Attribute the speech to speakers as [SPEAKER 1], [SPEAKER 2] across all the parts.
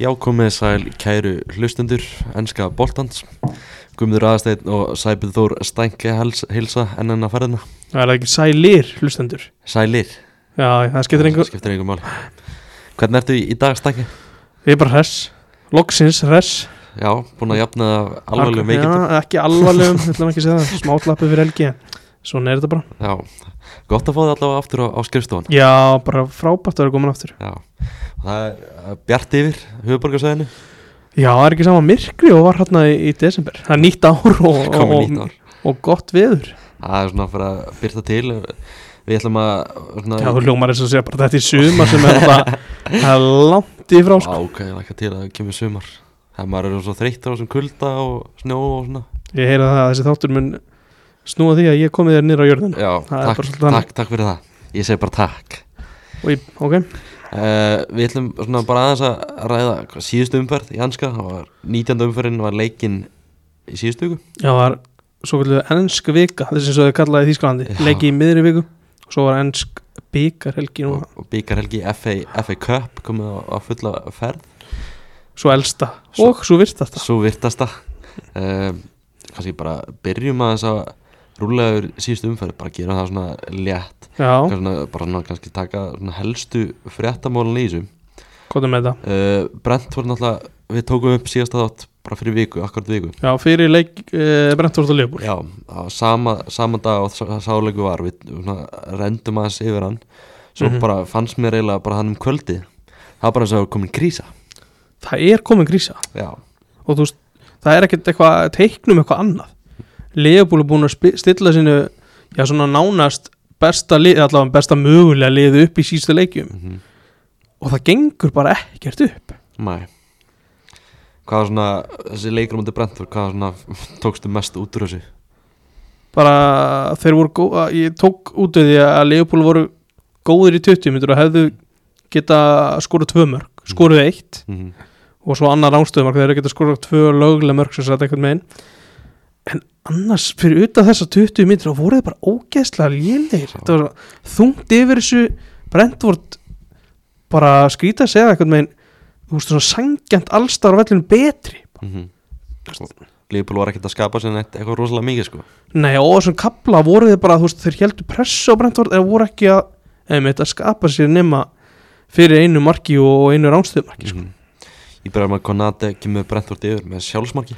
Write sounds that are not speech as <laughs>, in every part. [SPEAKER 1] Já, komið sæl kæru hlustendur, enska boltans Guðmundur Aðasteinn og Sæbjörn Þór Stænke hels- heilsa enn enn að ferðina
[SPEAKER 2] Það er það ekki sælir hlustendur
[SPEAKER 1] Sælir,
[SPEAKER 2] Já, það skiptir einhver
[SPEAKER 1] skiptir engum mál Hvernig ertu í í dag Stænke?
[SPEAKER 2] Ég er bara hress Loksins hress
[SPEAKER 1] Já, búin að jafna alveg
[SPEAKER 2] Já,
[SPEAKER 1] veikindum
[SPEAKER 2] ekki alvarlegum Við ætlum ekki að segja það Smátlappið fyrir helgi en Svona er þetta bara
[SPEAKER 1] Já, gott að fá það allavega aftur á, á skrifstofan
[SPEAKER 2] Já, bara frábært að vera komin aftur
[SPEAKER 1] Já, og það er uh, bjart yfir höfuborgarsæðinu
[SPEAKER 2] Já, það er ekki sama myrkri og var hérna í, í desember Það er nýtt ár <laughs> og, og,
[SPEAKER 1] Komið nýtt
[SPEAKER 2] og,
[SPEAKER 1] ár
[SPEAKER 2] og gott veður
[SPEAKER 1] Það er svona fyrir að byrta til Við ætlum að svona,
[SPEAKER 2] Já, þú ljómar þess að segja bara þetta í sumar sem er <laughs> bara Það er langt í frá sko.
[SPEAKER 1] Á, ok, lakka til að það kemur sumar Það maður eru svo þreytt á þessum kulda og snjó og svona
[SPEAKER 2] Ég heyra það að þessi þáttur mun snúa því að ég komið þér nýra á jörðin
[SPEAKER 1] Já,
[SPEAKER 2] Það er
[SPEAKER 1] takk,
[SPEAKER 2] bara svolítið þannig.
[SPEAKER 1] takk, takk fyrir það Ég segi bara takk
[SPEAKER 2] Og ég, ok,
[SPEAKER 1] uh, Við ætlum svona bara aðeins að ræða hvað síðustu umferð í Hanska Það var 19. umferðin var leikin í síðustu viku
[SPEAKER 2] Já, það var svo kallu ennsk vika þessi sem þau kallaði í Þýskalandi,
[SPEAKER 1] Já.
[SPEAKER 2] leiki í miðri viku og svo var ennsk byggar helgi núna,
[SPEAKER 1] og, og byggarhelgi FA, FA Cup komið á, á fulla ferð
[SPEAKER 2] svo elsta
[SPEAKER 1] Svo-
[SPEAKER 2] og svo virtasta
[SPEAKER 1] Svo virtasta uh, Kannski bara byrjum aðeins að rúlega yfir síðustu umferð bara gera það svona létt
[SPEAKER 2] Já,
[SPEAKER 1] svona, bara svona kannski taka svona helstu fréttamólan í þessu
[SPEAKER 2] hvað er með það?
[SPEAKER 1] uh, Brent var náttúrulega við tókum upp síðasta þátt bara fyrir viku, akkurat viku
[SPEAKER 2] Já, fyrir leik uh, Brentford og Leopold
[SPEAKER 1] Já, á sama, sama dag og sá- sáleiku var við svona, rendum aðeins yfir hann svo
[SPEAKER 2] Mhm.
[SPEAKER 1] bara fannst mér eiginlega bara hann um kvöldi það var bara eins og komin krísa
[SPEAKER 2] Það er komin grísa
[SPEAKER 1] Já,
[SPEAKER 2] og þú veist, það er ekkert eitthvað teiknum eitthvað annað Leopold er búin að spi- stilla sinu já, svona nánast besta lið, allavega besta mögulega liðu upp í sístu leikjum
[SPEAKER 1] mm
[SPEAKER 2] og það gengur bara ekkert upp
[SPEAKER 1] mæ Hvað var svona, þessi leikur mútið Brentford, hvað var svona <laughs> tókstu mest út úr þessu?
[SPEAKER 2] bara þeir voru góða, ég tók út af því að Leopold voru góðir í 20 myndur og hefðu geta skorað tvö mörg, skoruð eitt
[SPEAKER 1] Mm
[SPEAKER 2] og svo annar rángstöðumörk, þeir eru geta skorað tvö löglega mörg sem sætt einhvern megin en annars fyrir utan þessa 20 myndur voru þeir bara ógeðslega lélegir þetta var svo þungt yfir þessu Brentford bara skrýta að segja einhvern megin þú veist svona sangjant allstar á vellinu betri
[SPEAKER 1] -hmm. Leopold var ekkert að skapa sér neitt eitthvað rosalega mikið sko
[SPEAKER 2] Nei, og á þessum kapla voru þeir bara, þú veist, þeir heldur pressa á Brentford eða voru ekki að, einmitt, að skapa sér nema fyrir einu marki og einu ránstöðumarki, sko.
[SPEAKER 1] mm -hmm. Ég byrjar með að Konate kemur Brentford yfir með sjálfsmarki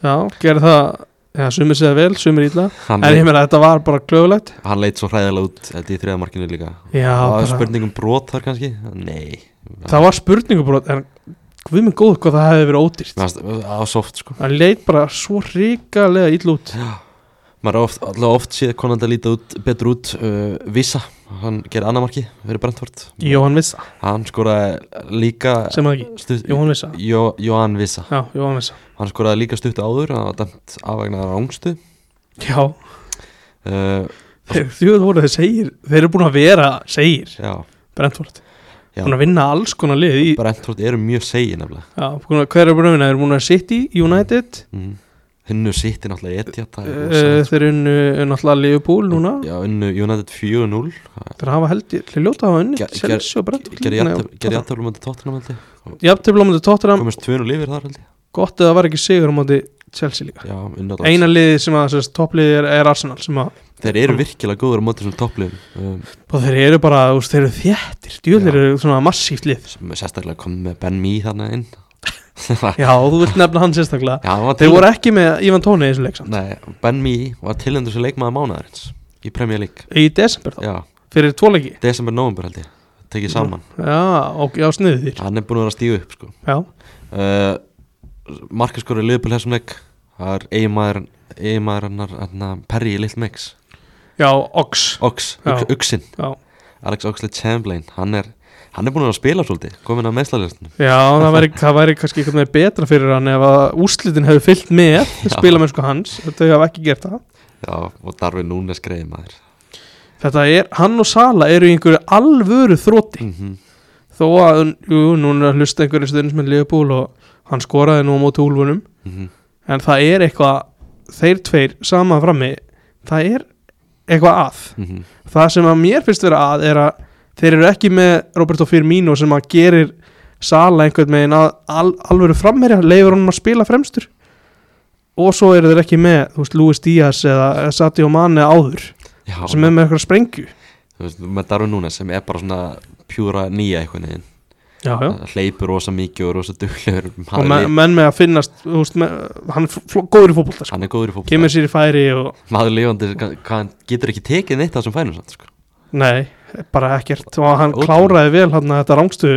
[SPEAKER 2] Mm. Já, gerði það, já, sumir segja vel, sumir ítla,
[SPEAKER 1] Hann,
[SPEAKER 2] en ég
[SPEAKER 1] leit,
[SPEAKER 2] meina að þetta var bara glöðulegt.
[SPEAKER 1] hann leit svo hræðilega út þetta í þriðamarkinu líka
[SPEAKER 2] Já,
[SPEAKER 1] Það var
[SPEAKER 2] bara,
[SPEAKER 1] spurning um brot þar kannski? Nei
[SPEAKER 2] það var spurningubrot, en hvað minn góð hvað það hefði verið ódýrt.
[SPEAKER 1] Mér fannst- Það var soft sko
[SPEAKER 2] Það leit bara svo ríkalega ítla út.
[SPEAKER 1] Maður er oft, alltaf oft séð konandi að líta út, betur út uh, Vissa, hann gerir annað marki fyrir Brentford
[SPEAKER 2] Jóhann Vissa,
[SPEAKER 1] Hann skoraði líka
[SPEAKER 2] sem það ekki,
[SPEAKER 1] stutt,
[SPEAKER 2] Jóhann Vissa.
[SPEAKER 1] Jó, Jóhann Vissa
[SPEAKER 2] Já, Jóhann Vissa.
[SPEAKER 1] Hann skoraði líka stutt áður Hann var dæmt afvegna rángstu
[SPEAKER 2] Já,
[SPEAKER 1] uh,
[SPEAKER 2] þeir, þjóð voru þeir segir, þeir eru búin að vera segir,
[SPEAKER 1] Já,
[SPEAKER 2] Brentford.
[SPEAKER 1] Já.
[SPEAKER 2] Búin að vinna alls konar lið í,
[SPEAKER 1] Brentford eru mjög segi nefnilega
[SPEAKER 2] Já, búin að- hver er búin að vinna? Þeir eru búin að City, United
[SPEAKER 1] mm. Unnu sitti náttúrulega etja Það Eh, er
[SPEAKER 2] uh,
[SPEAKER 1] rosalegt. Mm.
[SPEAKER 2] Þeir eru unnu- eh, náttúrulega Liverpool núna
[SPEAKER 1] Já, unnu United 4-0
[SPEAKER 2] Þeir hafa held ég, þeir ljóta að hafa unni
[SPEAKER 1] Ger- ger-
[SPEAKER 2] Chelsea og Brentford
[SPEAKER 1] Gerði jættöflum undir tóttunum held ég
[SPEAKER 2] Jafntefla á móti Tottenham,
[SPEAKER 1] Komist 2-0 yfir þar held ég
[SPEAKER 2] gott að það var ekki sigur á móti Chelsea líka
[SPEAKER 1] Já, unnu allan.
[SPEAKER 2] Eina liðið sem að sérst, toppliðið er, er Arsenal sem að,
[SPEAKER 1] Þeir eru virkilega góður á móti þessum toppliðum um,
[SPEAKER 2] og þeir eru bara, þú veist, þeir eru þjættir Djúðlir
[SPEAKER 1] Já.
[SPEAKER 2] eru svona massíft lið
[SPEAKER 1] sem er sérstaklega komið með Ben Mee þarna inn <laughs> Já,
[SPEAKER 2] Já, þú vilt nefna hann sérstaklega
[SPEAKER 1] hann var
[SPEAKER 2] Þeir voru ekki með Ivan Tóni í þessu leik samt.
[SPEAKER 1] Nei, Ben Mee var tilendur sem leikmaður mánaðarins í Premier League
[SPEAKER 2] Í desember þá,
[SPEAKER 1] Já,
[SPEAKER 2] fyrir tvoleiki
[SPEAKER 1] desember, november held ég tekið saman,
[SPEAKER 2] Mm. Já, og já, sniðu þýr
[SPEAKER 1] hann er búin að vera að stíga upp sko.
[SPEAKER 2] Já,
[SPEAKER 1] uh, Markaskóri Liðbúl þessum leik það er eiginmaður eiginmaður hennar hérna, Perry í Little Mix
[SPEAKER 2] já, Ox
[SPEAKER 1] Ox,
[SPEAKER 2] Já.
[SPEAKER 1] Uxin,
[SPEAKER 2] Já.
[SPEAKER 1] Alex Oxley Chamberlain hann er, hann er búin að vera að spila svolítið komin að meðslalistinu
[SPEAKER 2] Já, það væri, það væri kannski einhvern veginn betra fyrir hann ef að úrslitin hefur fyllt með spilamennsku hans, þau hafa ekki gert það
[SPEAKER 1] Já, og Darvin Núnes greiði maður
[SPEAKER 2] Þetta er, hann og Sala eru í einhverju alvöru þróti
[SPEAKER 1] mm -hmm.
[SPEAKER 2] þó að, jú, núna hlusta einhverju stundins með Leopold og hann skoraði nú á móti úlfunum,
[SPEAKER 1] mhm,
[SPEAKER 2] en það er eitthvað þeir tveir sama frammi það er eitthvað að
[SPEAKER 1] mhm.
[SPEAKER 2] það sem að mér finnst vera að er að þeir eru ekki með Roberto Firmino sem að gerir Sala einhvern veginn að al, alvöru framherja leifur honum að spila fremstur og svo eru þeir ekki með þú veist, Luis Díaz eða Sadio Mane áður
[SPEAKER 1] já,
[SPEAKER 2] sem er með eitthvað sprengju
[SPEAKER 1] þú veist, með Darwin Núnes sem er bara svona pjúra nýja einhvern veginn
[SPEAKER 2] já, já.
[SPEAKER 1] hleypur rosa mikið og er rosa duglegur
[SPEAKER 2] og
[SPEAKER 1] maður,
[SPEAKER 2] menn,
[SPEAKER 1] lif,
[SPEAKER 2] menn með að finnast þú veist, með, hann er fl- fl- góður í fótbolta sko.
[SPEAKER 1] hann er góður í fótbolta
[SPEAKER 2] kemur sér í færi og
[SPEAKER 1] maður lifandi, hvað- hvað hann getur ekki tekið neitt af þessum fænum samt, sko.
[SPEAKER 2] nei, bara ekkert og hann
[SPEAKER 1] Ótrúlegt.
[SPEAKER 2] kláraði vel hann þetta rángstu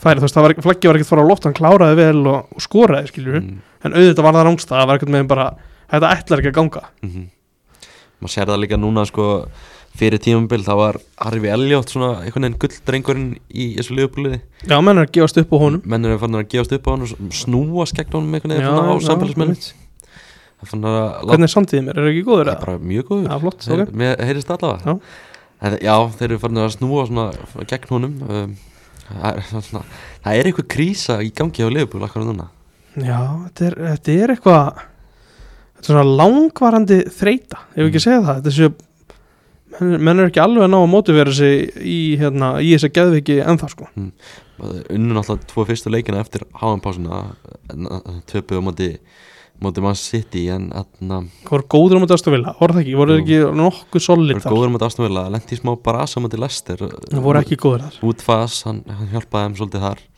[SPEAKER 2] færi, þú veist, það var, ekki- flaggið var ekkert fara á loft hann kláraði vel og, og skoraði, skiljur
[SPEAKER 1] mm
[SPEAKER 2] en auðvitað var það rángsta, það var ekkert með bara þetta ætlar ekki að ganga
[SPEAKER 1] -hmm. maður sér það líka núna sko, fyrir tímambil það var Harfi Eljótt svona einhvern veginn gulddrengurinn í þessu liðupúliði
[SPEAKER 2] já, menn er að gefast upp á honum
[SPEAKER 1] mennur er fann að gefast upp á hann og snúast gegn honum einhvern
[SPEAKER 2] Já,
[SPEAKER 1] veginn svona á
[SPEAKER 2] já,
[SPEAKER 1] samfélagsmennum það fann að láta
[SPEAKER 2] hvernig er samtíðið mér, er ekki góður
[SPEAKER 1] það
[SPEAKER 2] að
[SPEAKER 1] bara mjög góður
[SPEAKER 2] Já, flott,
[SPEAKER 1] Þeir-
[SPEAKER 2] ok
[SPEAKER 1] Mér heyrist það allavega
[SPEAKER 2] Já.
[SPEAKER 1] En já, þeir eru farin að snúa svona gegn honum um, það, er, svona, það er eitthvað krísa í gangi á liðbúl akkur núna
[SPEAKER 2] Já, þetta er, þetta er eitthvað Þetta er svona langvarandi þreita Ef við ekki
[SPEAKER 1] Mm.
[SPEAKER 2] að segja það Þetta séu menn, menn er ekki alveg að ná að mótivera sig í, hérna, í þessa geðviki ennþá sko
[SPEAKER 1] Unnum alltaf tvo fyrstu leikina eftir háanpásina Töpuð á móti móti mann City en þarna
[SPEAKER 2] Hvað voru góður um að dastu vilja, voru það ekki Voru
[SPEAKER 1] Jú.
[SPEAKER 2] þeir ekki nokkuð solid
[SPEAKER 1] voru
[SPEAKER 2] þar
[SPEAKER 1] góður móti ástofélag lendi í smá brasa móti Lester
[SPEAKER 2] Það voru ekki góður þar
[SPEAKER 1] Útfas, hann, hann hjálpaði þeim svolítið þar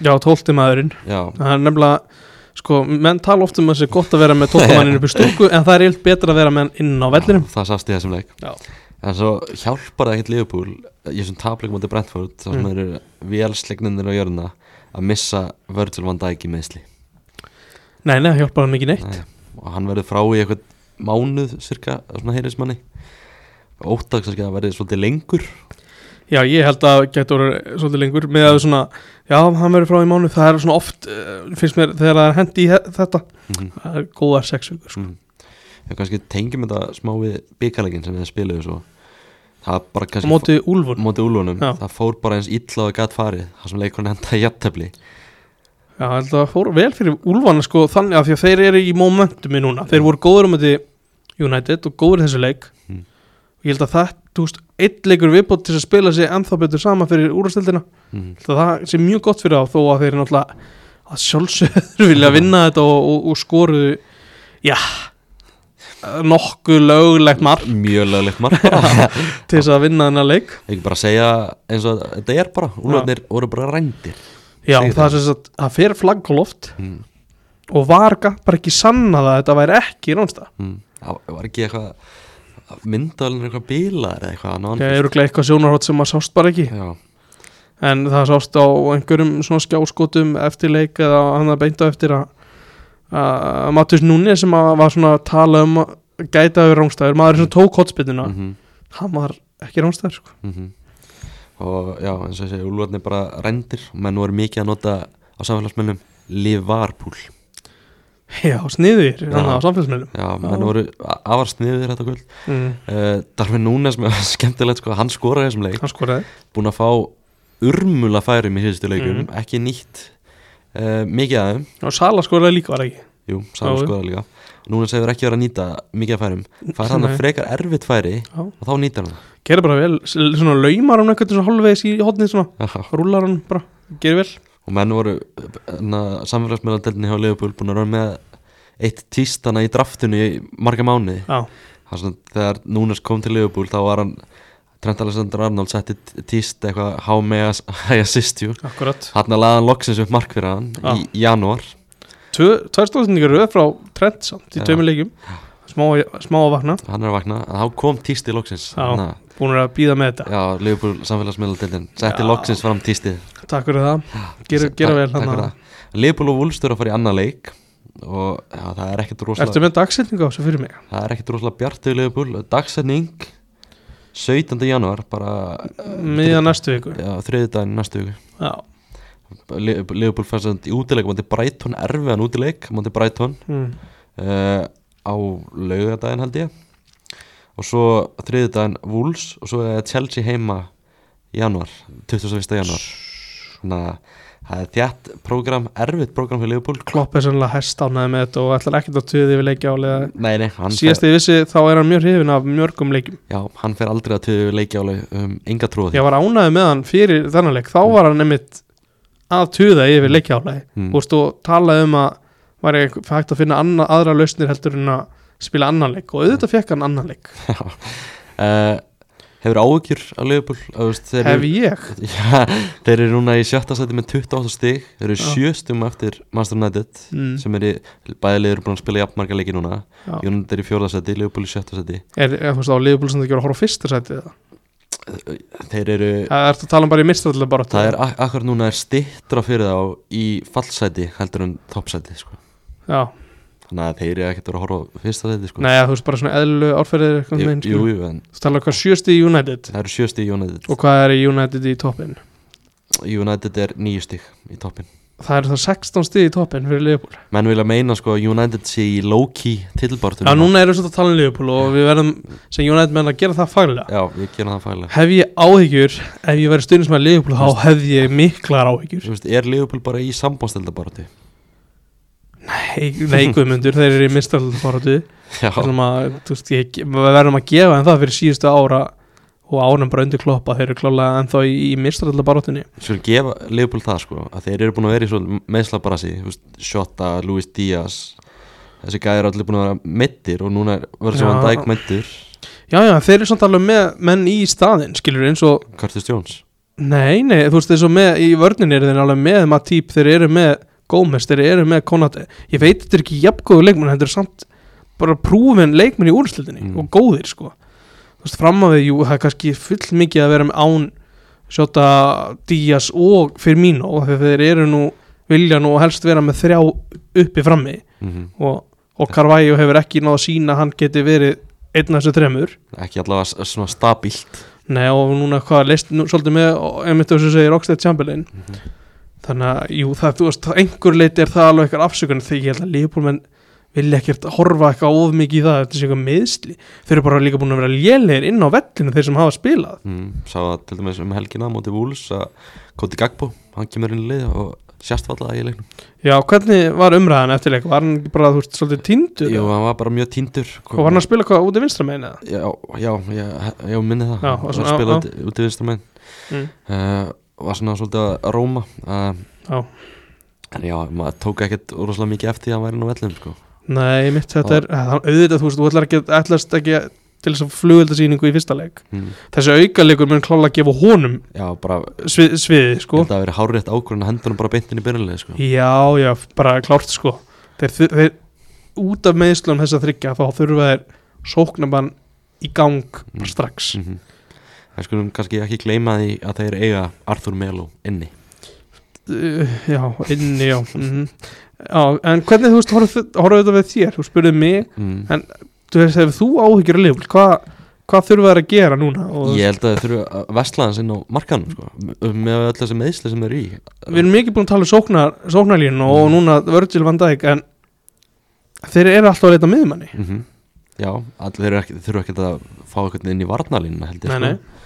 [SPEAKER 2] Já, tólti maðurinn
[SPEAKER 1] Já,
[SPEAKER 2] Það er nefnilega, sko, menn tala oft um að það sé gott að vera með tóltamannin upp í stúku En það er eilt betra að vera með hann inn á vellinum
[SPEAKER 1] það sást í þessum leik
[SPEAKER 2] Já.
[SPEAKER 1] En svo hjálpar það ekkert Liverpool í þessum tapleikum átti Brentford þar sem
[SPEAKER 2] Mm.
[SPEAKER 1] þeir eru vélslegnunir á jörna að missa Virgil van Dijk í meðsli
[SPEAKER 2] Nei, nei, það hjálpar hann ekki neitt
[SPEAKER 1] og hann verður frá í eitthvað mánuð cirka, svona heyrismanni óttags kannski að það verði svolítið lengur
[SPEAKER 2] Já, ég held að gæti orðið svolítið lengur með að svona, já, hann verður frá í mánu það er svona oft, uh, finnst mér þegar það er hendi í he- þetta,
[SPEAKER 1] mm
[SPEAKER 2] það er góða sex vikur, sko.
[SPEAKER 1] -hmm. en kannski tengjum þetta smá við byggalegin sem við spiluðu svo það bara
[SPEAKER 2] Á
[SPEAKER 1] kannski
[SPEAKER 2] móti úlfur,
[SPEAKER 1] móti úlunum,
[SPEAKER 2] Já.
[SPEAKER 1] það fór bara eins illa og gætt farið, það sem leikurinn enda í jættefli
[SPEAKER 2] já, ég held að það fór vel fyrir úlfana, sko, þannig að því að þeir eru í momentumi núna, þeir voru góður um þetta United og góður í þessu leik
[SPEAKER 1] Mhm.
[SPEAKER 2] og ég held að það, þú veist, eitt leikur viðbót til að spila sig ennþá betur sama fyrir úrastildina,
[SPEAKER 1] mm.
[SPEAKER 2] Ég held að það sé mjög gott fyrir þá þó að þeir náttúrulega að sjálfsögur <laughs> vilja vinna þetta og, og, og skoruðu já nokkuð löglegt mark
[SPEAKER 1] mjög löglegt marg
[SPEAKER 2] <laughs>
[SPEAKER 1] bara
[SPEAKER 2] til þess að vinna þennan leik
[SPEAKER 1] ekki bara segja eins og þetta er bara úrlöfnir voru bara rændir
[SPEAKER 2] já,
[SPEAKER 1] Segir
[SPEAKER 2] það er sem sagt það fer flagg á loft
[SPEAKER 1] mm.
[SPEAKER 2] og var Gatt bara ekki sanna það að þetta væri ekki ránsta
[SPEAKER 1] Mm. það var ekki eitthvað myndalinn eitthvað bílar eða eitthvað annað
[SPEAKER 2] það er örugglega eitthvað sjónarhótt sem maður sást bara ekki
[SPEAKER 1] já,
[SPEAKER 2] en það sást á einhverjum svona skjáskotum eftir leik eða hann að beinta eftir að að Matus Núni sem að var svona að tala um að gæta yfir rángstæður, maður sem tók hotspinnuna
[SPEAKER 1] mm -hmm.
[SPEAKER 2] hann var ekki rángstæður sko.
[SPEAKER 1] mhm. og já, eins og ég segi úrlöfnir bara rændir og menn voru mikið að nota á samfélagsmennum Liverpool
[SPEAKER 2] já, sniður,
[SPEAKER 1] Já.
[SPEAKER 2] hann á samfélagsmiðlum
[SPEAKER 1] já, menn
[SPEAKER 2] Já.
[SPEAKER 1] voru a- afar sniðir þetta kvöld
[SPEAKER 2] mm.
[SPEAKER 1] uh, Darfin Núnes <laughs> með skemmtilegt sko, hann skoraði í þessum leik
[SPEAKER 2] hann skoraði
[SPEAKER 1] búin að fá urmula færum í síðustu leikum, ekki nýtt uh, mikið aðeim
[SPEAKER 2] og Sala skoraði líka var það ekki
[SPEAKER 1] Jú, Sala
[SPEAKER 2] Já, jú.
[SPEAKER 1] skoðar líka Núna segir ekki verið að nýta mikið af færum Fær hann að
[SPEAKER 2] Nei.
[SPEAKER 1] frekar erfitt færi
[SPEAKER 2] Já.
[SPEAKER 1] og þá nýtar hann
[SPEAKER 2] gerir bara vel, s- svona laumar hann eitthvað svona hálfvegis í hotnið svona,
[SPEAKER 1] það
[SPEAKER 2] rúlar hann bara, gerir vel
[SPEAKER 1] Og menn voru samfélagsmiðlandeldinni hjá Leopold búin að vera með eitt tístana í draftinu í marga mánuði
[SPEAKER 2] já,
[SPEAKER 1] Það er svona, Þegar Núnes kom til Leopold þá var hann Trent Alexander-Arnold setti t- tíst eitthvað How may I ass- I assist you
[SPEAKER 2] akkurat
[SPEAKER 1] Hann að laða hann loksins upp mark fyrir hann
[SPEAKER 2] Já.
[SPEAKER 1] í janúar
[SPEAKER 2] tvær stóðsendingar röð frá Trent samt í
[SPEAKER 1] Já.
[SPEAKER 2] tveimur leikjum smá, smá að vakna,
[SPEAKER 1] Hann er að vakna, en þá kom tísti loksins
[SPEAKER 2] Já.
[SPEAKER 1] Þannig að-
[SPEAKER 2] búin að býða með þetta
[SPEAKER 1] Já, Leopold samfélagsmiðlandeldin setti
[SPEAKER 2] Já.
[SPEAKER 1] loksins fram tístið
[SPEAKER 2] takk fyrir það, gera, gera vel hann að-
[SPEAKER 1] Leopold og Wolves þurfa að fara í annað leik og já, það er ekkert
[SPEAKER 2] ertu
[SPEAKER 1] rosalega
[SPEAKER 2] með dagsetningu á þessu fyrir mig
[SPEAKER 1] það er ekkert rosalega bjartu í Leopold dagsetning 17. janúar bara
[SPEAKER 2] miðja næstu viku
[SPEAKER 1] já, þriðudaginn næstu
[SPEAKER 2] Mm. já,
[SPEAKER 1] viku Leopold fannst þetta í útileik mátti Brighton erfiðan útileik mátti Brighton
[SPEAKER 2] mm.
[SPEAKER 1] uh, á laugardaginn held ég og svo þriðudaginn Wolves og svo er Chelsea heima í janúar 21. janúar þannig að það er þjætt program erfitt program fyrir Leopold
[SPEAKER 2] klopp er sannlega hestánæði með þetta og ætlar ekkert að tuðið yfir leikja álega
[SPEAKER 1] Nei, nei, hann
[SPEAKER 2] síðast ég vissi þá er hann mjög hrifin af mjörgum leikjum
[SPEAKER 1] Já, hann fer aldrei að töðu leikjálega um enga trúa því
[SPEAKER 2] ég var ánæði með hann fyrir þennan leik þá var hann einmitt að tuða yfir leikjálægi
[SPEAKER 1] Mm.
[SPEAKER 2] mm.
[SPEAKER 1] <laughs>
[SPEAKER 2] og talaði um að var ég hægt að finna anna, aðra lausnir heldur en að spila annan leik og auðvitað fekk hann annan leik
[SPEAKER 1] uh, Hefur áhyggjur að Liverpool Þú veist, þeir
[SPEAKER 2] hef
[SPEAKER 1] eru-
[SPEAKER 2] ég
[SPEAKER 1] Já, þeir eru núna í sjötta sæti með 28 stig Þeir eru
[SPEAKER 2] Já.
[SPEAKER 1] sjöstum eftir Master United
[SPEAKER 2] mm.
[SPEAKER 1] sem er í, bæði liður búin að spila jafnmarga leiki núna
[SPEAKER 2] Já.
[SPEAKER 1] United er í fjórða sæti, Liverpool í sjötta sæti
[SPEAKER 2] er, er þú veist á liðbúl sem það gjör að horfa á fyrsta sætið það
[SPEAKER 1] Þeir eru,
[SPEAKER 2] er þetta að tala um bara í mistrallega bara
[SPEAKER 1] það er ak- akkurat núna er stittra fyrir þá í fallsæti heldur en toppsæti sko.
[SPEAKER 2] já,
[SPEAKER 1] Þannig að þeir eru ekkert að vera að horfa á fyrsta sæti sko.
[SPEAKER 2] nei sko. að þú veist bara svona eðlu árferðir eitthvað
[SPEAKER 1] jú,
[SPEAKER 2] meginn
[SPEAKER 1] jú,
[SPEAKER 2] skilur.
[SPEAKER 1] jú, en
[SPEAKER 2] þú tala um hvað sjösti í United
[SPEAKER 1] það eru sjö stig í United
[SPEAKER 2] og hvað er í United í toppin
[SPEAKER 1] United er níu stig í toppin
[SPEAKER 2] það eru það 16 stið í toppin fyrir liðbúl
[SPEAKER 1] Menn vilja meina sko að United sé í low-key tilbartum
[SPEAKER 2] já núna erum við svolítið að tala um liðbúl og við verðum sem United menn að gera það faglega
[SPEAKER 1] Já, ég gera það fælega
[SPEAKER 2] Hef ég áhyggjur, ef ég væri stundismæði Liverpool þá hefði ég miklar áhyggjur
[SPEAKER 1] Þú veist, er Liverpool bara í sambánstildabaratu?
[SPEAKER 2] Nei, nei guðmundur, þeir eru í mistalbaratu
[SPEAKER 1] Já,
[SPEAKER 2] Við verðum að gefa en það fyrir síðustu ára og ánum bara undir kloppa þeir eru klálega ennþá í, í mistalbaratunni
[SPEAKER 1] svo gefa Liverpool það sko að þeir eru búin að vera í svo meðslabarasi Shota, Luis Díaz þessi gæðir allir búin að vera mittir og núna er- verður sem
[SPEAKER 2] Já.
[SPEAKER 1] hann dæk mittur
[SPEAKER 2] Já, já, þeir eru samt alveg með menn í staðinn skilur eins og,
[SPEAKER 1] Curtis Jones
[SPEAKER 2] nei, nei, þú veist eins og með, í vörninni eru þeir alveg með Matip, þeir eru með Gómez, þeir eru með Konate ég veit þetta er ekki jafngóðu leikmenn þetta er samt bara prúfin leikmenn í úrslutinni
[SPEAKER 1] Mm.
[SPEAKER 2] og góðir sko þú veist, fram að við, jú, það er kannski full mikið að vera með án Sjóta Díaz og Firmino af því að þeir eru nú, vilja nú helst vera með þrjá uppi frammi
[SPEAKER 1] mm
[SPEAKER 2] og, og Carvalho hefur ekki náð að sína hann geti verið einn af þessu þremur
[SPEAKER 1] ekki allavega s- svona stabílt
[SPEAKER 2] Nei og núna hvað leist nú, svolítið með og einmitt þess að segja Rockstead Chamberlain þannig að jú það þú veist einhver leiti er það alveg eitthvað afsökun þegar ég held að Liverpool menn vilja ekkert horfa eitthvað of mikið í það þetta sé eitthvað meðsli þeir eru bara líka búin að vera lélegir inn á vellinu þeir sem hafa spilað
[SPEAKER 1] mm, sá það til dæmis um helgina á móti Wolves að Koti Gagbo, hann kemur inn í lið og sérst fallaði í leiknum
[SPEAKER 2] Já hvernig var umræðan eftir leik var hann ekki bara þú veist svolítið tindur
[SPEAKER 1] Jú, hann var bara mjög tindur sko.
[SPEAKER 2] og var hann að spila hvað út í vinstra meina
[SPEAKER 1] Já, já, já, já minni það
[SPEAKER 2] Já,
[SPEAKER 1] já,
[SPEAKER 2] og
[SPEAKER 1] og
[SPEAKER 2] svona-
[SPEAKER 1] spila
[SPEAKER 2] já.
[SPEAKER 1] út, út í vinstramenn
[SPEAKER 2] Mm.
[SPEAKER 1] uh, var svona svolítið að róma uh,
[SPEAKER 2] Já.
[SPEAKER 1] en já, maður tók ekkert rosalega mikið eftir því að hann væri nú vellum sko.
[SPEAKER 2] Nei mitt þetta er eh, það- auðvitað þú veist þú ætlar ekki, ætlast ekki til þess að flugöldasýningu í fyrsta leik
[SPEAKER 1] mm.
[SPEAKER 2] þessi aukalegur mun klála að gefa honum
[SPEAKER 1] já, bara,
[SPEAKER 2] svið, sviðið
[SPEAKER 1] sko?
[SPEAKER 2] sko
[SPEAKER 1] þetta að vera hárétt ákvörðin að hendur hann bara beint inn í byrjanlega sko.
[SPEAKER 2] Já, já, bara klárt sko þeir, þeir, þeir út af meðslum þess að þryggja þá þurfa þeir sóknabann í gang bara
[SPEAKER 1] Mm.
[SPEAKER 2] strax
[SPEAKER 1] mm -hmm. það skulum kannski ekki gleyma því að þeir eiga Arthur Melo inni
[SPEAKER 2] uh, Já, inni, já mm Já, en hvernig þú veist horfðu horfðu þetta við þér, þú spurðið mig
[SPEAKER 1] mm.
[SPEAKER 2] þú veist, hefur þú áhyggjur að lifa hvað, hvað þurfa þeir að gera núna og
[SPEAKER 1] ég held að þeir þurfa að vesla hans inn á markanum sko. með- með öll þessi meðsli sem þeir eru í
[SPEAKER 2] við erum mikið búin að tala um sóknar, sóknarlínu og
[SPEAKER 1] Mm.
[SPEAKER 2] núna Virgil van Dijk en þeir eru alltaf að leita að miðmanni
[SPEAKER 1] mm Já, allir þeir eru ekki, þurfa ekki að fá eitthvað inn í varnalínuna held ég
[SPEAKER 2] Nei,
[SPEAKER 1] sko.
[SPEAKER 2] nei.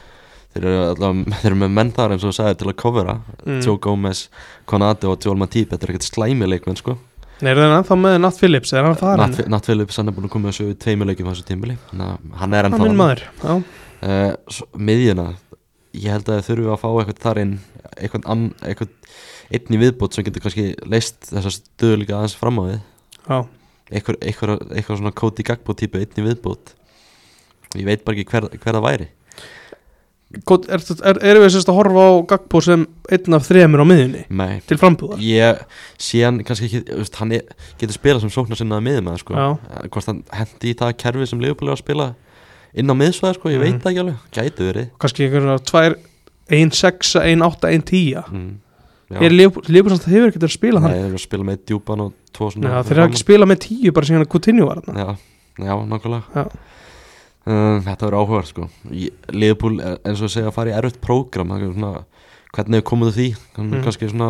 [SPEAKER 1] Þeir eru allavega, <laughs> þeir eru með menn þar eins og þú sagði til að covera
[SPEAKER 2] Mm.
[SPEAKER 1] Joe Gomez, Konate og Joel Matip Þetta er ekkert slæmi leikmenn sko
[SPEAKER 2] Nei, Mm. er það ennþá með Nat Phillips, er hann það
[SPEAKER 1] Nat Nat Phillips, hann er búin að koma þessu í tveimur leikjum á þessu tímili Þannig að hann er
[SPEAKER 2] hann minn
[SPEAKER 1] ennþá
[SPEAKER 2] maður, já
[SPEAKER 1] uh, Miðjuna, ég held að þeir þurfi að fá eitthvað þar inn Eitthvað, ann, eitthvað einn í viðbót sem getur kannski leist þessa stöðu líka aðeins fram á við
[SPEAKER 2] Já,
[SPEAKER 1] Eitthvað, eitthvað, eitthvað svona Cody Gagbo típu einn í viðbót Ég veit bara ekki hver, hver það væri
[SPEAKER 2] Kót- er, er, erum við sérst að horfa á Gagbo sem einn af þremur á miðunni
[SPEAKER 1] Nei,
[SPEAKER 2] til frambúðar
[SPEAKER 1] ég sé hann kannski ekki þú veist, hann er, getur spilað sem sóknar sinnaði miðum eða sko,
[SPEAKER 2] Já.
[SPEAKER 1] Eh, hvort hann hendi í það kerfi sem Leopold er að spila inn á miðsvæða sko, ég veit
[SPEAKER 2] Mhm.
[SPEAKER 1] það ekki alveg, gæti verið
[SPEAKER 2] kannski einhverjum að tvær 1-6, 1-8, 1-10
[SPEAKER 1] mm. Já.
[SPEAKER 2] er Leifur samt hefur ekkert að spila
[SPEAKER 1] Nei,
[SPEAKER 2] hann
[SPEAKER 1] þeir eru að spila með djúpan og tvo
[SPEAKER 2] Nei,
[SPEAKER 1] svona
[SPEAKER 2] þeir hafa ekki spilað með 10 bara síðan að Coutinho var hann
[SPEAKER 1] Já, já, nákvæmlega
[SPEAKER 2] hérna. Já.
[SPEAKER 1] Um, þetta verður áhugað sko Leopold, eins og að segja, að fara í erfitt prógram það er svona, hvernig hefur komið að því
[SPEAKER 2] Mhm.
[SPEAKER 1] kannski svona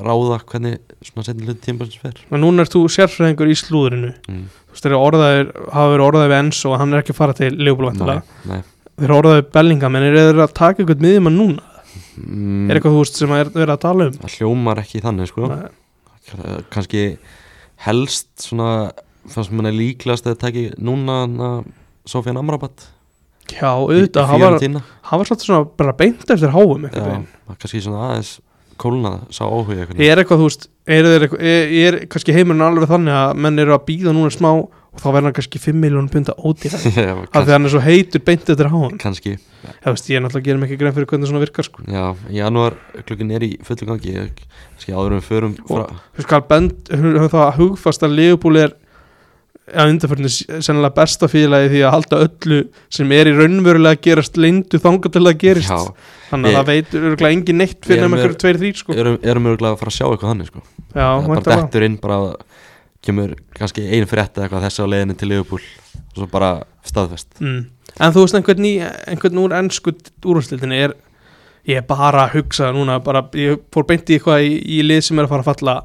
[SPEAKER 1] ráða hvernig svona setjum hlut tímpans fer
[SPEAKER 2] en núna er þú sérfræðingur í slúðrinu
[SPEAKER 1] mm.
[SPEAKER 2] þú veist þeir eru orðaðir, hafa verið orðaðir við Enzo og hann er ekki að fara til Leifur
[SPEAKER 1] Nei,
[SPEAKER 2] vantilega
[SPEAKER 1] nei.
[SPEAKER 2] þeir eru orðaðir Bellingham en eru þeir að taka eitthvað miðjum núna
[SPEAKER 1] Mm.
[SPEAKER 2] er eitthvað þú veist sem að er, er að tala um
[SPEAKER 1] það hljómar ekki þannig sko
[SPEAKER 2] Nei.
[SPEAKER 1] K- kannski helst svona það sem hann er líklast að taka núna hann Sofian Amrabat
[SPEAKER 2] já, auðvitað, hann var,
[SPEAKER 1] tína
[SPEAKER 2] hann var svolítið svona bara beint eftir háum
[SPEAKER 1] kannski svona aðeins kólnað sá áhuga einhvern veginn.
[SPEAKER 2] Er eitthvað, þú veist, er, er, er, er kannski heimurinn alveg þannig að menn eru að býða núna smá og þá verður hann kannski 5 miljónum punta ódýr
[SPEAKER 1] <laughs>
[SPEAKER 2] af
[SPEAKER 1] Já,
[SPEAKER 2] því
[SPEAKER 1] kannski,
[SPEAKER 2] hann er svo heitur beint eftir háan
[SPEAKER 1] kannski
[SPEAKER 2] Já, veist, ég er náttúrulega að gera mig ekki grein fyrir hvernig svona virkar sko.
[SPEAKER 1] Já, í janúar klukkin er í fullu gangi ég- kannski áður en við förum frá
[SPEAKER 2] Þú skal bend, höfum það hugfast að Leopold er að undanförnum sennilega besta félagi því að halda öllu sem er í raunverulega að gerast lindu þanga til það gerist sko.
[SPEAKER 1] Já,
[SPEAKER 2] þannig að
[SPEAKER 1] Ég-
[SPEAKER 2] það veitur örgulega engin neitt
[SPEAKER 1] Ég
[SPEAKER 2] fyrir
[SPEAKER 1] er
[SPEAKER 2] nema
[SPEAKER 1] með-
[SPEAKER 2] einhverjum tveir þrýr sko.
[SPEAKER 1] erum, erum örgulega að fara að sjá eitthvað þannig sko. Það
[SPEAKER 2] Já,
[SPEAKER 1] er bara
[SPEAKER 2] væntanlega.
[SPEAKER 1] dettur inn bara kemur kannski ein frétt eða eitthvað þessi á leiðinni til Liverpool og svo bara staðfest
[SPEAKER 2] mm. En þú veist einhvern, í, einhvern úr ennsku úrhústildinni er ég er bara að hugsa núna bara, ég fór beint í eitthvað í, í lið sem er að fara að falla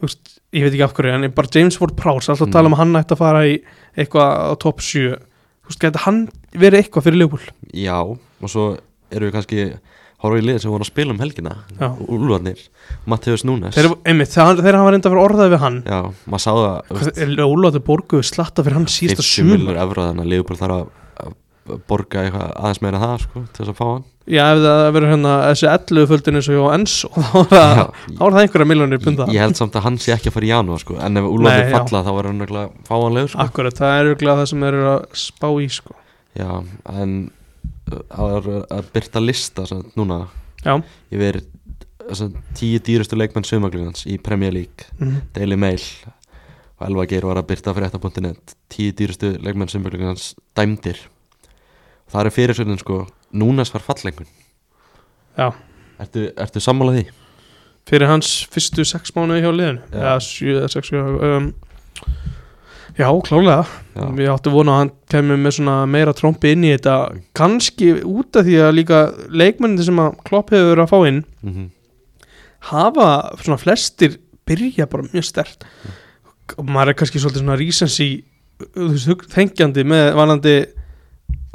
[SPEAKER 2] þú veist, ég veit ekki af hverju en ég bara James Ward Prowse,
[SPEAKER 1] Mm.
[SPEAKER 2] alltaf að tala um að hann ætti að fara í eitthvað á topp 7 þú veist, gæti hann verið eitthvað fyrir Leopold
[SPEAKER 1] Já, og svo erum við kannski horfa í liðin sem voru að spila um helgina
[SPEAKER 2] Já.
[SPEAKER 1] Úlfarnir, Mattias Núnes
[SPEAKER 2] þeir, einmitt, þegar, þegar hann var reynda að vera orðað við hann
[SPEAKER 1] Já, maður sá það
[SPEAKER 2] Hvað, er Ólóður borguðu slatta fyrir hann sísta
[SPEAKER 1] 50
[SPEAKER 2] sumar
[SPEAKER 1] miljonur efra þannig að Liverpool þarf að- að borga eitthvað aðeins meira en það sko, til þess að fá hann
[SPEAKER 2] já, ef það verður hérna þessi 11 földin eins og hjá Enso <laughs> þá var
[SPEAKER 1] Já,
[SPEAKER 2] það, þá var um það einhverja miljonir punda
[SPEAKER 1] ég held samt að hann sé ekki að fara í janúar sko, en ef
[SPEAKER 2] Nei,
[SPEAKER 1] Úlfarnir
[SPEAKER 2] já.
[SPEAKER 1] falla þá verður hann nögglega fáanlegur sko.
[SPEAKER 2] Akkurat, það er auðvitað það sem þeir eru að spá í sko.
[SPEAKER 1] Já, en uh, það er að byrta lista sem, sagt, núna
[SPEAKER 2] Já.
[SPEAKER 1] yfir sem, sagt, tíu dýrustu leikmenn sömaglugans í Premier League, Daily Mail og Elva Geir var að byrta frétta.net tíu dýrustu leikmenn sömaglugans dæmdir það er fyrirsögnin sko, Núnes var fallengun
[SPEAKER 2] Já.
[SPEAKER 1] Ertu, ertu sammála því?
[SPEAKER 2] Fyrir hans fyrstu sex mánuði hjá liðinu
[SPEAKER 1] Já.
[SPEAKER 2] Eða sjö, eða sex, sjö um, Já, klálega
[SPEAKER 1] Já,
[SPEAKER 2] Ég átti vona að hann kemur með svona meira trompi inn í þetta Kanski út af því að líka leikmennin sem að Klopp hefur verið að fá inn
[SPEAKER 1] mm
[SPEAKER 2] Hafa svona flestir byrja bara mjög stert Og maður er kannski svolítið svona recency þú veist, hug- Þengjandi með vanandi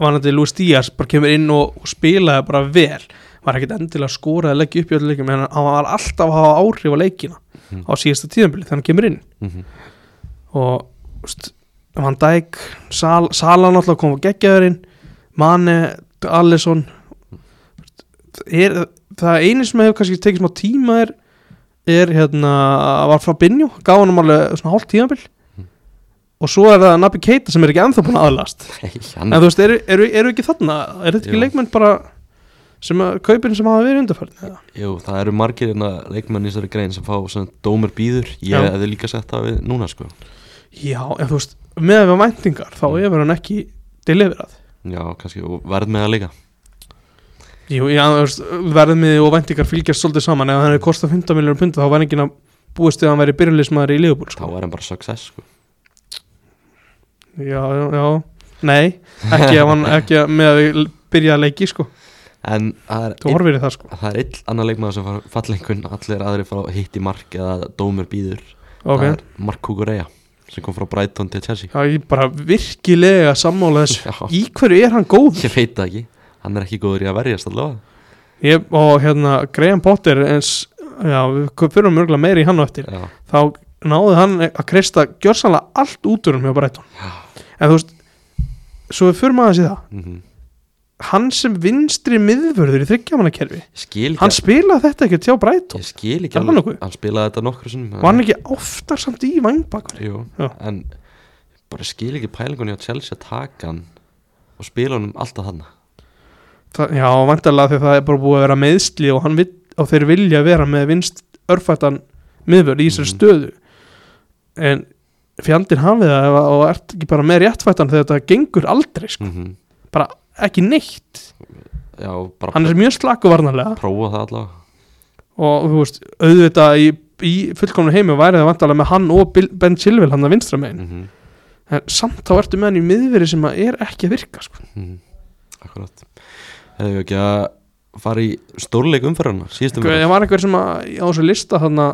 [SPEAKER 2] vanandi Luis Díaz bara kemur inn og, og spilaði bara vel var ekkert endilega að skora eða leggja upp í öllu leikum en hann var alltaf að hafa áhrif á leikina
[SPEAKER 1] Mhm.
[SPEAKER 2] á síðasta tíðanbili þegar hann kemur inn
[SPEAKER 1] <laughs>
[SPEAKER 2] og úst, Van Dijk Sal, Sala náttúrulega kom og geggjaður inn Mane, Alisson er, það einu sem hefur kannski tekið smá tíma er, er hérna var Fabinho, gaf hann alveg svona hálft tíðanbili
[SPEAKER 1] Mhm.
[SPEAKER 2] og svo er það Nabi Keita sem er ekki ennþá búin aðlast
[SPEAKER 1] Hey, hann,
[SPEAKER 2] En þú veist, eru, eru, eru ekki þarna, eru þetta ekki
[SPEAKER 1] Jú.
[SPEAKER 2] leikmenn bara sem að kaupin sem hafa verið undarfærin eða?
[SPEAKER 1] jú, það eru margir hérna leikmenn í þessari grein sem fá svona, dómur býður, ég
[SPEAKER 2] Já.
[SPEAKER 1] hefði líka sett það við núna sko
[SPEAKER 2] Já, en þú veist, með að við væntingar þá
[SPEAKER 1] Mm.
[SPEAKER 2] hefur hann ekki deliverað
[SPEAKER 1] Já, kannski, og verð með það líka
[SPEAKER 2] Jú, já, þú veist, verðmið og væntingar fylgjast svolítið saman, ef hann hefur kostað 15 miljonar pund þá var enginn að búist við að hann væri byrjulismæður í Liverpool,
[SPEAKER 1] þá
[SPEAKER 2] sko
[SPEAKER 1] er hann bara success sko.
[SPEAKER 2] Já, já, já, nei ekki
[SPEAKER 1] <laughs>
[SPEAKER 2] ef hann, ekki að- með að við byrja að leiki, sko,
[SPEAKER 1] en það er
[SPEAKER 2] þú
[SPEAKER 1] einn-
[SPEAKER 2] horfir í það, sko
[SPEAKER 1] það er einn annar leikmaður sem fara fallengun allir aðrir fara hitt í mark eða dómur býður
[SPEAKER 2] Ok,
[SPEAKER 1] það er Mark Kukureya sem kom frá Brighton til Chelsea
[SPEAKER 2] já, ég bara virkilega sammála þessu,
[SPEAKER 1] <laughs> Já,
[SPEAKER 2] í hverju er hann góð?
[SPEAKER 1] ég veit það ekki hann er ekki góður í að verjast allavega
[SPEAKER 2] Ég, og hérna Graham Potter eins, já, við fyrir mörgulega meiri í hann og eftir,
[SPEAKER 1] já,
[SPEAKER 2] þá náði hann að kreista gjörsanlega allt út úr um hjá Breitón, en þú veist svo við fyrir maður að sé það
[SPEAKER 1] mm
[SPEAKER 2] hann sem vinstri miðvörður í þryggjamannakerfi,
[SPEAKER 1] ég skil ekki
[SPEAKER 2] hann spilaði þetta ekki hjá Breitón,
[SPEAKER 1] ég skil ekki
[SPEAKER 2] Er hann nokkuð?
[SPEAKER 1] hann spilaði þetta nokkru sinnum
[SPEAKER 2] var hann ekki oftar samt í vangbakar,
[SPEAKER 1] Jú,
[SPEAKER 2] Já.
[SPEAKER 1] en bara skil ekki pælingunni á Chelsea að taka hann og spila honum alltaf þannig
[SPEAKER 2] já, vantarlega þegar það er bara búið að vera meðsli og, hann, vill- og þeir vilja vera með vinst örfættan miðvörð í þessari
[SPEAKER 1] Mhm.
[SPEAKER 2] stöðu en fjandinn hafið það ef að- og ert ekki bara með réttfættan þegar þetta gengur aldrei sko.
[SPEAKER 1] mm
[SPEAKER 2] ekki neitt
[SPEAKER 1] já, bara
[SPEAKER 2] hann er mjög slaku varnarlega
[SPEAKER 1] prófa það allavega
[SPEAKER 2] og þú veist, auðvitað í, í fullkomnu heimi væri það vantarlega með hann og Bill, Ben Chilwell hann að vinstra megin
[SPEAKER 1] mm -hmm.
[SPEAKER 2] en samt þá ertu með hann í miðveri sem að er ekki að virka sko.
[SPEAKER 1] Mm, akkurat Hefðu við ekki að fara í stórleik umferðarna síðustum
[SPEAKER 2] Hver,
[SPEAKER 1] við
[SPEAKER 2] það var einhver sem að á þessu lista þarna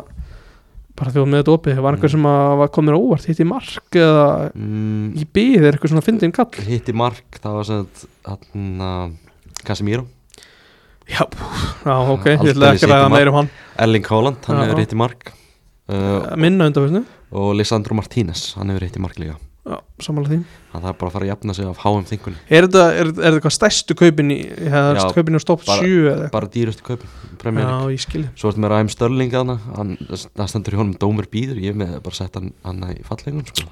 [SPEAKER 2] bara þjóð með þetta opið, það var einhver sem að var komir á óvart hitt í mark eða
[SPEAKER 1] mm,
[SPEAKER 2] í byð er eitthvað svona fyndin kall
[SPEAKER 1] Hitti mark, það var sem sagt, hann að Casemiro,
[SPEAKER 2] já, já ok, ég
[SPEAKER 1] Aldeilis
[SPEAKER 2] ætla
[SPEAKER 1] hitti
[SPEAKER 2] ekki að ræða
[SPEAKER 1] mark.
[SPEAKER 2] meira um hann
[SPEAKER 1] Erling Haaland, hann
[SPEAKER 2] Já.
[SPEAKER 1] hefur hitti mark uh,
[SPEAKER 2] minna undan fyrstu
[SPEAKER 1] og Lissandro Martínez, hann hefur hitti mark líka
[SPEAKER 2] Já, samanlega því
[SPEAKER 1] Þannig að það er bara að fara að jafna sig af háum þingunni
[SPEAKER 2] Er þetta, er, er þetta hvað stærstu kaupin í hefðast
[SPEAKER 1] Já,
[SPEAKER 2] kaupin á stopp
[SPEAKER 1] bara-
[SPEAKER 2] 7 eða eitthvað?
[SPEAKER 1] Bara dýrustu kaupin Premier
[SPEAKER 2] Já,
[SPEAKER 1] League
[SPEAKER 2] ég skilji
[SPEAKER 1] Svo ertu með Ræm Störling aðna hann, Það stendur í honum Dómur býður Ég er með bara sett hann, hann í fallegun sko.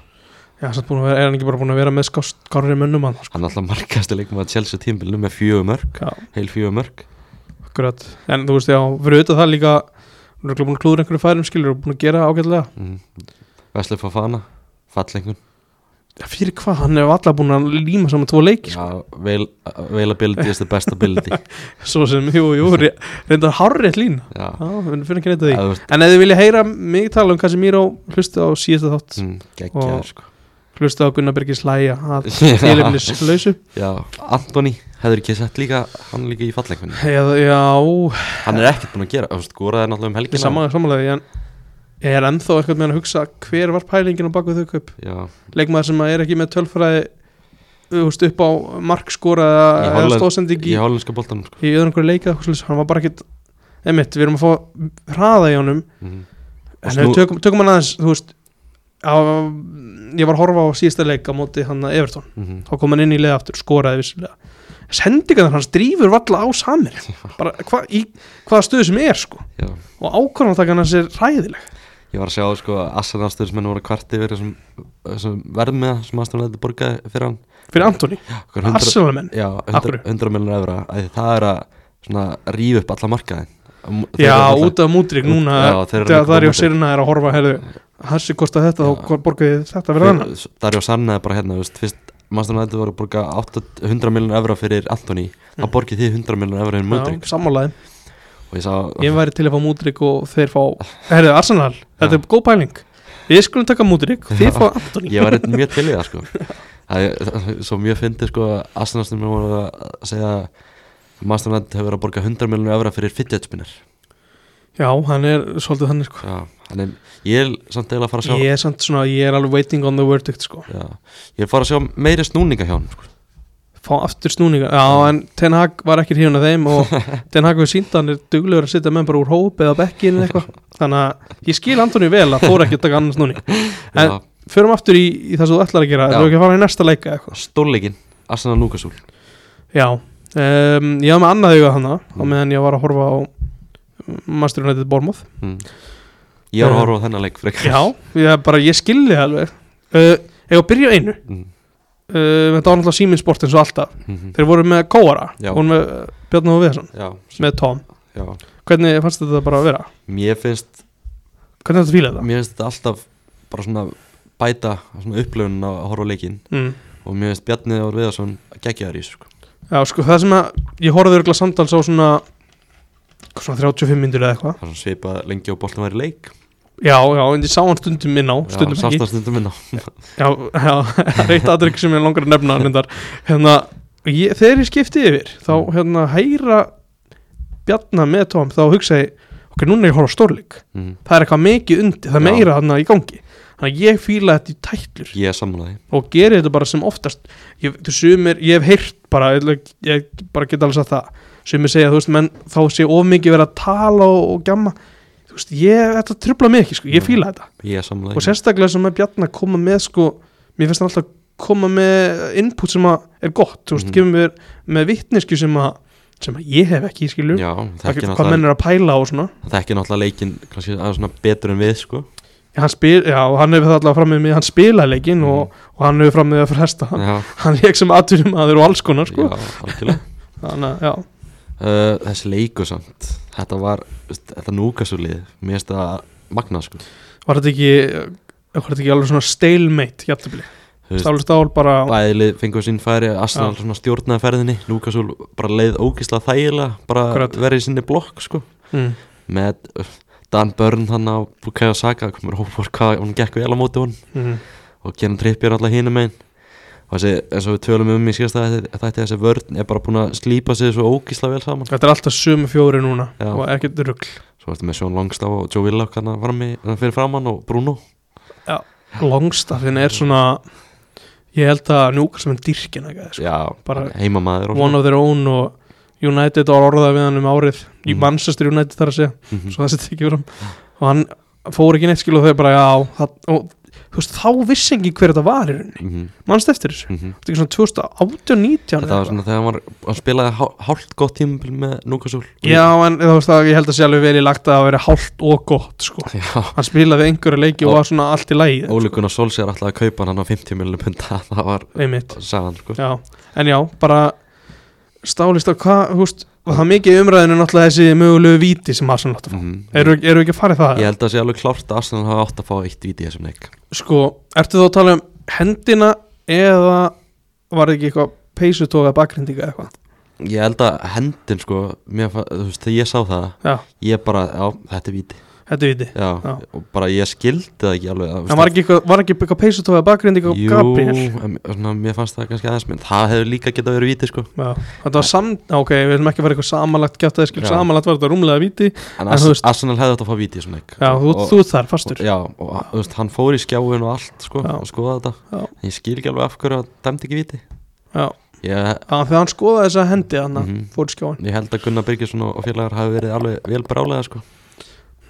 [SPEAKER 2] Já, samt búin að vera, er hann ekki bara búin að vera með sko, skárri mönnum hann sko?
[SPEAKER 1] Hann er alltaf markastu leikum að Chelsea tímbilinu með fjögur mörg
[SPEAKER 2] Já,
[SPEAKER 1] Heil fjögur mörg
[SPEAKER 2] akkurat En þú veist, já, fyrir auðvitað það líka Hún er örugglega búin að klúður einhverju færum skilur og búin að gera ágætlega
[SPEAKER 1] mm. Vesli Fofana Fallegun
[SPEAKER 2] Já, Fyrir hvað, hann hefur alltaf búin að líma saman tvo leiki sko.
[SPEAKER 1] Já, veil, Veilability is the best ability
[SPEAKER 2] Svo sem, jú,
[SPEAKER 1] <laughs>
[SPEAKER 2] jú, re- reyndar hárrétt lína
[SPEAKER 1] Já,
[SPEAKER 2] Já, við finnum ekki neitt að því
[SPEAKER 1] eða þú veist
[SPEAKER 2] En ef þið vilja heyra mig tala um Casemiro Hlusta á síðasta þátt
[SPEAKER 1] mm, Geggjaður
[SPEAKER 2] Og-
[SPEAKER 1] sko
[SPEAKER 2] Hlusta á Gunnar Birgis Læja að
[SPEAKER 1] <laughs> Já.
[SPEAKER 2] tilefnis lausu
[SPEAKER 1] Já, Antoni hefur ekki sett líka Hann er líka í fallegun
[SPEAKER 2] Já, já
[SPEAKER 1] Hann er ekkert búin að gera Þú veist, góraði náttúrulega um
[SPEAKER 2] Ég
[SPEAKER 1] helgina
[SPEAKER 2] samanlega, samanlega, en ég er ennþá eitthvað með hann að hugsa hver var pælingin á bakvið þau kaup
[SPEAKER 1] Já,
[SPEAKER 2] leikmaður sem að er ekki með tölfræði þú veist, upp á markskora
[SPEAKER 1] Í
[SPEAKER 2] eða
[SPEAKER 1] Holland-
[SPEAKER 2] stóðsending
[SPEAKER 1] í
[SPEAKER 2] í,
[SPEAKER 1] hálfinska boltanum sko.
[SPEAKER 2] í öðrum einhverju leika eitthvað svoleiðis. hann var bara ekkit, einmitt, við erum að fá hraða í honum,
[SPEAKER 1] mm. Og
[SPEAKER 2] en ef
[SPEAKER 1] snú-
[SPEAKER 2] við tökum, tökum hann aðeins þú veist á, ég var að horfa á síðasta leik á móti hann að Everton
[SPEAKER 1] Mm
[SPEAKER 2] þá kom hann inn í leið aftur, skoraði vissulega sendingarnar hans drífur valla á samir bara hva, í hvaða stöðu sem er sko.
[SPEAKER 1] Já,
[SPEAKER 2] og ákvörðantakan hans er ræðileg
[SPEAKER 1] ég var að sjá sko að Assanastöðismenn voru að kvarti yfir þessum, þessum verðmiða sem aðstæðanlega borgaði fyrir hann
[SPEAKER 2] fyrir Antoni,
[SPEAKER 1] Okkar 100
[SPEAKER 2] Arsenalmenn
[SPEAKER 1] Já,
[SPEAKER 2] Af
[SPEAKER 1] 100,
[SPEAKER 2] hverju?
[SPEAKER 1] 100 miljonar evra að því það er að svona rífa upp alla markaðin Um, þeir eru
[SPEAKER 2] Já,
[SPEAKER 1] alla-
[SPEAKER 2] út af mútrík núna
[SPEAKER 1] Já, þeir eru
[SPEAKER 2] þegar
[SPEAKER 1] líka
[SPEAKER 2] það
[SPEAKER 1] á
[SPEAKER 2] er ég á
[SPEAKER 1] Mudryk.
[SPEAKER 2] sérna er að horfa herðu, hansi kostar þetta,
[SPEAKER 1] Já.
[SPEAKER 2] þá borgaði þetta
[SPEAKER 1] þeir-
[SPEAKER 2] verið annað
[SPEAKER 1] Það er já sannaði bara hérna, þú veist, fyrst Masternaði voru að borga 800 100 miljonar evra fyrir Antoni þá
[SPEAKER 2] Mm.
[SPEAKER 1] borgið þið 100 miljonar evra fyrir Möldring
[SPEAKER 2] Já, sammálaði,
[SPEAKER 1] og ég sá
[SPEAKER 2] ég væri til að fá mútrík og þeir fá, herðu, Arsenal þetta er góð pæling, við skulum taka mútrík þið fá Antoni,
[SPEAKER 1] ég var eitthvað mjög til í það sko
[SPEAKER 2] <laughs>
[SPEAKER 1] það er það er svo mjög fyndið sko Asnastum voru að segja Masterland hefur verið að borga 100 miljonur evra fyrir fidget spinner
[SPEAKER 2] já, hann er svolítið þannig sko,
[SPEAKER 1] já, hann er, ég er samt eiginlega að fara að sjá
[SPEAKER 2] ég er samt svona ég er alveg waiting on the verdict sko
[SPEAKER 1] já, ég er að fara að sjá meiri snúninga hjá hann sko.
[SPEAKER 2] fá aftur snúninga, já, en Ten Hag var ekki hrifun af þeim
[SPEAKER 1] <laughs>
[SPEAKER 2] og Ten Hag við sínda hann er duglegur að sitja með bara úr hóp eða bekkin eða eitthvað, þannig að ég skil Antoni vel að fór ekki að taka annars snúning
[SPEAKER 1] já,
[SPEAKER 2] En- förum aftur í, í það sem þú ætlar að gera
[SPEAKER 1] Já.
[SPEAKER 2] þú erum ekki að fara í næsta leika eða eitthvað
[SPEAKER 1] stórleikin Arsenal Núkasúl
[SPEAKER 2] já, um, ég var með annað hugað hana á
[SPEAKER 1] Mm.
[SPEAKER 2] meðan ég var að horfa á Master United Bormoth
[SPEAKER 1] mm. ég er að horfa á þennan leik frekar
[SPEAKER 2] já, ég, bara, ég skilði það alveg uh, ég var að byrja á einu uh,
[SPEAKER 1] mm.
[SPEAKER 2] þetta var náttúrulega Siemens Sport eins og alltaf
[SPEAKER 1] mhm.
[SPEAKER 2] þeir voru með Kóara,
[SPEAKER 1] Já.
[SPEAKER 2] voru með uh, Bjarni og Viðarsson,
[SPEAKER 1] já,
[SPEAKER 2] með Tom
[SPEAKER 1] já
[SPEAKER 2] hvernig fannst þetta bara að vera?
[SPEAKER 1] mér finnst,
[SPEAKER 2] hvernig þetta fílaði það?
[SPEAKER 1] mér finnst þetta alltaf bara svona bæta svona upplöfun að horfa á leikin
[SPEAKER 2] Mm.
[SPEAKER 1] og mér finnst Bjarni Þór Viðarsson geggjaður í þessu sko.
[SPEAKER 2] já, sko, það sem að ég horfði örgulega samtals á svona svona 35 myndir eða eitthvað
[SPEAKER 1] Það var svipað lengi og boltin var í leik
[SPEAKER 2] já, já, en ég sá hann stundum inn á stundum ekki
[SPEAKER 1] Sást að stundum minna
[SPEAKER 2] Já, já, <laughs> það er eitt aðrygg sem ég langar að nefna reyndar. hérna, ég, þegar ég skipti yfir þá
[SPEAKER 1] Mm.
[SPEAKER 2] hérna heyra Bjarnar með Tom þá hugsa ég ok, núna er ég að horfa á stórleik
[SPEAKER 1] mm.
[SPEAKER 2] það er eitthvað mikið undir, það er
[SPEAKER 1] Já.
[SPEAKER 2] meira hérna í gangi þannig að ég fíla þetta í tætlur
[SPEAKER 1] Ég er sammálaði
[SPEAKER 2] og geri þetta bara sem oftast ég, þú sumir, ég hef heyrt bara ég, ætla- ég bara get alveg sagt það sumir segja, þú veist, menn þá sé of mikið verið að tala og, og gjamma þú veist, ég, þetta trubla mig ekki, sko, ég
[SPEAKER 1] Mm.
[SPEAKER 2] fíla þetta
[SPEAKER 1] Ég er sammálaði
[SPEAKER 2] og sérstaklega sem að Bjarnar koma með sko, mér finnst hann alltaf koma með input sem að er gott þú veist,
[SPEAKER 1] Mhm.
[SPEAKER 2] kemur mér með vittnesku sem að sem að ég hef ekki, skilju
[SPEAKER 1] Já, þekki
[SPEAKER 2] hvað menn
[SPEAKER 1] náttúrulega,
[SPEAKER 2] er að pæla og svona
[SPEAKER 1] þekki náttúrulega leikin kannski aðeins svona betur en við sko
[SPEAKER 2] Já, hann spil, já, og hann hefur það allavega fram með mig hann spila leikinn
[SPEAKER 1] Mhm.
[SPEAKER 2] og, og hann hefur fram með að fresta hann,
[SPEAKER 1] Já,
[SPEAKER 2] hann leik sem aðtunum aður og alls konar sko.
[SPEAKER 1] já algjörlega
[SPEAKER 2] þannig að, já,
[SPEAKER 1] <laughs> uh, Þessi leiku samt Þetta var, veist, þetta núkasulið Mér finnst það magnað sko
[SPEAKER 2] var þetta ekki var þetta ekki alveg svona stalemate jafnabli,
[SPEAKER 1] Þú veist,
[SPEAKER 2] stálist ál bara
[SPEAKER 1] Bæðilið fengur sín færi Arsenal svona stjórnaði ferðinni Núkasul bara leið ógislega þægilega Bara
[SPEAKER 2] Akkurat.
[SPEAKER 1] verið í sinni blokk sko
[SPEAKER 2] mm.
[SPEAKER 1] Með uh, Dan Börn hann á Bukayo Saka Komur hópar hvað hún gekk vel á móti hún
[SPEAKER 2] Mm.
[SPEAKER 1] og Kieran Trippi er alltaf hinum einn og þessi, eins og við tölum um í síðasta þetta þetta þessi vörn er bara búin að slípa sig svo ógísla vel saman
[SPEAKER 2] þetta er alltaf sömu fjóri núna
[SPEAKER 1] Já.
[SPEAKER 2] og ekkert rugl
[SPEAKER 1] svo ertu með Sjón Longstá og Joe Willock hann fyrir framann og Bruno
[SPEAKER 2] Longstaffin hérna er svona ég held að njúkar sem en dyrkin sko.
[SPEAKER 1] já,
[SPEAKER 2] bara-
[SPEAKER 1] heimamaður og
[SPEAKER 2] one of their own og United var orðað við hann um árið í
[SPEAKER 1] Mhm.
[SPEAKER 2] Manchester United þar að segja
[SPEAKER 1] Mhm.
[SPEAKER 2] svo það sett ekki fram og hann fór ekki neitt skil og þau bara já það, og þú veist, þá vissi engin hver þetta var í rauninni,
[SPEAKER 1] mm -hmm.
[SPEAKER 2] mannst eftir þessu þetta er ekki svona 2018-19
[SPEAKER 1] Þetta var svona þegar hann, var, hann spilaði hál- hálft gott tímabil með Núkasúl
[SPEAKER 2] já, en þú veist það, ég held að sé alveg vel í lagt að það veri hálft og gott, sko
[SPEAKER 1] Já,
[SPEAKER 2] hann spilaði einhverja leiki og var svona allt í lægi
[SPEAKER 1] Óli Gunnar Solskjær alltaf að kaupa hann á 50 miljonum punda <laughs> Það var
[SPEAKER 2] einmitt,
[SPEAKER 1] sagan sko
[SPEAKER 2] já, en já bara stálist á hvað, þú veist var það mikið í umræðinu náttúrulega þessi mögulegu víti sem Arsenal átt að fá,
[SPEAKER 1] Mhm.
[SPEAKER 2] eru, eru ekki að fara í það
[SPEAKER 1] Ég held að það sé alveg klárt að Arsenal hafa átt að fá eitt víti í þessum leik
[SPEAKER 2] sko, ertu þá að tala um hendina eða var það ekki eitthvað peysutóga bakrindinga eitthvað
[SPEAKER 1] Ég held að hendin sko mér, fa- þú veist, Þegar ég sá það,
[SPEAKER 2] já,
[SPEAKER 1] ég bara, já, þetta er víti
[SPEAKER 2] þetta er viti
[SPEAKER 1] Já,
[SPEAKER 2] Já.
[SPEAKER 1] og bara ég skildi það ekki alveg þú veist,
[SPEAKER 2] en var ekki eitthvað, var ekki eitthvað peysutóga bakrindinga á
[SPEAKER 1] Jú,
[SPEAKER 2] Gabriel
[SPEAKER 1] en, svona, mér fannst það kannski aðeins minn Það hefur líka getað verið víti sko
[SPEAKER 2] já, þetta var sam, já, ok, við erum ekki að vera eitthvað samanlagt gætt að það skil,
[SPEAKER 1] Já.
[SPEAKER 2] samanlagt var þetta rúmlega viti
[SPEAKER 1] En,
[SPEAKER 2] En þú
[SPEAKER 1] Ars
[SPEAKER 2] veist-
[SPEAKER 1] Arsenal hefði átt að fá víti í þessum leik
[SPEAKER 2] já, þú,
[SPEAKER 1] Og-
[SPEAKER 2] þú þar, fastur
[SPEAKER 1] Já, og þú veist, hann fór í skjáin og allt sko,
[SPEAKER 2] Já.
[SPEAKER 1] og skoða þetta
[SPEAKER 2] Já.
[SPEAKER 1] Ég skil ekki alveg af hverju að dæmdi ekki viti
[SPEAKER 2] já,
[SPEAKER 1] Ég,
[SPEAKER 2] Já, þegar hann skoðaði þessa hendi hann mm
[SPEAKER 1] Mhm.
[SPEAKER 2] fór í skjáin
[SPEAKER 1] ég held að Gunnar Birgisson og og félagar hafi verið alveg vel brálega sko.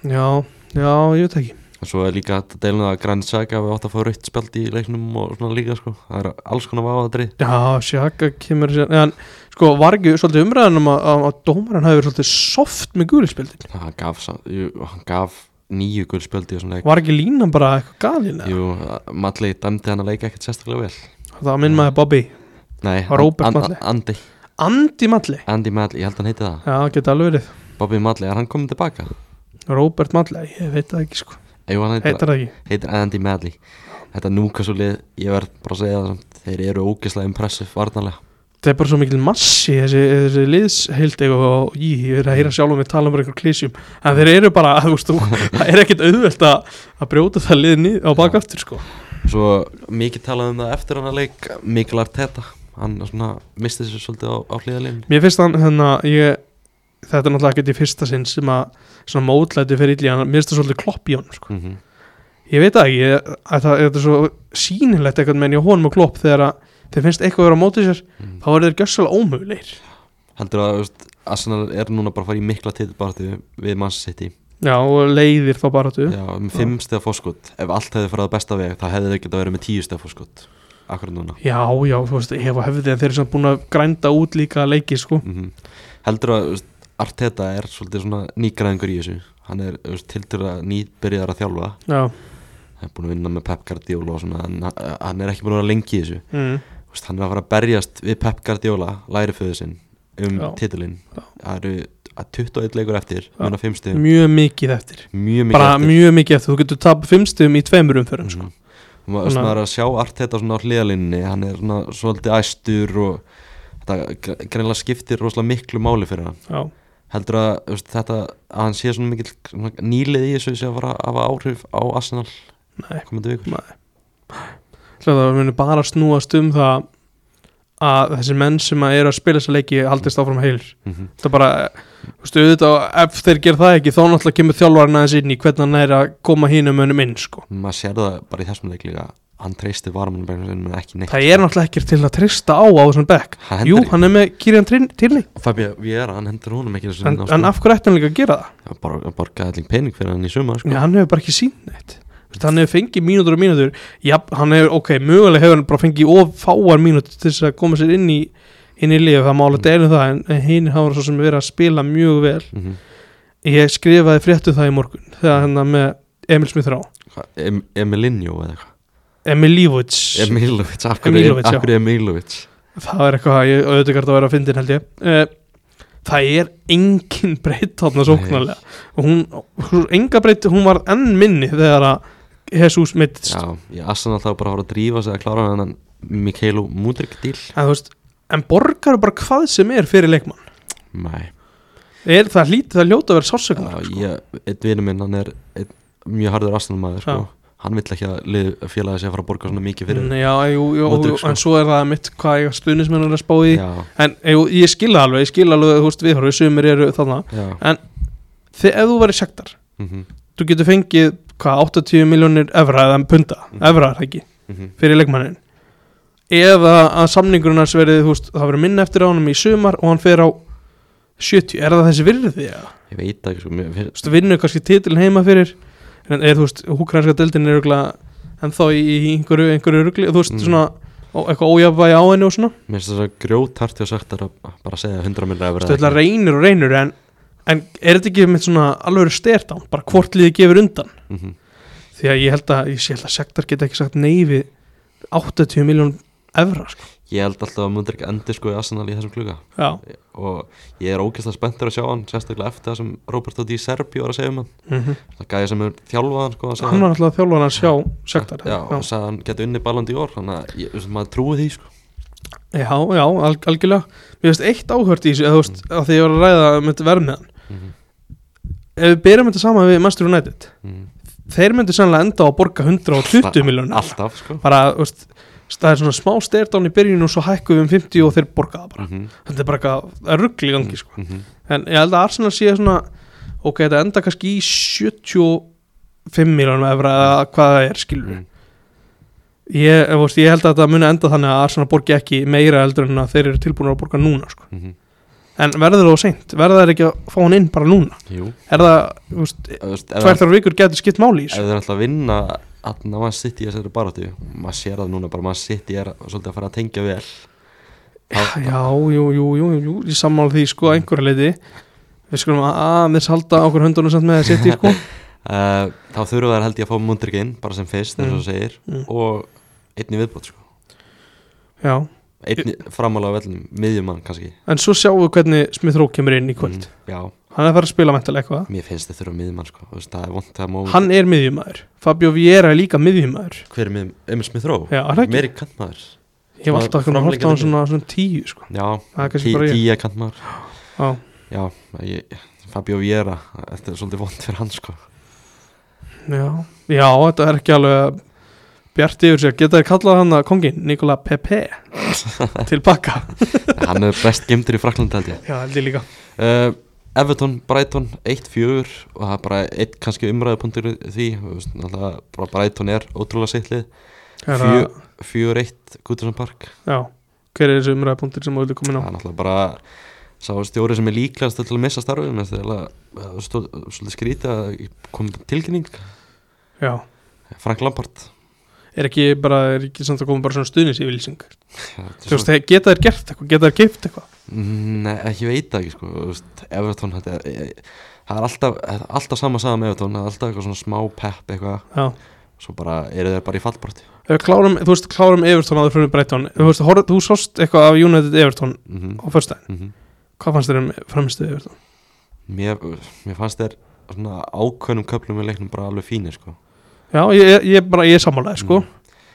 [SPEAKER 2] já, já, ég veit ekki
[SPEAKER 1] og svo er líka hægt að deilum það að Grand Saga hafi átt að fá rautt spjald í leiknum og svona líka sko. það er alls konar váðadri
[SPEAKER 2] já, Sjaka kemur sér en sko, var ekki svolítið umræðanum að, að, að dómaran hafi verið svolítið soft með gulispildin
[SPEAKER 1] hann gaf, samt- jú, hann gaf nýju gull spjald í þessum leik
[SPEAKER 2] var ekki línan bara eitthvað galin eða?
[SPEAKER 1] Jú, Madley dæmdi hann að leika ekkert sérstaklega vel
[SPEAKER 2] það minn maður Bobby
[SPEAKER 1] Nei,
[SPEAKER 2] Var Robert Madley?
[SPEAKER 1] Andy,
[SPEAKER 2] Andi Malli
[SPEAKER 1] Andy Madley, ég held hann heiti það
[SPEAKER 2] já, geta alveg verið
[SPEAKER 1] Bobby Madley, er hann komin tilbaka?
[SPEAKER 2] Robert Malli, ég veit það ekki sko
[SPEAKER 1] Jú, hann heitir,
[SPEAKER 2] heitar það ekki
[SPEAKER 1] heitir Andy Madley Þetta núkasúlið, ég verð bara að segja það samt, þeir eru ógeðslega impressive varnarlega
[SPEAKER 2] það er bara svo mikil massi þessi, þessi liðsheildi og í, ég er að heyra sjálf um mig tala um bara einhver klísjum en þeir eru bara, þú veist, þú- það er ekkit auðvelt að, að brjóta það liðni á baka aftur sko.
[SPEAKER 1] Svo mikið talað um það eftir hann að leik Mikil Arteta Hann svona misti sér svolítið á, á hliðalínu
[SPEAKER 2] Mér finnst hann, þannig að ég þetta er náttúrulega ekki í fyrsta sinn sem að svona mótlæti fyrir illi, hann mér finnst það svolítið klopp í hann sko.
[SPEAKER 1] mm -hmm.
[SPEAKER 2] ég veit það ekki, ég, að það þetta er svo sýnilegt eitthvað menn ég honum og klopp þegar að þeir finnst eitthvað vera á móti sér
[SPEAKER 1] Mhm.
[SPEAKER 2] þá er þeir gjössalega ómöguleir
[SPEAKER 1] Heldur að þú veist, Arsenal er núna bara að fara í mikla titilbartu Við mann City
[SPEAKER 2] já, og leiðir þá bara þú
[SPEAKER 1] Já, um fimm stegar fórskot Ef allt hefði farið á besta veg þá hefði þau getað verið með tíu stegar fórskot Akkur núna
[SPEAKER 2] já, já, þú veist, hef og hefði en þeir eru samt búin að grænda út líka leiki sko.
[SPEAKER 1] mm Heldur að þú veist, Arteta er svolítið svona nýgræðingur í þessu Hann er þú veist, tildur að nýbyrjar að þjálfa
[SPEAKER 2] já,
[SPEAKER 1] Hann er búin að vinna með Pep Guardiola og svona En hann- hann er ekki búin að vera lengi í þessu
[SPEAKER 2] mm.
[SPEAKER 1] Þú veist, hann er að fara að berjast við Pep Guardiola læri föðu sinn um
[SPEAKER 2] Já.
[SPEAKER 1] titilinn
[SPEAKER 2] Já.
[SPEAKER 1] það eru að 21 leikur eftir
[SPEAKER 2] Já.
[SPEAKER 1] mjög fimm stegum,
[SPEAKER 2] mjög mikið eftir
[SPEAKER 1] mjög mikið
[SPEAKER 2] bara
[SPEAKER 1] eftir
[SPEAKER 2] mjög mikið eftir, þú getur tap fimmstum í tveimur umförum sko.
[SPEAKER 1] Mhm. og maður
[SPEAKER 2] Þannig að-
[SPEAKER 1] svona er að sjá allt þetta svona á hliðalínni hann er svona svolítið æstur og þetta gre- greinilega skiptir rosalega miklu máli fyrir hann
[SPEAKER 2] já,
[SPEAKER 1] heldur að þú veist, þetta að hann sé svona mikill svona nýlið í þessu sem að fara að hafa áhrif á Arsenal
[SPEAKER 2] nei
[SPEAKER 1] komandi vikur
[SPEAKER 2] Hljóta, við munum bara snúast um það að þessir menn sem að eru að spila þessa leiki haldist áfram heilir
[SPEAKER 1] mm -hmm.
[SPEAKER 2] það er bara, þú veist, auðvitað og ef þeir ger það ekki, þá náttúrulega kemur þjálfarinn aðeins inn í hvernig hann er að koma hínum önum inn, sko.
[SPEAKER 1] maður sér það bara í þessum leik líka hann treysti varmanum ekki neitt
[SPEAKER 2] Það er náttúrulega ekkert til að treysta á á þessum bekk.
[SPEAKER 1] Hann hendir
[SPEAKER 2] Jú,
[SPEAKER 1] í-
[SPEAKER 2] hann er með Kirjan Tilly,
[SPEAKER 1] Fabio Vieira, hann hendur honum ekki þessu
[SPEAKER 2] en,
[SPEAKER 1] inn á,
[SPEAKER 2] en af hverju ætti hann líka að gera það?
[SPEAKER 1] hann bara, hann borgaði allir pening fyrir hann í suma sko.
[SPEAKER 2] Nei, hann hefur bara ekki sínt neitt. Þú veist, Hann hefur fengið mínútur og mínútur, já, hann hefur, ok, mögulega hefur hann bara fengið of fáar mínútur til þess að koma sér inn í, inn í liðu, það má alveg deilum það, en, en hinn hafa svo sem verið að spila mjög vel.
[SPEAKER 1] mm -hmm.
[SPEAKER 2] Ég skrifaði fréttu það í morgun, þegar hann með Emil Smith Rá,
[SPEAKER 1] em, Emilinho eða eitthvað
[SPEAKER 2] Emil Lífuts.
[SPEAKER 1] Emilovic, af hverju
[SPEAKER 2] Emilovic, já.
[SPEAKER 1] af hverju Emilovic
[SPEAKER 2] Það er eitthvað að ég auðvitað gert að vera að fyndin held ég Eh, Það er engin breytt þarna sóknarlega og hún, hún- enga breytt, hún var enn minni þegar að Jesus mittist
[SPEAKER 1] já, ég assan alltaf bara að fara að drífa sig að klára hann en Mikaelo Mudrik díl
[SPEAKER 2] en, þú veist, en borgar bara hvað sem er fyrir leikmann
[SPEAKER 1] nei,
[SPEAKER 2] er, Það hlítið að hljóta að vera
[SPEAKER 1] já,
[SPEAKER 2] sársökunar sko.
[SPEAKER 1] ég, einn vinur minn hann er einn, mjög harður assanumæður
[SPEAKER 2] Já.
[SPEAKER 1] sko. hann vill ekki að lið, félagi sig að fara að borga svona mikið fyrir
[SPEAKER 2] Nei, Mm, Já, jú, jú,
[SPEAKER 1] Modric,
[SPEAKER 2] jú,
[SPEAKER 1] sko.
[SPEAKER 2] en svo er það mitt hvað ég stuðnismenn er að spá í
[SPEAKER 1] já,
[SPEAKER 2] En jú, ég skilða alveg, ég skilða alveg, þú veist, viðhorfið, sumir eru þarna
[SPEAKER 1] já,
[SPEAKER 2] Þegar ef þú verið sektar
[SPEAKER 1] mm -hmm,
[SPEAKER 2] þú getur fengið hvað 80 miljónir evra eða punta,
[SPEAKER 1] Mhm.
[SPEAKER 2] evra er það ekki fyrir leikmannin eða að samningurinn hans verið þú veist, það verið minna eftir á honum í sumar og hann fer á 70, er það þessi virði eða?
[SPEAKER 1] ég veit það ekki sko, mér,
[SPEAKER 2] þú veist, vinnu kannski titilin heima fyrir en er þú veist, húkrænska deildin er örugglega- en þá í í einhverju, einhverju rugli þú veist
[SPEAKER 1] Mm.
[SPEAKER 2] svona ó- eitthvað ójafvægi á henni og svona
[SPEAKER 1] Mér finnst þess að grjótart og sagt að bara segja 100 millir að vera
[SPEAKER 2] stöðla reynir og reynir en, en er þetta ekki með svona alveg styrtán bara hvort liðið gefur undan
[SPEAKER 1] mm -hmm.
[SPEAKER 2] því að ég held að, ég held að sektar geta ekki sagt nei við 80 miljón evra sko.
[SPEAKER 1] Ég held alltaf að Mundrik endi sko í Arsenal í þessum kluga
[SPEAKER 2] já,
[SPEAKER 1] og ég er ógeðslega spenntur að sjá hann sérstaklega eftir það sem Roberto Di Serbi var að segja um hann
[SPEAKER 2] mhm
[SPEAKER 1] það gæði sem er þjálfaðan sko, að segja
[SPEAKER 2] hann var alltaf að þjálfa hann að sjá sektar
[SPEAKER 1] Já, og sagði að hann geti unni ballandi í orð þannig að ég, þú veist, maður trúi því sko
[SPEAKER 2] Já, já, al algjörlega Mér finnst eitt áhört í þessu eða, þú veist, að því ég var að ræða með vermiðan
[SPEAKER 1] mm -hmm.
[SPEAKER 2] Ef við byrjum þetta saman við Master United
[SPEAKER 1] mhm.
[SPEAKER 2] Þeir myndu sannlega enda á að borga 120 miljónir
[SPEAKER 1] Alltaf sko
[SPEAKER 2] Bara, þú veist, það er svona smá styrtán í byrjun og svo hækkuð um 50 og þeir borga það bara
[SPEAKER 1] mm -hmm.
[SPEAKER 2] Þetta er bara eitthvað það er rugl í gangi sko.
[SPEAKER 1] Mm -hmm.
[SPEAKER 2] En ég held að Arsenal sé svona Ok, þetta enda kannski í 75 miljónum efra eða hvað það er skilur
[SPEAKER 1] Mm.
[SPEAKER 2] ég, þú veist, ég held að þetta muni enda þannig að Arsenal borgi ekki meira eldur en að þeir eru tilbúin að borga núna sko.
[SPEAKER 1] Mm -hmm.
[SPEAKER 2] en verður það seint, verður það ekki að fá hann inn bara núna,
[SPEAKER 1] Jú
[SPEAKER 2] er það þú veist,
[SPEAKER 1] Þú veist, ef
[SPEAKER 2] tvær þar vikur getur skipt máli í
[SPEAKER 1] ef
[SPEAKER 2] þessu
[SPEAKER 1] þeir ætla að vinna þannig að maður sitt í þessari baráttu maður sér það núna bara maður sitt í er svolítið að fara að tengja vel þá-
[SPEAKER 2] já, jú, jú, jú, jú, ég sammála því sko að einhverja leiti við skulum að aðeins halda okkur höndunum samt með að setja sko
[SPEAKER 1] uh, þá þurfa þær held ég að fá mundrygg inn bara sem fyrst eins og þú segir
[SPEAKER 2] Mm.
[SPEAKER 1] og einni viðbót sko
[SPEAKER 2] já,
[SPEAKER 1] einni framalega vellum, miðjumann kannski
[SPEAKER 2] en svo sjáum við hvernig Smith Rowe kemur inn í kvöld
[SPEAKER 1] mm, já,
[SPEAKER 2] hann er að fara að spila mæntalega eitthvað
[SPEAKER 1] mér finnst þið þurfa miðjumann sko Þú veist, það er vont að móð
[SPEAKER 2] hann er miðjumæður, Fabio Vieira er líka miðjumæður
[SPEAKER 1] hver er miðjum, Emil Smith Rowe
[SPEAKER 2] já, er það ekki,
[SPEAKER 1] meiri kantmaður
[SPEAKER 2] ég hef alltaf að horta á hann svona, svona tíu sko,
[SPEAKER 1] já,
[SPEAKER 2] það er kannski
[SPEAKER 1] tí,
[SPEAKER 2] bara ég
[SPEAKER 1] tíja kantmaður
[SPEAKER 2] já.
[SPEAKER 1] já, ég, Fabio Viera þetta er svolítið vont fyrir hann sko
[SPEAKER 2] Já, já, þetta er ekki alveg bjart yfir sér. Geta þér kallað hann að kongin Nikola Pepe til bakka?
[SPEAKER 1] hann er best gemdur í Fraklandi held ég
[SPEAKER 2] Já, held ég líka.
[SPEAKER 1] uh, Everton, Brighton 1-4 og það er bara eitt kannski umræðupunktur í því þú veist, náttúrulega bara Brighton er ótrúlega sittlið
[SPEAKER 2] Er að,
[SPEAKER 1] 4-1 Guttersson Park
[SPEAKER 2] já, hver er þessi umræðapunktur sem þú vilja koma inn
[SPEAKER 1] það
[SPEAKER 2] á?
[SPEAKER 1] er náttúrulega bara sá stjóri sem er líklegast til að missa starfið en það er eiginlega, uh, stó- svolítið skrítið að kom tilkynning
[SPEAKER 2] Já,
[SPEAKER 1] Frank Lampard
[SPEAKER 2] er ekki bara, er ekki samt að koma bara svona stuðnis yfirlýsing?
[SPEAKER 1] Þetta er
[SPEAKER 2] Þú veist, þeir- geta þér gert eitthvað, geta þér keipt eitthvað?
[SPEAKER 1] Nei, ekki veit það ekki sko þú veist, Everton, þetta er, ég- það er alltaf, alltaf sama saga með Everton það er alltaf eitthvað svona smá pepp eitthvað
[SPEAKER 2] Já.
[SPEAKER 1] svo bara eru þeir bara í fallbroti
[SPEAKER 2] Ef við Klárum, þú veist, klárum Everton áður fyrir Brighton. Þú veist, horf, þú sást eitthvað af United Everton
[SPEAKER 1] mm -hmm.
[SPEAKER 2] á fyrstæðin. Hvað fannst þér um framistuð Everton?
[SPEAKER 1] Mér, mér fannst þér svona ákveðnum köflum í leiknum bara alveg fínir sko.
[SPEAKER 2] Já, ég, ég bara, ég sammálaði, sko.
[SPEAKER 1] Mm.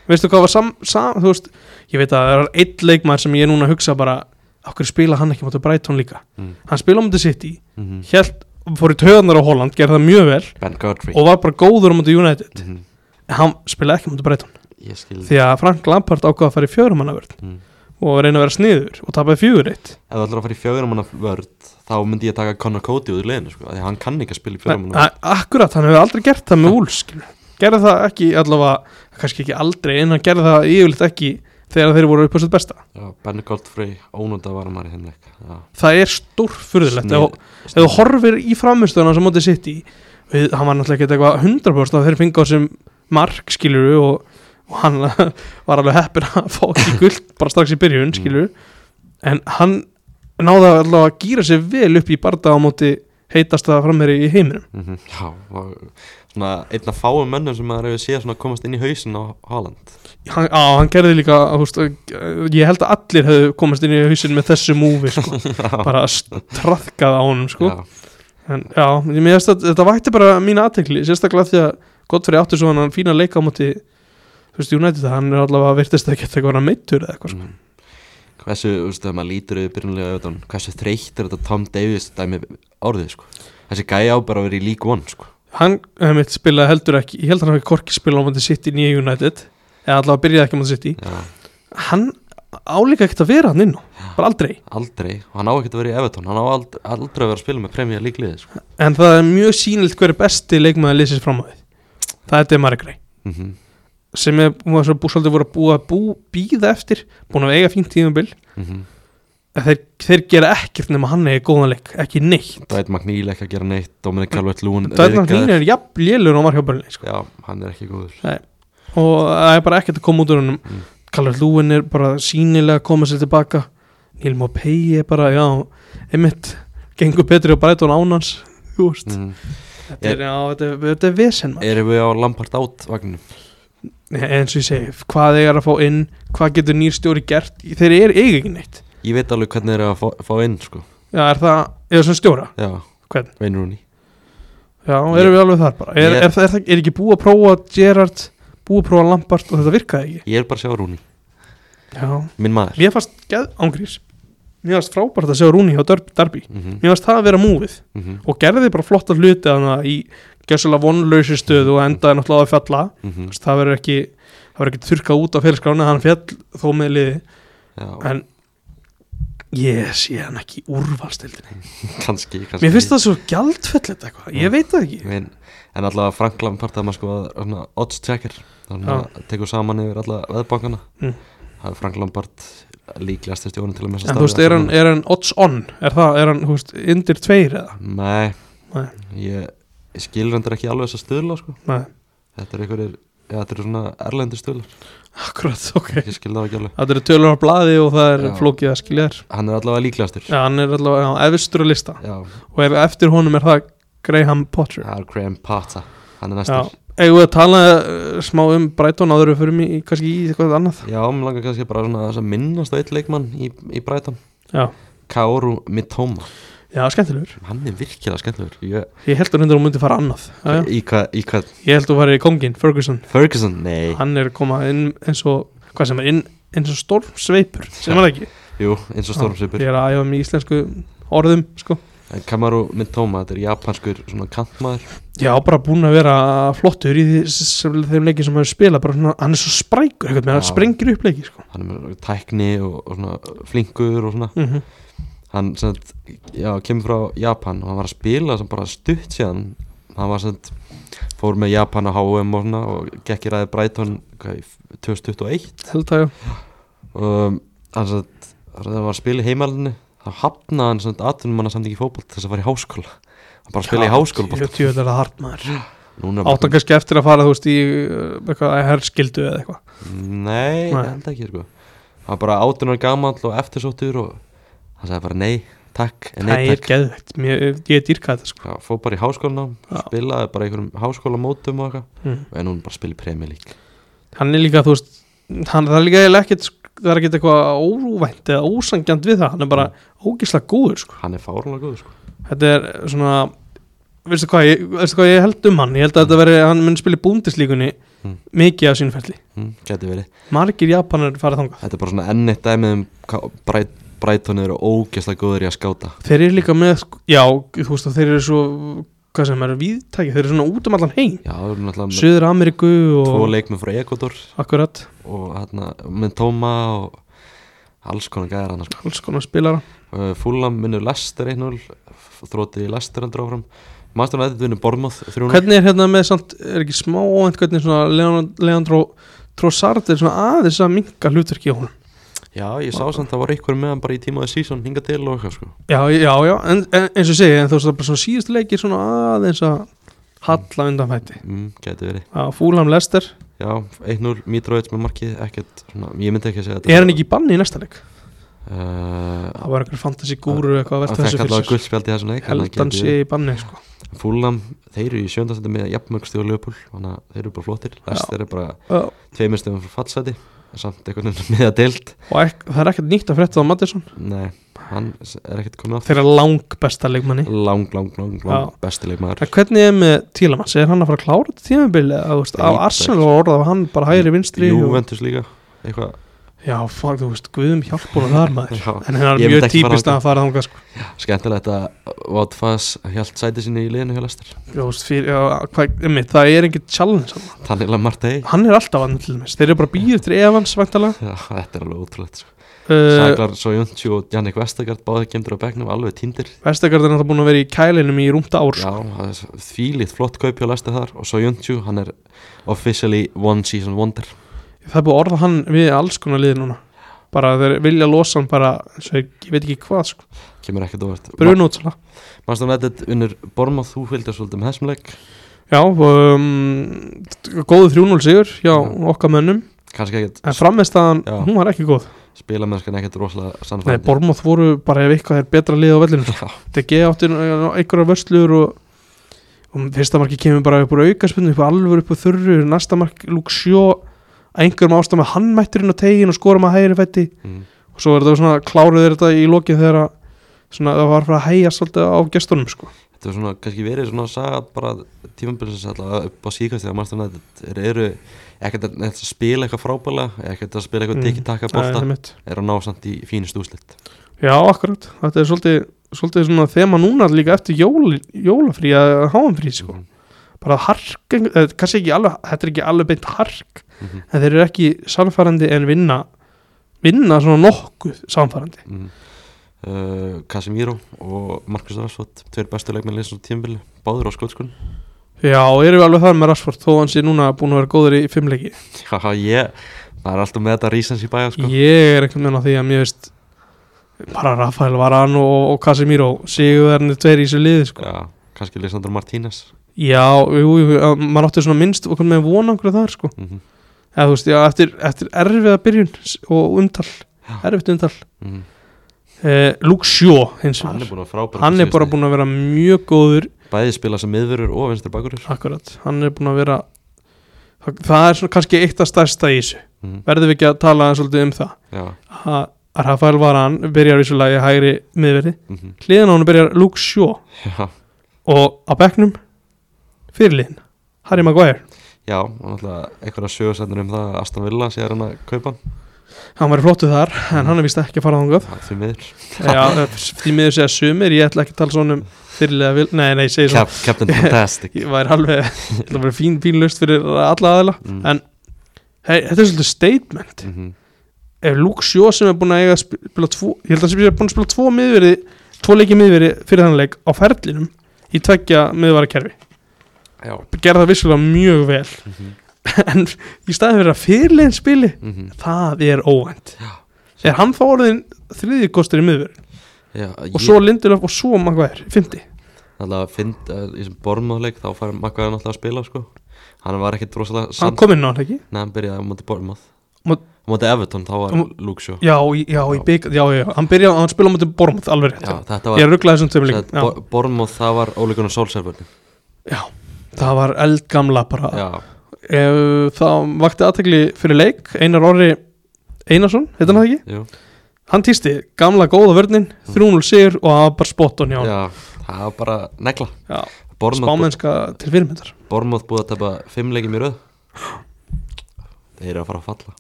[SPEAKER 2] veistu hvað var sam, sam, þú veist ég veit að það er einn leikmaður sem ég er núna að hugsa bara, okkur spila hann ekki mútið Brighton líka,
[SPEAKER 1] Mm.
[SPEAKER 2] hann spila mútið City
[SPEAKER 1] Mm -hmm.
[SPEAKER 2] hélt, fór í töðanar á Holland gerði það mjög vel
[SPEAKER 1] Ben Godfrey
[SPEAKER 2] og var bara góður mútið United
[SPEAKER 1] mm -hmm.
[SPEAKER 2] en hann spilaði ekki mútið Brighton
[SPEAKER 1] Ég skil
[SPEAKER 2] því að Frank Lampard ákvaða að fara í fjörumannavörð
[SPEAKER 1] mm.
[SPEAKER 2] og reyna að vera sniður og tapaði fjögur eitt
[SPEAKER 1] Ef þú ætlar að fara í fjögurum manna vörð þá myndi ég taka Connor Cody út í leiðinu sko, af því að hann kann ekki að spila í fjögurum manna
[SPEAKER 2] akkurat, hann hefur aldrei gert það með Wolves skilur. gerði það ekki allavega, kannski ekki aldrei en hann gerði það yfirleitt ekki þegar þeir voru upp á sitt besta
[SPEAKER 1] Já, Ben Godfrey ónúnda var maður í þeim leik Já.
[SPEAKER 2] það er stórfurðulegt ef, ef þú horfir í framistöðuna sem mótið sitt í við, hann var náttúrulega ekki eitthvað 100% að þeir fengi á sem mark skiluru og, og hann <laughs> var alveg heppin að fá ekki guld bara strax í byrjun skiluru en hann náði allavega að gýra sér vel upp í barða á móti heitasta framherri í heiminum
[SPEAKER 1] mm -hmm. Já, var svona einn af fáum mönnum sem maður hefur séð svona komast inn í hausin á Haaland
[SPEAKER 2] hann, á, hann gerði líka húst, ég held að allir hefðu komast inn í hausin með þessu múfi sko. bara straðkað á honum sko.
[SPEAKER 1] Já,
[SPEAKER 2] En, já, ég meðast að þetta vætti bara mína aðtekli, sérstaklega því að Godfrey átti svo hann fína leika á móti þú veist, United, hann er allavega virtist að geta eitthvað vera meittur eða eitthvað sko.
[SPEAKER 1] mm. Hversu, þú veist, þegar maður lítur yfir byrjulega auðvitaðan Hversu þreytt er þetta Tom Davies dæmi orðið sko Þessi gæja á bara að vera í League One sko
[SPEAKER 2] Hann, mitt, spilaði heldur ekki ég held að hann hafi korki spilað á móti City nýja United eða allavega byrjaði ekki á móti City
[SPEAKER 1] Já,
[SPEAKER 2] hann álíka ekkert að vera hann inn á, bara aldrei
[SPEAKER 1] aldrei, og hann á ekkert að vera í Everton hann á aldrei, aldrei að vera að spila með Premier League liði sko.
[SPEAKER 2] en það er mjög sýnilt hver er besti leikmaður liðsins fram á því það er Demari Grey
[SPEAKER 1] mm -hmm.
[SPEAKER 2] sem er búin að bú, svolítið voru að búa að bú, býða eftir, búin að eiga fínt tíðumbil
[SPEAKER 1] Mm -hmm.
[SPEAKER 2] að þeir, þeir gera ekkert nema hann eigi góðan leik, ekki neitt
[SPEAKER 1] Dwight McNeil ekki að gera neitt Dominic Calvert-Lewin
[SPEAKER 2] Dæðnar
[SPEAKER 1] ryðgaður.
[SPEAKER 2] Hlín er jafn lélur á markabörnleik sko.
[SPEAKER 1] Já, hann er ekki góður
[SPEAKER 2] Nei. og það er bara ekkert að koma út úr honum
[SPEAKER 1] Mm.
[SPEAKER 2] mm. Kallur Lúin er bara sínilega að koma sér tilbaka Neil Mopey er bara, já, einmitt gengur betri og breytur ánans Þú veist,
[SPEAKER 1] mm.
[SPEAKER 2] þetta er, já, þetta er, þetta er vesen maður
[SPEAKER 1] Erum við á Lampart átt vagninu?
[SPEAKER 2] Nei, eins og ég segi, hvað þeir eru að fá inn hvað getur nýr stjóri gert, þeir eru eiga ekki neitt
[SPEAKER 1] Ég veit alveg hvernig þeir eru að fá, fá inn sko
[SPEAKER 2] Já, er það, eða sem stjóra
[SPEAKER 1] Já,
[SPEAKER 2] Hvern?
[SPEAKER 1] Wayne Rooney
[SPEAKER 2] Já, erum við alveg þar bara er,
[SPEAKER 1] Ég-
[SPEAKER 2] er, það- er, er, er ekki búið að prófa Gerard búið að prófa Lampart og þetta virkaði ekki
[SPEAKER 1] Ég er bara að sjá Rooney,
[SPEAKER 2] Já,
[SPEAKER 1] minn maður
[SPEAKER 2] mér fannst geð ángrís Mér fannst frábært að sjá Rúni hjá Derby, Derby.
[SPEAKER 1] Mhm,
[SPEAKER 2] Mér fannst það að vera múfið
[SPEAKER 1] mhm,
[SPEAKER 2] og gerði bara flotta hluti hana í gjössalega vonlausi stöðu og endaði náttúrulega að fjalla
[SPEAKER 1] mhm.
[SPEAKER 2] Þess, það verður ekki, það verður ekki þurkað út á félskráni hann fjall þó með liði
[SPEAKER 1] Já,
[SPEAKER 2] en ég sé hann ekki í úrvalstildinni
[SPEAKER 1] kannski, kannski
[SPEAKER 2] mér finnst það svo gjaldfellit eitthvað, ég veit það ekki
[SPEAKER 1] En, en allavega Frank Lampard það er maður sko að- svona odds checker þannig að tekur saman yfir alla veðbankana
[SPEAKER 2] Mm.
[SPEAKER 1] það er Frank Lampard líklegast til stjórnum til að messa
[SPEAKER 2] en þú veist, er hann, er hann odds on er það, er hann, þú veist, undir tveir eða
[SPEAKER 1] Nei,
[SPEAKER 2] Nei.
[SPEAKER 1] Ég, ég skilur hendur ekki alveg þess að stöðla sko.
[SPEAKER 2] nei,
[SPEAKER 1] þetta er einhverjir Já, þetta eru svona erlendir stöðlar,
[SPEAKER 2] akkurat, ok
[SPEAKER 1] ég skil það ekki alveg
[SPEAKER 2] það eru tölur á blaði og það er
[SPEAKER 1] Já.
[SPEAKER 2] flókið að skilja þér
[SPEAKER 1] Hann er allavega líklegastur
[SPEAKER 2] já, hann er allavega á efstur á lista
[SPEAKER 1] Já,
[SPEAKER 2] og ef eftir honum er það Graham Potter
[SPEAKER 1] það er Graham Pata Hann er
[SPEAKER 2] Já,
[SPEAKER 1] næstur
[SPEAKER 2] eigum við að tala uh, smá um Brighton áður en við förum í, í- kannski í eitthvað annað
[SPEAKER 1] Já, mér langar kannski bara svona þess að minnast á eitt leikmann í, í Brighton
[SPEAKER 2] Já,
[SPEAKER 1] Kaoru Mitoma
[SPEAKER 2] já skemmtilegur
[SPEAKER 1] Hann er virkilega skemmtilegur ég,
[SPEAKER 2] Ég held að hundur hún myndi fara annað já, já.
[SPEAKER 1] Í hvað, í hvað
[SPEAKER 2] Ég held að hún fari í kongin, Ferguson
[SPEAKER 1] Ferguson, nei
[SPEAKER 2] Hann er að koma inn eins og hvað sem er inn, eins og stormsveipur sem hann ekki
[SPEAKER 1] Jú, eins og
[SPEAKER 2] Ég
[SPEAKER 1] Stormsvipur
[SPEAKER 2] er að æfa mig í íslensku orðum sko.
[SPEAKER 1] En Kamaru Mitoma, þetta er japanskur svona kantmaður
[SPEAKER 2] Já, bara búin að vera flottur í því, sem, þeim leikin sem hann spila bara, svona, hann er svo sprækur, eitthvað,
[SPEAKER 1] Já.
[SPEAKER 2] hann sprengir upp leiki sko.
[SPEAKER 1] Hann er með tækni og, og svona flinkur og svona
[SPEAKER 2] mm
[SPEAKER 1] Hann sem sagt, já, kemur frá Japan og hann var að spila sem bara stutt síðan Hann var sem sagt, fór með Japan á HM og svona og gekk í ræði Brighton hvað, í 2021
[SPEAKER 2] Held að já
[SPEAKER 1] um, hann satt, þegar hann var að spila í heimalinu þá hafnaði hann samt atvinnum hann samt ekki fótbolt þess að fara í háskóla hann bara að spila í háskóla
[SPEAKER 2] Ég tjóði þetta hart maður
[SPEAKER 1] núna er
[SPEAKER 2] áttan
[SPEAKER 1] bara,
[SPEAKER 2] kannski eftir að fara þú veist í uh, eitthvað herskildu eða eitthvað
[SPEAKER 1] nei,
[SPEAKER 2] Nei.
[SPEAKER 1] nei. enda ekki sko. hann var bara átvinnar gamall og eftirsóttur og hann sagði bara nei, takk en
[SPEAKER 2] það
[SPEAKER 1] nei,
[SPEAKER 2] er
[SPEAKER 1] takk
[SPEAKER 2] geðveikt, Mér- ég dýrka þetta
[SPEAKER 1] Já,
[SPEAKER 2] sko
[SPEAKER 1] fóð bara í háskólanám,
[SPEAKER 2] Já.
[SPEAKER 1] spilaði bara í einhverjum háskólamótum og eitthvað
[SPEAKER 2] mm.
[SPEAKER 1] en núna bara spila í premjölík
[SPEAKER 2] hann er líka þú veist hann, það er líka eiginlega ekkert sk- það er ekkert eitthvað óvænt eða ósangjant við það hann er bara
[SPEAKER 1] Mm.
[SPEAKER 2] ógislega góður sko
[SPEAKER 1] hann er fárlega góð sko.
[SPEAKER 2] þetta er svona veistu hvað, ég, veistu hvað ég held um hann ég held að þetta veri, hann mun spila í búndislíkunni
[SPEAKER 1] Mm.
[SPEAKER 2] mikið af sínferli
[SPEAKER 1] mm, geti verið
[SPEAKER 2] margir japanar fara þangað
[SPEAKER 1] þetta er bara svona enn eitt dæmið um hvað Bright- Brighton eru ógeðslega góður í að skáta
[SPEAKER 2] þeir eru líka með sko- já, þú veist að þeir eru svo hvað sem er viðtæki, þeir eru svona út um allan heim
[SPEAKER 1] já, það eru náttúrulega með
[SPEAKER 2] Suður Ameríku
[SPEAKER 1] tvo
[SPEAKER 2] og
[SPEAKER 1] leikmenn frá Ecuador
[SPEAKER 2] akkurat
[SPEAKER 1] og hérna með Tóma og alls konar gæðar hann sko.
[SPEAKER 2] alls konar spilara
[SPEAKER 1] uh, Fúlam vinnur Lester 1-0 þrótið í Lester aldrei áfram Master United vinnur Bormoth 3-0
[SPEAKER 2] hvernig er hérna með samt, er ekki smá óvænt hvernig svona Leon- Leandro Trossard er svona aðeins að minka hlutverki á honum
[SPEAKER 1] já ég sá samt það var einhver með hann bara í tímaði season hinga til og eitthvað sko
[SPEAKER 2] já, já, já, en, en, eins og ég segi en þú veist það er bara svona síðust leikir svona aðeins að halla undan fæti
[SPEAKER 1] mm, geti verið
[SPEAKER 2] já, Fúlam Lester,
[SPEAKER 1] já 1-0 Mitrovic með markið ekkert svona, ég myndi ekki að segja þetta
[SPEAKER 2] er hann ekki í banni í næsta leik?
[SPEAKER 1] uh,
[SPEAKER 2] það var eitthvað fantasy gúru eitthvað að
[SPEAKER 1] hann
[SPEAKER 2] velta
[SPEAKER 1] fekk
[SPEAKER 2] þessu fyrir
[SPEAKER 1] allavega
[SPEAKER 2] sér
[SPEAKER 1] guldspjald í þessum leik þannig að
[SPEAKER 2] held hann
[SPEAKER 1] geti
[SPEAKER 2] sé í banni sko.
[SPEAKER 1] verið. Fulham, þeir eru í sjöndastöndum með jafnmörgstu og lögupól þannig að þeir eru bara flottir Lester er bara
[SPEAKER 2] Já,
[SPEAKER 1] tveimur stöðum frá fallseti samt einhvern veginn <laughs> með að deilt
[SPEAKER 2] og ek, það er ekkert nýtt að frétta á Mattisson
[SPEAKER 1] Nei, hann er ekkert komið aftur
[SPEAKER 2] þeirra lang besta leikmanni
[SPEAKER 1] Lang, lang, lang, lang bestileg maður
[SPEAKER 2] En hvernig er með Tílamanns? Er hann að fara að klára þetta tímabili? Eða, þú veist, á
[SPEAKER 1] Veit
[SPEAKER 2] Arsenal var orðað að hann bara hægri vinstri og...
[SPEAKER 1] Júventus líka eitthvað
[SPEAKER 2] Já, fuck, þú veist, um guðum hjálpunum þar
[SPEAKER 1] <laughs>
[SPEAKER 2] maður
[SPEAKER 1] Já.
[SPEAKER 2] En það
[SPEAKER 1] Ég
[SPEAKER 2] er
[SPEAKER 1] myndi
[SPEAKER 2] mjög
[SPEAKER 1] ekki fara
[SPEAKER 2] típist að
[SPEAKER 1] þangað.
[SPEAKER 2] hann fara þangað sko.
[SPEAKER 1] Skemmtilegt að Votfass hjált sæti sinni í liðinu hjá Lester
[SPEAKER 2] Þú veist, fyrir, já, hvað, einmitt, Það er engin challenge hann.
[SPEAKER 1] Þannig að Marta Ey
[SPEAKER 2] hann er alltaf hann til þess Þeir eru bara býð eftir Evans væntalega
[SPEAKER 1] Þetta er alveg ótrúlegt sko.
[SPEAKER 2] uh,
[SPEAKER 1] Saglar Sojuntju og Jannik Vestagard báði kemdur á begnum alveg tindir
[SPEAKER 2] Vestegard er náttúrulega búin að vera í kælinum í rúmta ár
[SPEAKER 1] Já,
[SPEAKER 2] sko.
[SPEAKER 1] það er þvílíkt flott kaup hjá Lester þar og Sojuntju, hann er officially one season wonder
[SPEAKER 2] Það er búin að orða hann við alls konar liði núna Bara þeir vilja losa hann bara eins og ég, ég veit ekki hvað sko.
[SPEAKER 1] Kemur ekkert óvart
[SPEAKER 2] Brunótsala
[SPEAKER 1] Mannstofn Edit unnur Bormáð, þú fylgdast svolítið með þessum leik
[SPEAKER 2] Já, um, góðu 3-0 sigur hjá
[SPEAKER 1] Já.
[SPEAKER 2] okkar mönnum
[SPEAKER 1] kannski ekkert
[SPEAKER 2] En frammeðstaðan,
[SPEAKER 1] Já.
[SPEAKER 2] hún var ekki góð
[SPEAKER 1] spilamennskan ekkert rosalega
[SPEAKER 2] Nei,
[SPEAKER 1] sannfærandi
[SPEAKER 2] Bormoth voru bara ef eitthvað er betra lið á vellinu
[SPEAKER 1] Já.
[SPEAKER 2] DG átti einhverja eh, vörslur og, og fyrsta marki kemur bara upp úr aukaspunni upp úr alvöru upp úr þurru næsta marki Luxjó einhverjum ástæðum að hann mættur inn á tegin og skora með hægri fætti
[SPEAKER 1] Mm.
[SPEAKER 2] og svo er þetta svona kláruð þeir þetta í lokið þegar að svona, það var fyrir að hægja svolítið á gestunum sko.
[SPEAKER 1] þetta er svona kannski verið svona saga bara tímambilsins alltaf upp á síkast þegar mannstofna þetta eru ekkert að, ekkert að spila eitthvað frábælega ekkert að spila eitthvað
[SPEAKER 2] Mm.
[SPEAKER 1] mm. tiki-taka
[SPEAKER 2] Nei,
[SPEAKER 1] bolta
[SPEAKER 2] einmitt.
[SPEAKER 1] er að ná samt í fínust úslit
[SPEAKER 2] Já, akkurat, þetta er svolítið, svolítið svona þema núna líka eftir jól, jólafrí að háumfrí sko.
[SPEAKER 1] Mhm.
[SPEAKER 2] bara hark, eh, kannski ekki alveg þetta er ekki alveg beint hark
[SPEAKER 1] Mhm.
[SPEAKER 2] en þeir eru ekki samfærandi en vinna vinna svona nokkuð samfærandi
[SPEAKER 1] mm. uh, Casemiro og Markus Rashford tveir bestu leikmenn leysins á tímambili báður á skotskun
[SPEAKER 2] Já, erum við alveg þar með Rashford þó hann sé núna búin að vera góður í fimmleiki
[SPEAKER 1] <laughs> haha ég maður er alltaf með þetta rísans í bæja sko
[SPEAKER 2] Ég er einhvern veginn á því að mér veist bara Rafael Varan og, og Casemiro sigurverðinni tveir í þessu liði sko.
[SPEAKER 1] já, kannski Lisandro Martínez
[SPEAKER 2] Já, jú, jú, að maður átti svona minnst og hvernig með vonangra þar sko
[SPEAKER 1] mm -hmm.
[SPEAKER 2] eða þú veist, já, eftir, eftir erfiða byrjun s- og umtal, erfitt umtal
[SPEAKER 1] Mm
[SPEAKER 2] eh, Luke Shaw, hins
[SPEAKER 1] hann er
[SPEAKER 2] vegar
[SPEAKER 1] búin að frábæra
[SPEAKER 2] hann er bara búin að vera mjög góður
[SPEAKER 1] bæði spila sem miðverur og vinstri bakurur
[SPEAKER 2] akkurat, hann er búin að vera það, það er svona kannski eitt af stærsta í þessu
[SPEAKER 1] mm.
[SPEAKER 2] verðum við ekki að tala aðeins svolítið um það
[SPEAKER 1] já,
[SPEAKER 2] Ha- að Rafael Varan byrjar vissulega í hægri miðverði,
[SPEAKER 1] mm
[SPEAKER 2] hliðan á hann byrjar Luke Shaw
[SPEAKER 1] já
[SPEAKER 2] og á bekknum fyrirliðin, Harry Maguire
[SPEAKER 1] Já, og náttúrulega einhverja sögursendur um það að Aston Villa sé að reyna að kaupa hann.
[SPEAKER 2] hann var í flottu þar, en hann er vist ekki að fara þangað
[SPEAKER 1] það er því miður
[SPEAKER 2] Já, því miður segja sumir, ég ætla ekki að tala svona um fyrirlega vil, nei, nei, ég segi svona
[SPEAKER 1] Cap, Captain Fantastic
[SPEAKER 2] Ég væri alveg, ég ætla að vera fín, fín lust fyrir alla aðila
[SPEAKER 1] mm.
[SPEAKER 2] <laughs> en- hey, Þetta er svolítið statement
[SPEAKER 1] mm -hmm.
[SPEAKER 2] Ef Luke Shaw sem er búin að eiga að spila tvo, ég held að sem er búin að spila tvo miðveri tvo leiki miðveri fyrir þann leik á ferlinum í tveggja miðvara kerfi
[SPEAKER 1] Já
[SPEAKER 2] gerði það vissulega mjög vel <laughs>
[SPEAKER 1] mm -hmm.
[SPEAKER 2] en í staðin fyrir að fyrirlegin spili
[SPEAKER 1] Mhm.
[SPEAKER 2] það er óvænt er hann þá orðin þriðji kostur í miðveri
[SPEAKER 1] Já,
[SPEAKER 2] og svo Lindelöf og svo Maguire, fyndi
[SPEAKER 1] Náttúrulega find, uh, í sem Bormáðleik þá fær Maggaði náttúrulega að spila sko Hann var ekkit rosalega
[SPEAKER 2] hann
[SPEAKER 1] sann
[SPEAKER 2] kom inn á hann ekki
[SPEAKER 1] Nei, hann byrjaði á móti Bormáð
[SPEAKER 2] Mót-
[SPEAKER 1] Á móti Everton, þá var
[SPEAKER 2] Á-
[SPEAKER 1] Luke Shaw
[SPEAKER 2] Já, í- já, í bygg, já, já, hann byrjaði, hann spilaði á mútið Bormuth, alveg rétt,
[SPEAKER 1] Já, þetta
[SPEAKER 2] ég
[SPEAKER 1] var
[SPEAKER 2] er rugglað þessum tveim líka, já,
[SPEAKER 1] Bo Bormáð, það var ólíkunar sólserverni
[SPEAKER 2] það var eldgamla bara,
[SPEAKER 1] Já,
[SPEAKER 2] ef, það vakti aðtekli fyrir leik, Einar Orri Einarsson, heitir hann það ekki,
[SPEAKER 1] jú
[SPEAKER 2] hann týsti, gamla góða vörnin, 3-0 sigur og það var bara spot on hjá hann,
[SPEAKER 1] Mm. Já, það var bara negla
[SPEAKER 2] já,
[SPEAKER 1] Bormáð
[SPEAKER 2] spámennska til fyrirmyndar,
[SPEAKER 1] búið að tapa fimm leikim í röð Þeir eru að fara að falla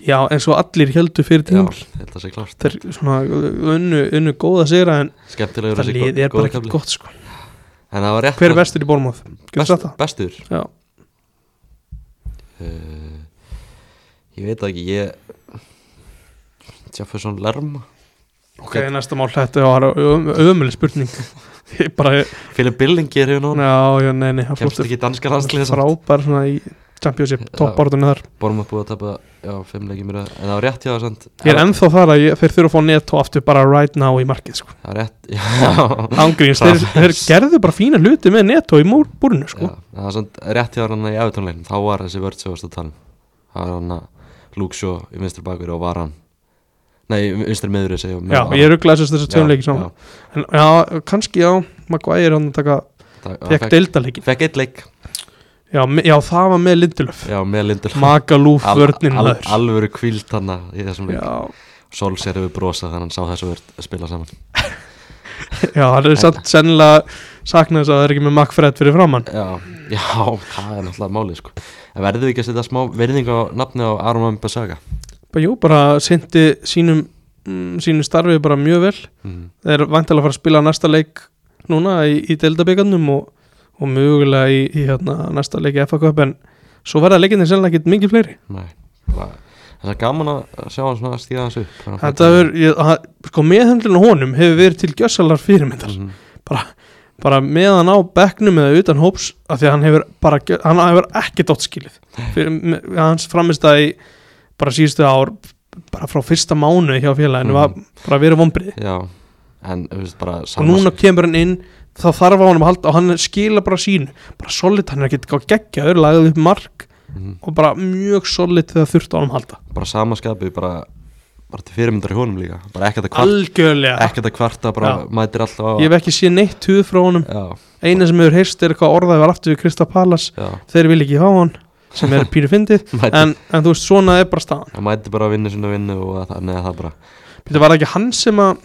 [SPEAKER 2] já, eins og allir heldu fyrir
[SPEAKER 1] Já,
[SPEAKER 2] tímul,
[SPEAKER 1] þetta sé klart
[SPEAKER 2] þeir svona unnu, unnu góða sigra en
[SPEAKER 1] Skemmtilegur
[SPEAKER 2] það
[SPEAKER 1] þessi gó-
[SPEAKER 2] liði er bara
[SPEAKER 1] góði
[SPEAKER 2] ekki
[SPEAKER 1] kafli.
[SPEAKER 2] gott, sko,
[SPEAKER 1] En það var rétt
[SPEAKER 2] hver er
[SPEAKER 1] að-
[SPEAKER 2] vestur í Bormuth, getur
[SPEAKER 1] best-
[SPEAKER 2] sagt það,
[SPEAKER 1] Bestur
[SPEAKER 2] já,
[SPEAKER 1] uh, Ég veit það ekki Ég Jefferson Lerma
[SPEAKER 2] ok, næsta mál, þetta var ömuleg spurning, <laughs> ég bara,
[SPEAKER 1] Philip Billing gerir hérna hún
[SPEAKER 2] Já, já, nei, nei, það
[SPEAKER 1] Kemst
[SPEAKER 2] flottur
[SPEAKER 1] ekki í danska landslið
[SPEAKER 2] frábær svona í Championship toppbordunni þar
[SPEAKER 1] Bormað búið að tapa Já, fimm leikir mér En það var rétt hjá það samt
[SPEAKER 2] Ég er ennþá þar að ég, þeir þurfa að fá netto aftur bara right now í markið sko.
[SPEAKER 1] Það var rétt <laughs> Já
[SPEAKER 2] Ángríns, þeir, þeir gerðu bara fína hluti með netto í múr, búrinu sko.
[SPEAKER 1] Já, það var samt rétt hjá hann í efutónleikin Þá var þessi vörð sem varst að tala um Það var hann að Luke Shaw í vinstri bakverði og var hann Nei, vinstri miður þessi
[SPEAKER 2] Já, ég rugglaði þess þessu tveim leiki saman En já, kannski já, Maguire hann að taka fekk deildaleikin
[SPEAKER 1] Fekk eitt leik
[SPEAKER 2] já, me- já, það var með Lindelöf
[SPEAKER 1] Já, með Lindelöf
[SPEAKER 2] Magalúf
[SPEAKER 1] Al-
[SPEAKER 2] vörnin
[SPEAKER 1] al-
[SPEAKER 2] maður
[SPEAKER 1] Alvöru kvíld hann í þessum leik
[SPEAKER 2] Já,
[SPEAKER 1] Solskjær hefur brosað þannig hann sá þessu vörð að spila saman
[SPEAKER 2] já, hann er satt sennilega saknað þess að það er ekki með Macfred fyrir framann
[SPEAKER 1] Já, já, það er náttúrulega málið sko En verðum við ekki að setja smá verðing á nafni á Aron Van Basaga
[SPEAKER 2] Bara, Jú, bara sindi sínum, mm, sínum starfið bara mjög vel
[SPEAKER 1] mm.
[SPEAKER 2] er vantilega að fara að spila næsta leik núna í, í deildabyggarnum og, og mögulega í, í hérna, næsta leik í FA Cup en svo verða leikinni sennilega ekkit mikið fleiri
[SPEAKER 1] Nei, bara Það er gaman að sjá hann svona stíða þessu upp Bara-
[SPEAKER 2] þetta hefur, ég, að, sko meðhendlun á honum hefur verið til gjössalar fyrirmyndar
[SPEAKER 1] Mhm,
[SPEAKER 2] bara meðan á bekknum eða utan hóps af því að hann hefur bara, gjö- hann hefur ekki dottskilið fyrir, með, hans framist að í bara síðustu ár bara frá fyrsta mánu hjá félaginu
[SPEAKER 1] Mhm.
[SPEAKER 2] var bara verið vombrið
[SPEAKER 1] Já, en þú veist bara
[SPEAKER 2] og núna kemur hann inn þá þarf á hann að halda og hann skila bara sín bara solid, hann er ekki að gegja öður lagði upp mark
[SPEAKER 1] Mhm.
[SPEAKER 2] og bara mjög solid þegar þurft á hann að halda
[SPEAKER 1] bara samaskapið bara, bara til fyrirmyndar í honum líka bara ekkert að kvarta,
[SPEAKER 2] algjörlega,
[SPEAKER 1] ekkert að kvarta bara
[SPEAKER 2] Já.
[SPEAKER 1] mætir alltaf á
[SPEAKER 2] ég hef ekki séð neitt húð frá honum,
[SPEAKER 1] já,
[SPEAKER 2] eina sem hefur heyrst er hvað orðaði var aftur við Krista Pallas
[SPEAKER 1] já,
[SPEAKER 2] þeir vil ekki hafa hann, sem er pínu
[SPEAKER 1] <laughs>
[SPEAKER 2] fyndið
[SPEAKER 1] mætir,
[SPEAKER 2] en, en þú veist, svona er bara staðan
[SPEAKER 1] hann mætir bara að vinna sinna vinnu og að- þannig að það bara
[SPEAKER 2] Þetta var það ekki hann sem að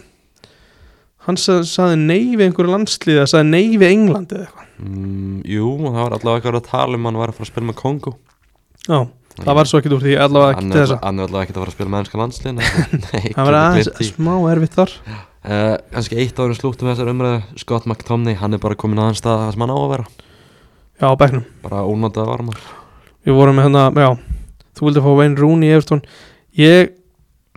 [SPEAKER 2] hann sa- sagði nei við einhverju landslið eða sagði nei við England eða eitthvað
[SPEAKER 1] mm, jú, það var allavega eitthvað að tala um að hann var að fara að spila með Kongo
[SPEAKER 2] Já, það var svo ekkert úr því allavega ekki
[SPEAKER 1] hann
[SPEAKER 2] til
[SPEAKER 1] er
[SPEAKER 2] þessa
[SPEAKER 1] hann er allavega ekkert að fara að spila með ennska
[SPEAKER 2] <laughs>
[SPEAKER 1] landslin nei,
[SPEAKER 2] Það var
[SPEAKER 1] getur gleymt
[SPEAKER 2] aðeins
[SPEAKER 1] því.
[SPEAKER 2] smá erfitt þar
[SPEAKER 1] Eh, kannski eitt árin slúttum við þessar umræðu Scott McTomney, hann er bara komin aðeins stað það sem hann á að vera,
[SPEAKER 2] Já, á bekknum
[SPEAKER 1] bara ónátað varum
[SPEAKER 2] Við vorum með hérna, já Þú vildi fá Wayne Rooney í Everton Ég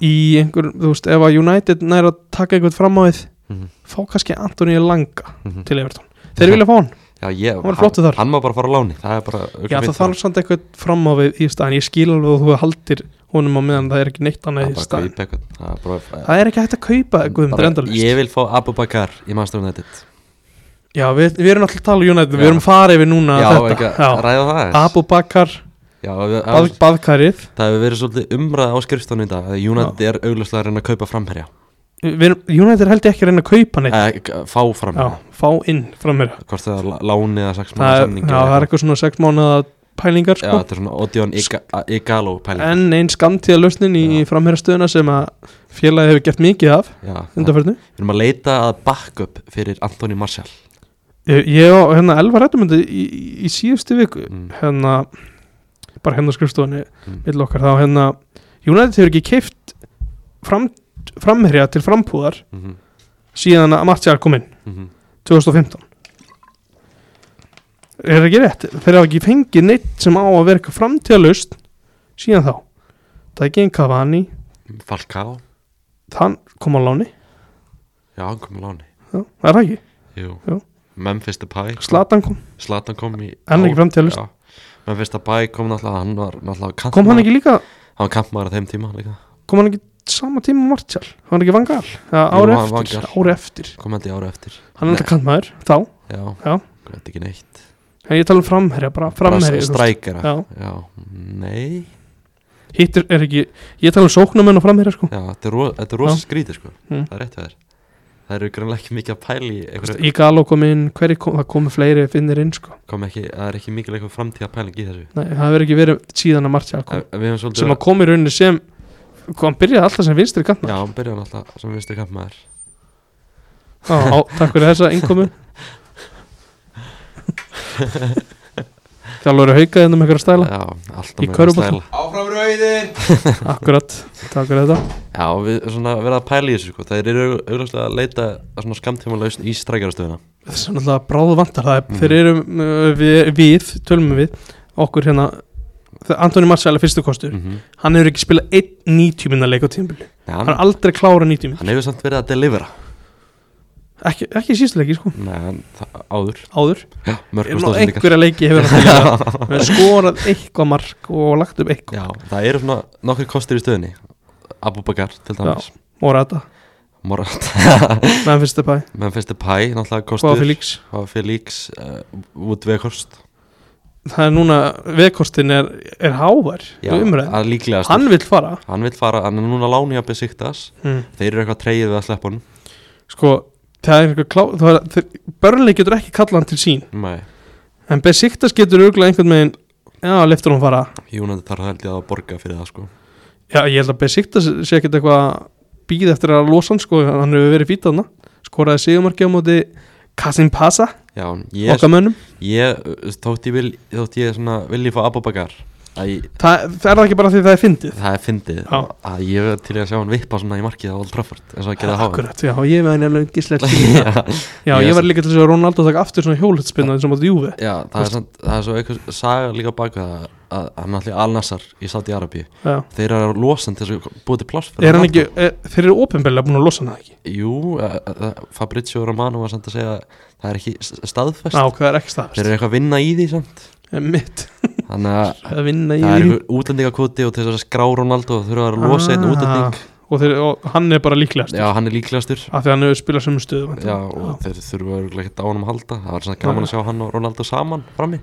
[SPEAKER 2] í einhver, þú veist, ef að United næra að taka einhvern fram á við
[SPEAKER 1] Mhm.
[SPEAKER 2] fá kannski Antoni Langa
[SPEAKER 1] Mhm.
[SPEAKER 2] til Everton Þeir vilja fá hann,
[SPEAKER 1] Já, ég,
[SPEAKER 2] var flottur þar.
[SPEAKER 1] hann má bara fara á láni það er bara
[SPEAKER 2] já það þarf samt eitthvað fram á við í staðan, ég skil alveg að þú haldir honum á meðan það er ekki neitt
[SPEAKER 1] það
[SPEAKER 2] annað í
[SPEAKER 1] er bara
[SPEAKER 2] staðan
[SPEAKER 1] kaupa eitthvað það er bara,
[SPEAKER 2] Það er ekki hægt að kaupa Guðmundur
[SPEAKER 1] bara-
[SPEAKER 2] endalist
[SPEAKER 1] ég vil fá Abubakar í Master United
[SPEAKER 2] Já, við, við erum alltaf að tala um United, við
[SPEAKER 1] Já.
[SPEAKER 2] erum farið yfir núna
[SPEAKER 1] já, ekki
[SPEAKER 2] Ah, þetta
[SPEAKER 1] að ræða það aðeins?
[SPEAKER 2] Abu Bakar,
[SPEAKER 1] já, við,
[SPEAKER 2] bað, Baðkarið
[SPEAKER 1] það hefur verið svolítið umræða á skrifstónu í dag að United er auglustlega að reyna að kaupa framherja
[SPEAKER 2] Við erum- United er held ég ekki að reyna að kaupa neitt
[SPEAKER 1] eh, k- fá
[SPEAKER 2] Já,
[SPEAKER 1] framherja
[SPEAKER 2] fá inn frá mér
[SPEAKER 1] hvort það er lá- láni eða sex
[SPEAKER 2] Það
[SPEAKER 1] mánu
[SPEAKER 2] er, já, það er eitthvað svona 6 mánuða pælingar
[SPEAKER 1] já,
[SPEAKER 2] sko.
[SPEAKER 1] þetta er svona Odeon Iga- Igalo pæling
[SPEAKER 2] En einn skamtíða lausnin í
[SPEAKER 1] Já.
[SPEAKER 2] framherrastöðuna sem að félagi hefur gert mikið af
[SPEAKER 1] já, það-
[SPEAKER 2] undanferðinu
[SPEAKER 1] við erum að leita að backup fyrir Anthony Martial
[SPEAKER 2] Ég ég og hérna Elvar Rættumöndi í, í- í síðustu viku
[SPEAKER 1] Mm.
[SPEAKER 2] hérna, bara hérna á skrifstofunni
[SPEAKER 1] Mm.
[SPEAKER 2] vill okkar þá hérna United hefur ekki keift fram, framherja til frambúðar
[SPEAKER 1] mm -hmm.
[SPEAKER 2] síðan að Martial kom inn
[SPEAKER 1] mhm,
[SPEAKER 2] 2015 Er ekki rétt? Þeir hafa ekki fengið neitt sem á að verka framtíðalust síðan þá Það er ekki einn Cavani
[SPEAKER 1] mhm. Falcao
[SPEAKER 2] Hann kom á láni
[SPEAKER 1] já, hann kom á láni
[SPEAKER 2] Já, Það er það ekki
[SPEAKER 1] Jú.
[SPEAKER 2] Jú.
[SPEAKER 1] Memphis Depay
[SPEAKER 2] Slatan kom
[SPEAKER 1] Slatan kom í
[SPEAKER 2] Hann er ekki framtíðalust
[SPEAKER 1] Já. Memphis Depay kom náttúrulega hann var náttúrulega kantmaður
[SPEAKER 2] Kom hann ekki líka
[SPEAKER 1] hann var kantmaður á þeim tíma líka
[SPEAKER 2] Kom hann ekki sama tíma og Martial Kom hann ekki vangal
[SPEAKER 1] Jú,
[SPEAKER 2] Ári
[SPEAKER 1] hann var
[SPEAKER 2] eftir
[SPEAKER 1] Van Gaal.
[SPEAKER 2] Ári eftir
[SPEAKER 1] kom hann til ára eftir
[SPEAKER 2] Hann er alltaf kantmaður Þá
[SPEAKER 1] já,
[SPEAKER 2] Já.
[SPEAKER 1] ég veit ekki neitt
[SPEAKER 2] En ég tala um framherja bara Framherja
[SPEAKER 1] bara
[SPEAKER 2] þú veist.
[SPEAKER 1] strækara
[SPEAKER 2] Já
[SPEAKER 1] já, nei
[SPEAKER 2] Hittur er ekki Ég tala um sóknarmenn og framherja sko
[SPEAKER 1] já, þetta er, ro þetta er rosa
[SPEAKER 2] Já.
[SPEAKER 1] skrítið sko
[SPEAKER 2] Mm.
[SPEAKER 1] það er rétt við þér það eru grannlega ekki mikið að pæli í einhverju,
[SPEAKER 2] Ígalo kom inn Hverju kom Það komu fleiri finnir inn sko
[SPEAKER 1] kom ekki, það er ekki mikil eitthvað framtíða pæling í þessu
[SPEAKER 2] Nei, það hefur ekki verið síðan að Martial kom
[SPEAKER 1] en, en við höfum svolítið
[SPEAKER 2] sem að kom í rauninni sem hann byrjaði alltaf sem vinstri kantna
[SPEAKER 1] já, hann byrjaði náttúrulega sem vinstri kampmaður
[SPEAKER 2] takk fyrir þessa innkomu þjálfur að hauka hérna með ykkur að stæla
[SPEAKER 1] já, alltaf
[SPEAKER 2] Í
[SPEAKER 1] með
[SPEAKER 2] körfubolta.
[SPEAKER 1] stæla.
[SPEAKER 3] Áfram rauðir
[SPEAKER 2] akkurat, takk fyrir þetta
[SPEAKER 1] já, við svona verða að pæli í þessu sko þeir eru auðvitað að leita að svona skamtíma lausn í strækjarastöðuna
[SPEAKER 2] þetta er svona alltaf bráðu vantar er,
[SPEAKER 1] Mhm.
[SPEAKER 2] þeir eru uh, við, við, tölum við okkur hérna þegar Antoni Martial er fyrstu kostur
[SPEAKER 1] mm -hmm.
[SPEAKER 2] hann hefur ekki spilað einn 90 minna leik á tímbili Mm-hmm. hann
[SPEAKER 1] hann,
[SPEAKER 2] er aldrei klára 90 minna
[SPEAKER 1] hann hefur samt verið að delivera
[SPEAKER 2] ekki, ekki sístu leiki sko,
[SPEAKER 1] Nei, hann, það- áður
[SPEAKER 2] áður
[SPEAKER 1] Já, mörgum
[SPEAKER 2] Nú,
[SPEAKER 1] stóðsendingar
[SPEAKER 2] einhverja leiki hefur hann spilað Við skorað eitthvað mark og lagt upp eitthvað
[SPEAKER 1] Já, það eru svona nokkur kostir í stöðinni Abubakar til dæmis
[SPEAKER 2] og ræta
[SPEAKER 1] Morata
[SPEAKER 2] meðan fyrstu bæ
[SPEAKER 1] Memphis Depay náttúrulega kostur
[SPEAKER 2] Hvað fyrir líks?
[SPEAKER 1] Hvað Felix uh, Wood Vekost
[SPEAKER 2] Það er núna vekkostin er, er hávar
[SPEAKER 1] Já,
[SPEAKER 2] umræð
[SPEAKER 1] að líklega
[SPEAKER 2] Hann vill fara
[SPEAKER 1] hann vill fara Hann er núna láni að besiktas
[SPEAKER 2] mm.
[SPEAKER 1] Þeir eru eitthvað treyið við að sleppa honum
[SPEAKER 2] Sko það er einhver klá það er, þeir, Börnleik getur ekki kallað hann til sín
[SPEAKER 1] Nei,
[SPEAKER 2] En Besiktas getur auðvitað einhvern veginn Já, leftur hún fara
[SPEAKER 1] Júnandi þarf held ég að borga fyrir það sko
[SPEAKER 2] Já, ég held að Besiktas sé ekkert eitthvað Býð eftir að losa hann sko Hann hefur verið fýtað hann Skoraði sigumarki á móti Kasim Pasa
[SPEAKER 1] Já,
[SPEAKER 2] yes.
[SPEAKER 1] ég,
[SPEAKER 2] Okkar mönnum
[SPEAKER 1] ég uh, þótt ég vil Þótt ég svona vilji fá Abubakar Æ,
[SPEAKER 2] Það það er það ekki bara því það er fyndið
[SPEAKER 1] það er fyndið
[SPEAKER 2] Já.
[SPEAKER 1] Að ég er til í að sjá hann vippa svona í markið á Old Trafford eins og að gera það
[SPEAKER 2] Akkurat, já, ég hérna var nefnilega
[SPEAKER 1] <laughs>
[SPEAKER 2] gíslega <laughs>
[SPEAKER 1] Já,
[SPEAKER 2] Já,
[SPEAKER 1] Ég
[SPEAKER 2] ég var
[SPEAKER 1] sem-
[SPEAKER 2] líka til þess að Ronaldo taka aftur svona hjólhutspinna eins og mótið Júfi
[SPEAKER 1] Já, það er, samt, það er svo eitthvað saga líka baku það að hann allir Al-Nassar í Saudi-Arabíu
[SPEAKER 2] Já.
[SPEAKER 1] þeir eru að losa hann til þess að búið til pláss fyrir
[SPEAKER 2] Er hann ekki,
[SPEAKER 1] Ronaldo.
[SPEAKER 2] er, þeir eru ofinbeglega búin að losa hann það ekki
[SPEAKER 1] Jú, eh, eh, Fabrizio Romano var samt að segja að það er ekki s- staðfest
[SPEAKER 2] Ná, hvað er ekki
[SPEAKER 1] þeir
[SPEAKER 2] staðfest
[SPEAKER 1] eru eitthvað að vinna í því samt
[SPEAKER 2] er Mitt,
[SPEAKER 1] þannig að
[SPEAKER 2] að vinna í
[SPEAKER 1] það er eitthvað útlendingakoti og til þess að skrá Ronaldo þurfa að losa einn
[SPEAKER 2] Ah.
[SPEAKER 1] útlending
[SPEAKER 2] og, þeir, og hann er bara líklegast
[SPEAKER 1] Já, hann er líklegastur
[SPEAKER 2] af því að hann hefur spilað sömu stöðu
[SPEAKER 1] Já,
[SPEAKER 2] væntanlega.
[SPEAKER 1] og þeir þurfa örugglega ekkert á hann að halda Það var svona gaman að sjá hann og Ronaldo saman frammi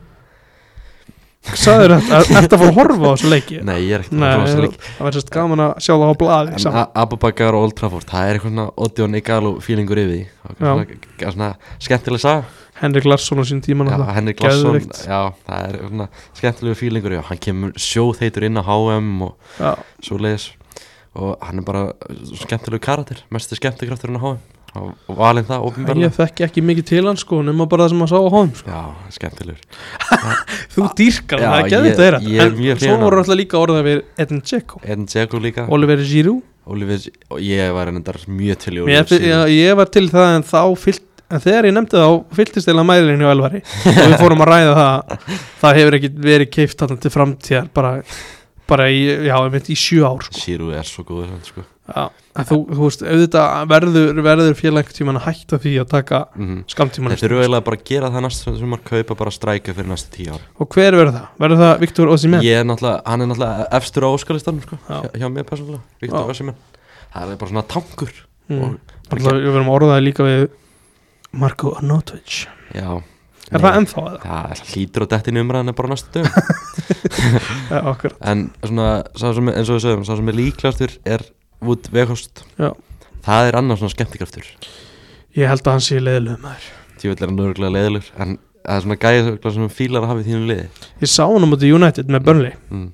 [SPEAKER 2] Sagður þetta, er þetta fór að horfa á þessu leiki?
[SPEAKER 1] Nei, ég er ekkert
[SPEAKER 2] Nei,
[SPEAKER 1] að svona
[SPEAKER 2] það
[SPEAKER 1] slik
[SPEAKER 2] var sérst gaman að sjá það á blaði
[SPEAKER 1] En
[SPEAKER 2] saman.
[SPEAKER 1] A- Abubakar og Old Trafford, það er eitthvað svona Oddjón Igalo feelingur yfir því Það er svona- svona skemmtileg sag
[SPEAKER 2] Henrik Larsson á sín tíma
[SPEAKER 1] Já,
[SPEAKER 2] náttúrulega.
[SPEAKER 1] Henrik Larsson,
[SPEAKER 2] Geðveikt.
[SPEAKER 1] já, það er svona skemmtilegu fílingur, já, hann kemur sjóðheitur inn á HM og
[SPEAKER 2] Já,
[SPEAKER 1] svo leiðis og hann er bara skemmtilegu karatir, mestu skemmtikraftur inn á HM og, og valinn það,
[SPEAKER 2] ég
[SPEAKER 1] ofinverðlega
[SPEAKER 2] þekki ekki mikið til hans sko nema bara það sem að sá á honum sko.
[SPEAKER 1] Já, skemmtilegur
[SPEAKER 2] Þú dýrkar
[SPEAKER 1] Ah, Já,
[SPEAKER 2] hann, það er geðvitt
[SPEAKER 1] ég-
[SPEAKER 2] að er
[SPEAKER 1] ég er mjög
[SPEAKER 2] En svo
[SPEAKER 1] hrifinn af
[SPEAKER 2] voru
[SPEAKER 1] honum.
[SPEAKER 2] alltaf líka orðað við Edin Dzeko,
[SPEAKER 1] Edin Dzeko líka,
[SPEAKER 2] Oliver Giroud
[SPEAKER 1] Oliver, og ég var ennendar mjög til í
[SPEAKER 2] Mér
[SPEAKER 1] Oliver
[SPEAKER 2] fi-
[SPEAKER 1] Giroud.
[SPEAKER 2] já, Ég var til það en þá fyllt En þegar ég nefndi þá fylltist eða mælirinn hjá Elvari og við fórum að ræða það það hefur ekki verið keift þarna til framtíðar bara, bara í, já, ég veit, í sjö ár sko.
[SPEAKER 1] Giroud er svo góður hann, sko
[SPEAKER 2] já, en þú, þú veist, auðvitað verður, verður félagtíman að hætta því að taka
[SPEAKER 1] mm -hmm.
[SPEAKER 2] skamtíman
[SPEAKER 1] Þetta eru eiginlega bara að gera það næst sem maður kaupa bara strækja fyrir næstu tíu ára
[SPEAKER 2] og hver verður það? Verður það Viktor Osimhen?
[SPEAKER 1] Ég er náttúrulega, hann er náttúrulega efstur á óskalistanum, sko,
[SPEAKER 2] Já.
[SPEAKER 1] hjá, hjá mér persónulega, Viktor
[SPEAKER 2] Já.
[SPEAKER 1] Össimenn Það er bara svona tankur
[SPEAKER 2] Mm.
[SPEAKER 1] og-
[SPEAKER 2] Alltaf, við verðum að orða það líka við Marko Arnautovic
[SPEAKER 1] Já
[SPEAKER 2] Er það um- ennþá eða?
[SPEAKER 1] Það hlýtur á dettin umræðan er bara á næstu
[SPEAKER 2] <laughs>
[SPEAKER 1] dögum
[SPEAKER 2] Ja, okkur
[SPEAKER 1] En svona, sá sem, eins og við sögum, sá sem er líklegastur er Wood Weghorst
[SPEAKER 2] Já.
[SPEAKER 1] Það er annars svona skemmtikraftur
[SPEAKER 2] Ég held að hann sé leiðilegum maður
[SPEAKER 1] Því vil er hann örgulega leiðilegur En það er svona gæðisögla sem fílar að hafa í þínu liði
[SPEAKER 2] Ég sá hann á móti United með Burnley
[SPEAKER 1] mm.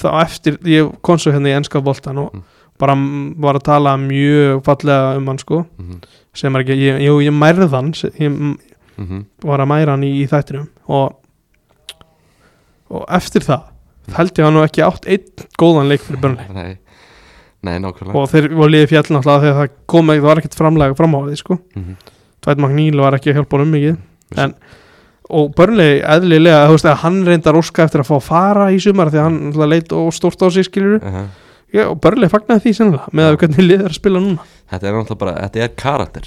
[SPEAKER 2] þá eftir, ég kom svo hérna í ennska boltan og
[SPEAKER 1] Mm.
[SPEAKER 2] bara m- var að tala mjög fallega um hann sko
[SPEAKER 1] Mm
[SPEAKER 2] sem er ekki, ég, jú, ég mærði hann se- ég m-
[SPEAKER 1] -hmm.
[SPEAKER 2] var að mæra hann í, í þættinum og og eftir það þá held ég hann nú ekki átt einn góðan leik fyrir Burnley
[SPEAKER 1] Nei, Nei nákvæmlega
[SPEAKER 2] og þeir voru liðið fjall náttúrulega þegar það kom ekki, það var ekkert framlega framháðið sko
[SPEAKER 1] mm -hmm.
[SPEAKER 2] Dwight McNeil var ekki að hjálpa honum mikið
[SPEAKER 1] Vissi.
[SPEAKER 2] en, og Burnley eðlilega þú veist að hann reyndar óska eftir að fá að fara í sumar því að hann náttúrulega leit og stórt á sig skiljur
[SPEAKER 1] uh -huh.
[SPEAKER 2] Já, og Burnley fagnaði því sennilega með að hvernig liðið er að spila núna
[SPEAKER 1] Þetta er náttúrulega bara, þetta er karakter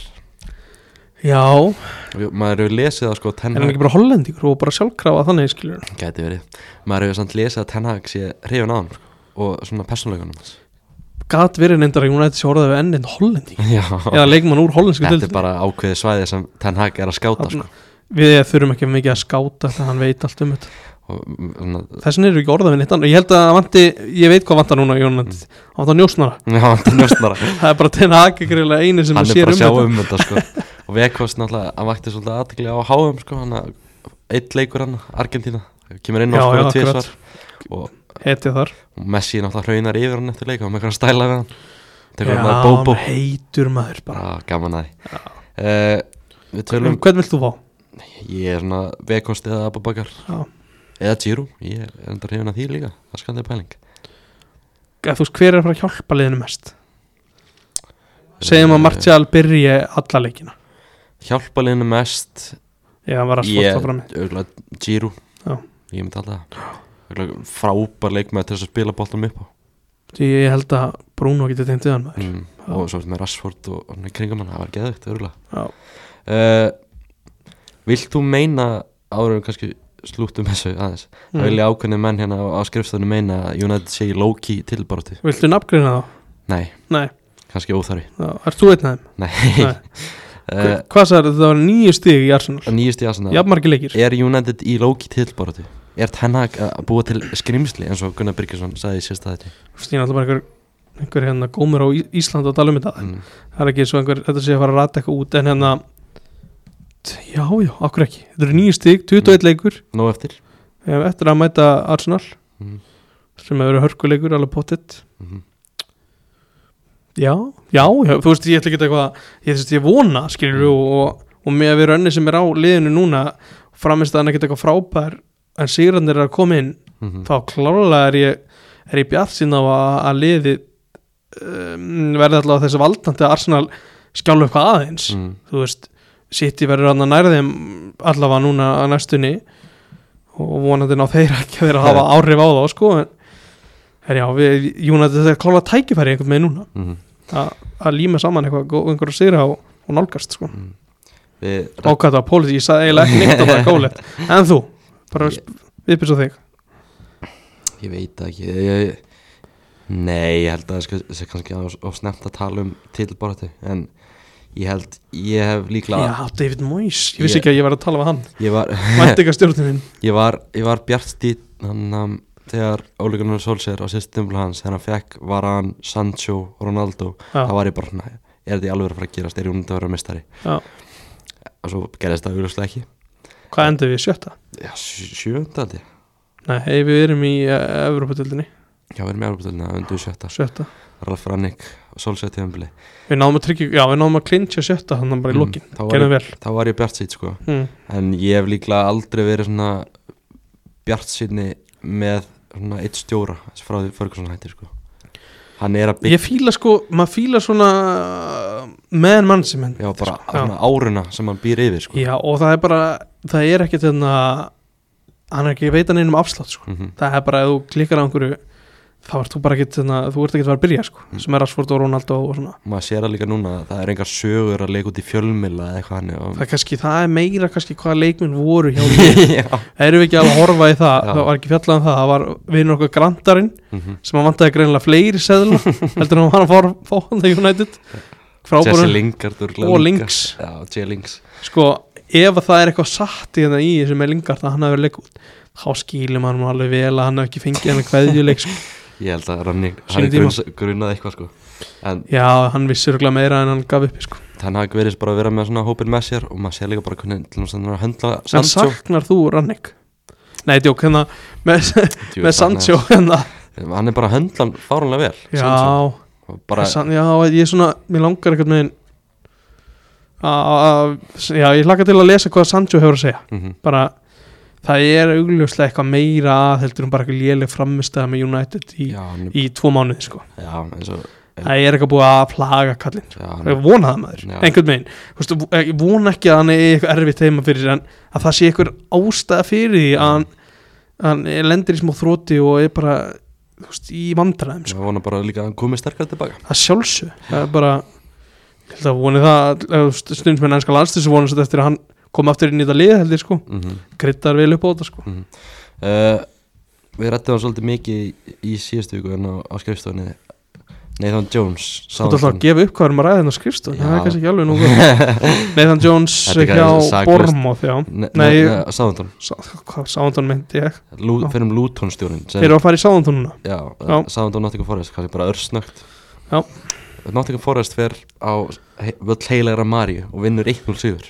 [SPEAKER 2] Já,
[SPEAKER 1] Og jú, Maður hefur lesið það sko
[SPEAKER 2] en hann
[SPEAKER 1] tenhag
[SPEAKER 2] ekki bara hollendingur og bara sjálfkrafa þannig skilur
[SPEAKER 1] Gæti verið Maður hefur samt lesið að tenhag sé hrifin á hann sko. Og svona persónleikunum hans.
[SPEAKER 2] Gat verið neyndar að United sé orðið við enn einn hollending
[SPEAKER 1] <laughs> Já
[SPEAKER 2] eða leikmann úr hollensku
[SPEAKER 1] Þetta er
[SPEAKER 2] til
[SPEAKER 1] bara ákveðið svæði sem Ten Hag er að skáta sko.
[SPEAKER 2] Við þurfum ekki mikið að skáta þannig að hann veit allt um þetta
[SPEAKER 1] og, mm, svona,
[SPEAKER 2] Þessin eru ekki orðað við neitt annað Ég held að það vanti, ég veit hvað vantar núna í United Það vantar njósnara
[SPEAKER 1] Já, <laughs> hann er njósnara
[SPEAKER 2] Það er bara tenna aðgegriðlega einu sem
[SPEAKER 1] Hann er
[SPEAKER 2] sér
[SPEAKER 1] bara að
[SPEAKER 2] um
[SPEAKER 1] sjá
[SPEAKER 2] þetta
[SPEAKER 1] um þetta sko. og Vekost náttúrulega, hann vakti svolítið aðtekli á HM sko, hann að eitt leikur hann, Argentína kemur inn á
[SPEAKER 2] Já, já,
[SPEAKER 1] sko
[SPEAKER 2] akkurat.
[SPEAKER 1] tvísvar og
[SPEAKER 2] Hetið þar
[SPEAKER 1] og Messi náttúrulega hraunar yfir hann eftir leika og með eitthvað stæla við hann tekur hann að
[SPEAKER 2] Já,
[SPEAKER 1] bóbó
[SPEAKER 2] heitur maður bara
[SPEAKER 1] Já, gaman að því uh, Við tölum,
[SPEAKER 2] Hvern vilt þú fá?
[SPEAKER 1] ég er svona Vekost eða Ababakar
[SPEAKER 2] Já.
[SPEAKER 1] eða Giroud, ég er enda hrifin að því líka það skal þið pæling
[SPEAKER 2] Eða Þú veist hver er að fara að hjálpa liðinu mest? Segjum að
[SPEAKER 1] Eh,
[SPEAKER 2] Martial byrji alla leikina
[SPEAKER 1] Hjálpa liðinu mest
[SPEAKER 2] Já, hann var að svarta fram með
[SPEAKER 1] Ég, auðvitað, Giroud
[SPEAKER 2] Já.
[SPEAKER 1] Ég myndi alltaf það Örugglega Frábær leikmaður til þess að spila boltanum upp á
[SPEAKER 2] Því ég held að Bruno getið tengt yðan maður
[SPEAKER 1] mm. Og svo ertu með Rashford og hann í kringum hann Það var geðvægt, örgulega
[SPEAKER 2] Já.
[SPEAKER 1] uh, Vilt þú meina Árum kannski slúttum þessu aðeins Það
[SPEAKER 2] Mm.
[SPEAKER 1] vilja ákveðni menn hérna á, á skrifstæðinu meina að United sé í low-key tilbaráttu
[SPEAKER 2] Mm. Viltu nafngreina þá?
[SPEAKER 1] Nei,
[SPEAKER 2] Nei,
[SPEAKER 1] kannski óþarfi
[SPEAKER 2] já, ert þú einn af þeim?
[SPEAKER 1] Nei, <laughs>
[SPEAKER 2] Nei.
[SPEAKER 1] uh,
[SPEAKER 2] Hvað sagði það var nýju stig í Arsenal?
[SPEAKER 1] Nýjust í aðsana
[SPEAKER 2] Jafnmargi leikir
[SPEAKER 1] Er United í low-key tilbaráttu? Er Tenhag að búa til skrimsli eins og Gunnar Birgisson sagði í sérsta þetta
[SPEAKER 2] Stína alltaf bara einhver, einhver hérna gómur á Í- Ísland og tala um þetta
[SPEAKER 1] mm.
[SPEAKER 2] Það er ekki svo einhver, þetta sé að fara að rata eitthvað út En hérna, t- já, já, akkur ekki Þetta eru nýju stig, 21 leikur
[SPEAKER 1] Nó eftir
[SPEAKER 2] Við hefum eftir að mæta Arsenal
[SPEAKER 1] mm.
[SPEAKER 2] Sem hefur verið hörkuleikur, alveg pottitt
[SPEAKER 1] Mhm.
[SPEAKER 2] Já, já, já, þú veist, ég ætla ekki eitthvað ég, þú veist, ég vona, skilur
[SPEAKER 1] Mm.
[SPEAKER 2] og, og með að vera önni sem er á liðinu núna framist að hann ekkert eitthvað frábær en sigrarnir er að koma inn
[SPEAKER 1] Mhm.
[SPEAKER 2] þá klálega er ég er ég bjart sín á að, að liði um, verði allavega þessi valdandi að Arsenal skjálu eitthvað aðeins
[SPEAKER 1] mm.
[SPEAKER 2] þú veist, City verður hann að næra þeim allavega núna að næstunni og vonandi ná þeir ekki að vera að hafa áhrif á þá, sko en, en já, við, United þetta er klálega tækifæri einhvern veginn núna
[SPEAKER 1] Mm.
[SPEAKER 2] að að líma saman eitthvað gó- einhverja sigra og, og nálgast sko.
[SPEAKER 1] Mm-hmm. Við
[SPEAKER 2] ákvæða að pólitík, ég sagði eiginlega ekki neitt og það er gólegt, en þú bara
[SPEAKER 1] Ég-
[SPEAKER 2] viðbyrst á þig
[SPEAKER 1] Ég veit það ekki ég, ég, Nei, ég held að það sé kannski of, of snemt að tala um titilbaratu en ég held, ég hef líklega
[SPEAKER 2] Já, David Moyes, ég vissi
[SPEAKER 1] Ég-
[SPEAKER 2] ekki að ég var að tala við hann
[SPEAKER 1] ég var,
[SPEAKER 2] Væntinga stjórnin
[SPEAKER 1] ég var, ég var bjartstýtt hann um, þegar Óli Gunnar Solskjær á sérstu stimplu hans, þegar hann fekk Varan, Sancho, Ronaldo
[SPEAKER 2] Já.
[SPEAKER 1] það var ég bara, svona, er þetta í alveg að fara að gerast er ég undir að vera mestari
[SPEAKER 2] Já.
[SPEAKER 1] og svo gerðist það auðvitað ekki
[SPEAKER 2] Hvað endur við, sjötta?
[SPEAKER 1] Já, sjö- sjöunda held ég
[SPEAKER 2] Nei, hey, við erum í uh, Evropadildinni,
[SPEAKER 1] Já, við erum í Evropadeildinni, það er undir sjötta
[SPEAKER 2] sjötta
[SPEAKER 1] Ralf Rannick og Solskjær tíðanbili
[SPEAKER 2] Við náðum að tryggja, já við náðum að klinja sjötta þannig bara í lokin,
[SPEAKER 1] þá Mm. var,
[SPEAKER 2] gerðum
[SPEAKER 1] ég,
[SPEAKER 2] vel
[SPEAKER 1] þá var ég bjartstýtt sko
[SPEAKER 2] mm.
[SPEAKER 1] en ég hef líklega aldrei verið svona bjartsinni með svona eitt stjóra frá því Ferguson hættir sko hann er að byggja
[SPEAKER 2] Ég fíla sko, maður fíla svona uh, meðan mann sem henn
[SPEAKER 1] já, bara
[SPEAKER 2] Sko, Já.
[SPEAKER 1] svona áruna sem hann býr yfir sko
[SPEAKER 2] Já, og það er bara, það er ekkert þarna, hann er ekki að veita neinum afslátt sko.
[SPEAKER 1] Mhm.
[SPEAKER 2] það er bara að þú klikkar á einhverju þá ert þú bara ekkert, þarna, þú ert ekkert að fara að byrja sko,
[SPEAKER 1] Mm.
[SPEAKER 2] sem er Asford og Ronaldo og svona
[SPEAKER 1] maður sér það líka núna að það er engar sögur að leika út í fjölmila eða eitthvað hann
[SPEAKER 2] það
[SPEAKER 1] og...
[SPEAKER 2] er kannski, það er meira kannski hvaða leikminn voru hjá því,
[SPEAKER 1] <laughs> já
[SPEAKER 2] erum við ekki alveg að horfa í það
[SPEAKER 1] Já.
[SPEAKER 2] það var ekki fjallað um það, það var vinur okkur grandarinn
[SPEAKER 1] Mhm.
[SPEAKER 2] sem hann vantaði greinilega
[SPEAKER 1] <laughs>
[SPEAKER 2] fleiri seðla heldur en hann var að fara að fá hann það United
[SPEAKER 1] Jesse
[SPEAKER 2] frábúrun
[SPEAKER 1] Lingard örugglega
[SPEAKER 2] og
[SPEAKER 1] líka.
[SPEAKER 2] Links
[SPEAKER 1] já, Jesse Links
[SPEAKER 2] sko, ef að það er eitthvað satt í þetta í þessu með Lingard að hann hafi verið leik út þá skýlum hann alveg vel að hann hafi ekki fengið hann að kveðjuleik sko.
[SPEAKER 1] ég held að Rannik
[SPEAKER 2] Sínum
[SPEAKER 1] hann
[SPEAKER 2] tíma.
[SPEAKER 1] grun, grunaði eitthvað sko en
[SPEAKER 2] já, hann vissi örgulega meira en hann gaf upp sko.
[SPEAKER 1] þannig hafði verið bara að vera með svona hópin með sér og maður sér líka bara hvernig til dæmis hann er að höndla
[SPEAKER 2] en
[SPEAKER 1] Sancho
[SPEAKER 2] saknar þú Rannik? nei, djók, hérna með,
[SPEAKER 1] Djú,
[SPEAKER 2] með
[SPEAKER 1] þarna-
[SPEAKER 2] Sancho hérna.
[SPEAKER 1] hann er bara að höndla hann fárunlega vel Sancho.
[SPEAKER 2] já,
[SPEAKER 1] Og bara,
[SPEAKER 2] San, já, ég er svona, mér langar eitthvað með að, já, ég hlakka til að lesa hvað Sancho hefur að segja
[SPEAKER 1] mhm,
[SPEAKER 2] bara það er augljóslega eitthvað meira að heldur um bara eitthvað léleg framistæða með United í,
[SPEAKER 1] já, hann,
[SPEAKER 2] í tvo mánuði sko.
[SPEAKER 1] já, eins og
[SPEAKER 2] það er eitthvað búið að plaga kallinn sko.
[SPEAKER 1] já,
[SPEAKER 2] ég
[SPEAKER 1] hann,
[SPEAKER 2] vona það maður,
[SPEAKER 1] Já.
[SPEAKER 2] einhvern veginn Þú veist, ég vona ekki að hann er eitthvað erfitt heima fyrir en að það sé eitthvað ástæða fyrir því að hann, hann lendir í smá þróti og er bara þú veist, í vandræðum sko.
[SPEAKER 1] ég vona bara líka að hann komi sterkar tilbaka
[SPEAKER 2] það sjálfsög, það er bara ég held að voni það eh, þú veist, stundsmenn ennska landstis vona svo eftir að hann kom aftur inn í þetta lið heldur sko,
[SPEAKER 1] mm -hmm.
[SPEAKER 2] kryttar vel upp á þetta sko.
[SPEAKER 1] Eh, við rættum hann svolítið mikið í- í síðustu viku en á, á skrifstofunni Nathan Jones
[SPEAKER 2] Þú ert alltaf að gefa upp hvað erum að ræða hennar skrifstun Það er
[SPEAKER 1] Já.
[SPEAKER 2] kannski ekki alveg nú góð
[SPEAKER 1] <laughs>
[SPEAKER 2] Nathan Jones
[SPEAKER 1] Þetta er kannski
[SPEAKER 2] hjá
[SPEAKER 1] saklaust.
[SPEAKER 2] Bormoth já. Nei.
[SPEAKER 1] Sáðantón
[SPEAKER 2] Sá- Hvað sáðan meinti ég
[SPEAKER 1] Lú,
[SPEAKER 2] Já.
[SPEAKER 1] fyrir um Luton stjórnin
[SPEAKER 2] Þeir eru að fara í sáðan núna
[SPEAKER 1] já,
[SPEAKER 2] Já.
[SPEAKER 1] Sáðantón Nottingham Forest kannski bara örsnögt
[SPEAKER 2] Já.
[SPEAKER 1] Nottingham Forest fer á he, völl heilagra Maríu og vinnur 1-0 sigur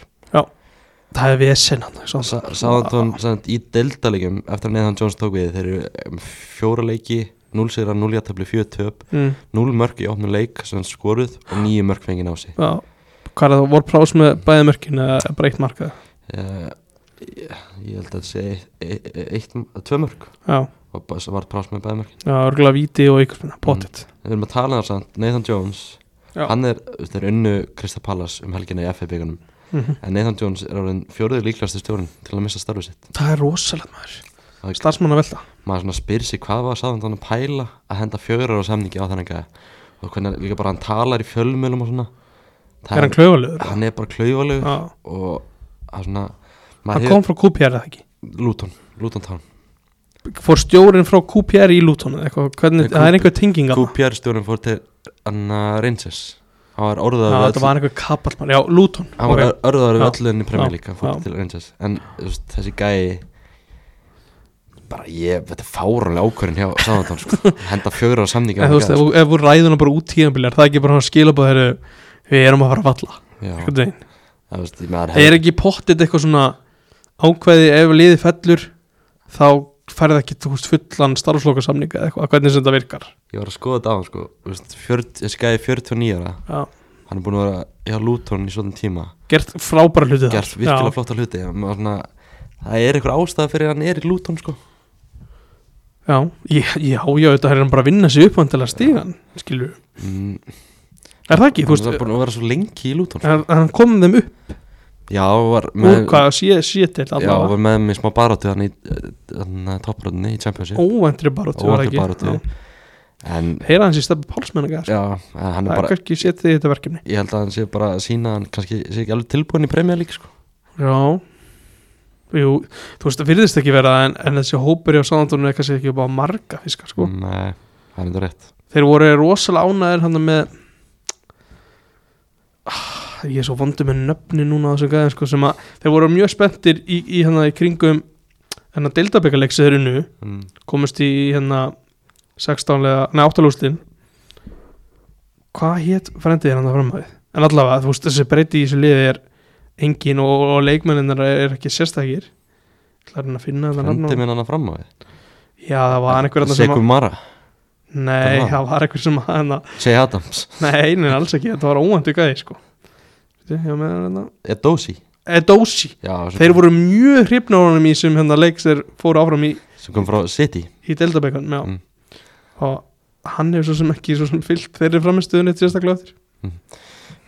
[SPEAKER 2] Það er vesen hann Southampton.
[SPEAKER 1] Sáðantón í deltalegum eftir að Nathan Jones tók við þeir eru um, fjóra leiki 0 sigra, 0 jættabli, 4 töp
[SPEAKER 2] mm,
[SPEAKER 1] 0 mörg í opnum leik sem skoruð og 9 mörg fengið á sig
[SPEAKER 2] já. Hvað er það, voru prás með bæði mörkin eða bara eitt markað
[SPEAKER 1] uh, ég, ég held að það sé eitt, eitt, eitt, tvö mörg
[SPEAKER 2] Já,
[SPEAKER 1] og bara- svo var prás með bæðmörkin
[SPEAKER 2] já örgulega víti og
[SPEAKER 1] Mm.
[SPEAKER 2] ykkurspina, pottet
[SPEAKER 1] við erum að tala þar samt, Nathan Jones
[SPEAKER 2] Já.
[SPEAKER 1] hann er, þú veist, þeir unnu Krista Pallas um helgina í FA byggunum
[SPEAKER 2] Mhm.
[SPEAKER 1] en Nathan Jones er orðin fjóruður líklastu stjórn til að missa starfið sitt
[SPEAKER 2] Það er rosalegt maður
[SPEAKER 1] Það er-
[SPEAKER 2] Starfsmann að velta
[SPEAKER 1] maður svona spyr sig hvað var sáðan að pæla að henda fjórar á samningi á þannig að og hvernig líka bara hann talar í fjölmjölum og svona Það
[SPEAKER 2] Er hann klöfalegur?
[SPEAKER 1] hann er bara klaufalegur
[SPEAKER 2] Já,
[SPEAKER 1] og það er svona
[SPEAKER 2] hann
[SPEAKER 1] maður
[SPEAKER 2] kom frá QPR eða ekki
[SPEAKER 1] Luton, Luton Town
[SPEAKER 2] Fór stjórinn frá QPR í Luton eða eitthvað,
[SPEAKER 1] Nei,
[SPEAKER 2] hvernig, það er
[SPEAKER 1] Coop-
[SPEAKER 2] einhver tenging þarna.
[SPEAKER 1] QPR stjórnum fór til Anna Rangers hann var orðaður
[SPEAKER 2] Já,
[SPEAKER 1] við
[SPEAKER 2] þetta
[SPEAKER 1] öll-
[SPEAKER 2] var einhver kapallmann, já, Luton
[SPEAKER 1] hann var
[SPEAKER 2] ok.
[SPEAKER 1] okay. örðaður við
[SPEAKER 2] Já.
[SPEAKER 1] öllu enn í Premier
[SPEAKER 2] Já.
[SPEAKER 1] League hann fór
[SPEAKER 2] Já.
[SPEAKER 1] til Rangers en þú veist, þessi gæi bara ég, þetta er fáránlega ákvörðin hjá Sáðantón
[SPEAKER 2] <laughs>
[SPEAKER 1] sko. henda fjögur á samningi
[SPEAKER 2] En þú veist, ef, þú- ef þú ræðuna bara út tíðanbílar það er ekki bara að skila bara þeirra við erum að fara að valla einhvern veginn. Það er
[SPEAKER 1] það
[SPEAKER 2] ekki pottit eitthvað svona ákveði ef liði fellur þá færði ekki þú veist, fullan starfslokasamninga eða eitthvað, hvernig sem þetta virkar
[SPEAKER 1] ég var að skoða þetta á hann sko. Þú veist, 40 þessi gæi er 49 ára
[SPEAKER 2] já.
[SPEAKER 1] hann er búin að vera hjá Luton í svona tíma
[SPEAKER 2] Gert frábæra hluti þar
[SPEAKER 1] gert virkilega
[SPEAKER 2] Já.
[SPEAKER 1] flotta hluti Hann var svona, það er eitthvað ástæða fyrir að hann er í Luton sko.
[SPEAKER 2] Já, já, já, já þetta er hann bara að vinna sér uppvandilega stígan skilur við,
[SPEAKER 1] mm,
[SPEAKER 2] er það ekki, þú
[SPEAKER 1] hann
[SPEAKER 2] veist
[SPEAKER 1] er búin að vera svo lengi í Luton sko.
[SPEAKER 2] hann, hann kom þeim upp
[SPEAKER 1] já, var
[SPEAKER 2] úr
[SPEAKER 1] með,
[SPEAKER 2] hvað, sé, sé til
[SPEAKER 1] já,
[SPEAKER 2] allavega
[SPEAKER 1] var með mig smá baráttu hann í toppröðinni í Championship
[SPEAKER 2] óvendri baróttu var
[SPEAKER 1] óvæntur
[SPEAKER 2] það ekki
[SPEAKER 1] baráttu
[SPEAKER 2] Já.
[SPEAKER 1] en
[SPEAKER 2] heyra hans í stefni pálsmennaga sko.
[SPEAKER 1] já, en hann
[SPEAKER 2] það
[SPEAKER 1] er
[SPEAKER 2] er
[SPEAKER 1] bara
[SPEAKER 2] kannski setið í þetta verkefni
[SPEAKER 1] ég held að hann sé bara að sína að hann kannski sé ekki alveg tilbúin í premja líka sko.
[SPEAKER 2] já Jú, þú veist það virðist
[SPEAKER 1] Mm.
[SPEAKER 2] ekki vera en, en þessi hópur hjá sáðandunum er kannski ekki bara marga fiskar sko
[SPEAKER 1] nei, eh, það er þetta rétt
[SPEAKER 2] Þeir þeir voru rosalega ánæðir hann með ah, ég er svo vondur með nöfni núna á þessum gæðin sko, sem að þeir voru mjög spenntir í, í hann í kringum hann að deildabekaleg sem þeir eru nú
[SPEAKER 1] mm.
[SPEAKER 2] komist í hérna 16-lega, nei 8-lústin hvað hétt frendið er hann að framhæði en allavega þú veist þessi breyti í þessu liði er engin og, og leikmenninnar er ekki sérstakir Það er hann að finna þetta nafn
[SPEAKER 1] Hendi
[SPEAKER 2] og-
[SPEAKER 1] minn hann fram á því
[SPEAKER 2] Já það var einhver þarna sem
[SPEAKER 1] Sekum Mara,
[SPEAKER 2] að Nei
[SPEAKER 1] var hann.
[SPEAKER 2] það var einhver sem að hana
[SPEAKER 1] Sey Adams
[SPEAKER 2] Nei neina alls ekki þetta var óvæntu gæði sko Veitu, hjá með hérna
[SPEAKER 1] Edosi
[SPEAKER 2] Edósi
[SPEAKER 1] Já, sem,
[SPEAKER 2] Þeir voru mjög hrifna á honum í sem hérna leik þeir fóru áfram í,
[SPEAKER 1] sem kom frá City
[SPEAKER 2] í Deldabekon já
[SPEAKER 1] Mm.
[SPEAKER 2] og hann hefur svo sem ekki svo sem fyllt þeirri framistuðunni sérstaklega eftir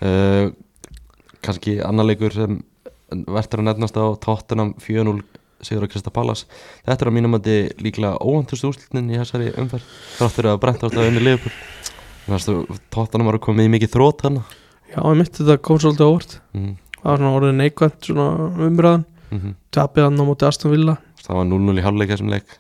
[SPEAKER 1] uh, Kanski annar leikur sem verður að nefnast á Tottenham 4-0 Sigur og Krista Pallas Þetta er að mínum að þið líklega óhantustu úrslutin í þessari umferð Þráttur að brenta ást að unni liðbúr Tottenham var að koma í mikið þrót hann
[SPEAKER 2] Já, ég mitt þetta kom svolítið á óvart
[SPEAKER 1] mm
[SPEAKER 2] það var svona orðið neikvæmt svona umræðan
[SPEAKER 1] -hmm.
[SPEAKER 2] tapið hann á móti Aston Villa
[SPEAKER 1] Það var 0-0 í hálfleik þessum leik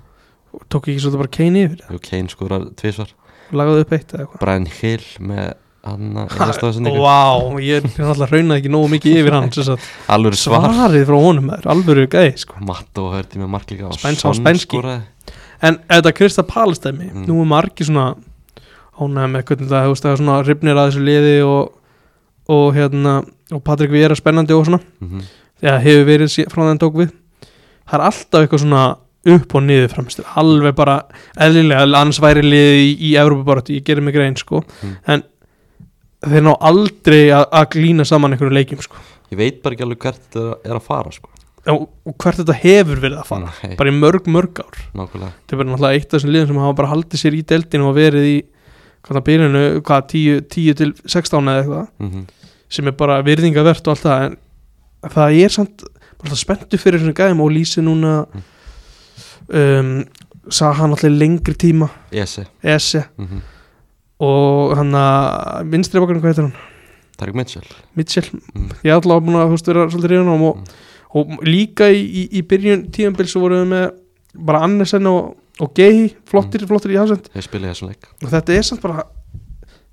[SPEAKER 2] og tók ekki svolítið bara Kane yfir
[SPEAKER 1] og Kane skorar tvisvar
[SPEAKER 2] og lagaði upp eitt eða eitthvað
[SPEAKER 1] Brian Hill með hann að
[SPEAKER 2] <laughs>
[SPEAKER 1] einasta þessum leikum
[SPEAKER 2] Vá, ég er alltaf raunaði ekki nógu mikið yfir hann sem sagt.
[SPEAKER 1] Alveg svar
[SPEAKER 2] svarið frá honum er alvöru gæði sko.
[SPEAKER 1] Matto hörði með marklíka og
[SPEAKER 2] Spæns- á
[SPEAKER 1] Son
[SPEAKER 2] spænski.
[SPEAKER 1] skoraði.
[SPEAKER 2] en þetta Krista Palestæmi
[SPEAKER 1] Mm.
[SPEAKER 2] nú er margir svona ánægð með hvernig það hefur stæða svona ripnir að þessu liði og, og hérna og Patrik Vera spennandi og svona
[SPEAKER 1] Mhm.
[SPEAKER 2] þegar hefur verið sé- frá þann tók við það er alltaf eitthvað svona upp og niður framstu, alveg bara eðlilega, annars væri liðið í, í Evrópubaratu, ég gerir mig grein sko
[SPEAKER 1] Mm.
[SPEAKER 2] en þeir ná aldrei að að glína saman einhverju leikjum sko
[SPEAKER 1] Ég veit bara ekki alveg hvert þetta er að fara sko.
[SPEAKER 2] og, og hvert þetta hefur verið að fara
[SPEAKER 1] Nei,
[SPEAKER 2] bara í mörg, mörg ár
[SPEAKER 1] Nákvæmlega
[SPEAKER 2] þetta er bara náttúrulega eitt af þessum liðum sem hafa bara haldið sér í deltinu og verið í hvað það byrjunu, hvað 10, 10 til 16 eða eitthvað
[SPEAKER 1] mm
[SPEAKER 2] sem er bara virðingavert og allt það en það er samt bara alltaf spenntu fyrir þessum gæðum og lýsi núna um, sað hann alltaf lengri tíma
[SPEAKER 1] Ese
[SPEAKER 2] Ese
[SPEAKER 1] mm -hmm.
[SPEAKER 2] og hann að vinstri bakarinn, hvað heitir hann?
[SPEAKER 1] Tarik Mitchell
[SPEAKER 2] Mitchell,
[SPEAKER 1] Mm.
[SPEAKER 2] ég er alltaf búin að þú veist vera svolítið reyðan og,
[SPEAKER 1] Mm.
[SPEAKER 2] og líka í, í, í byrjun tíðanbils svo vorum við með bara Annesen og, og Gehi, flottir, flottir í hafsend
[SPEAKER 1] Þeir spilaði þessum leik
[SPEAKER 2] og þetta er samt bara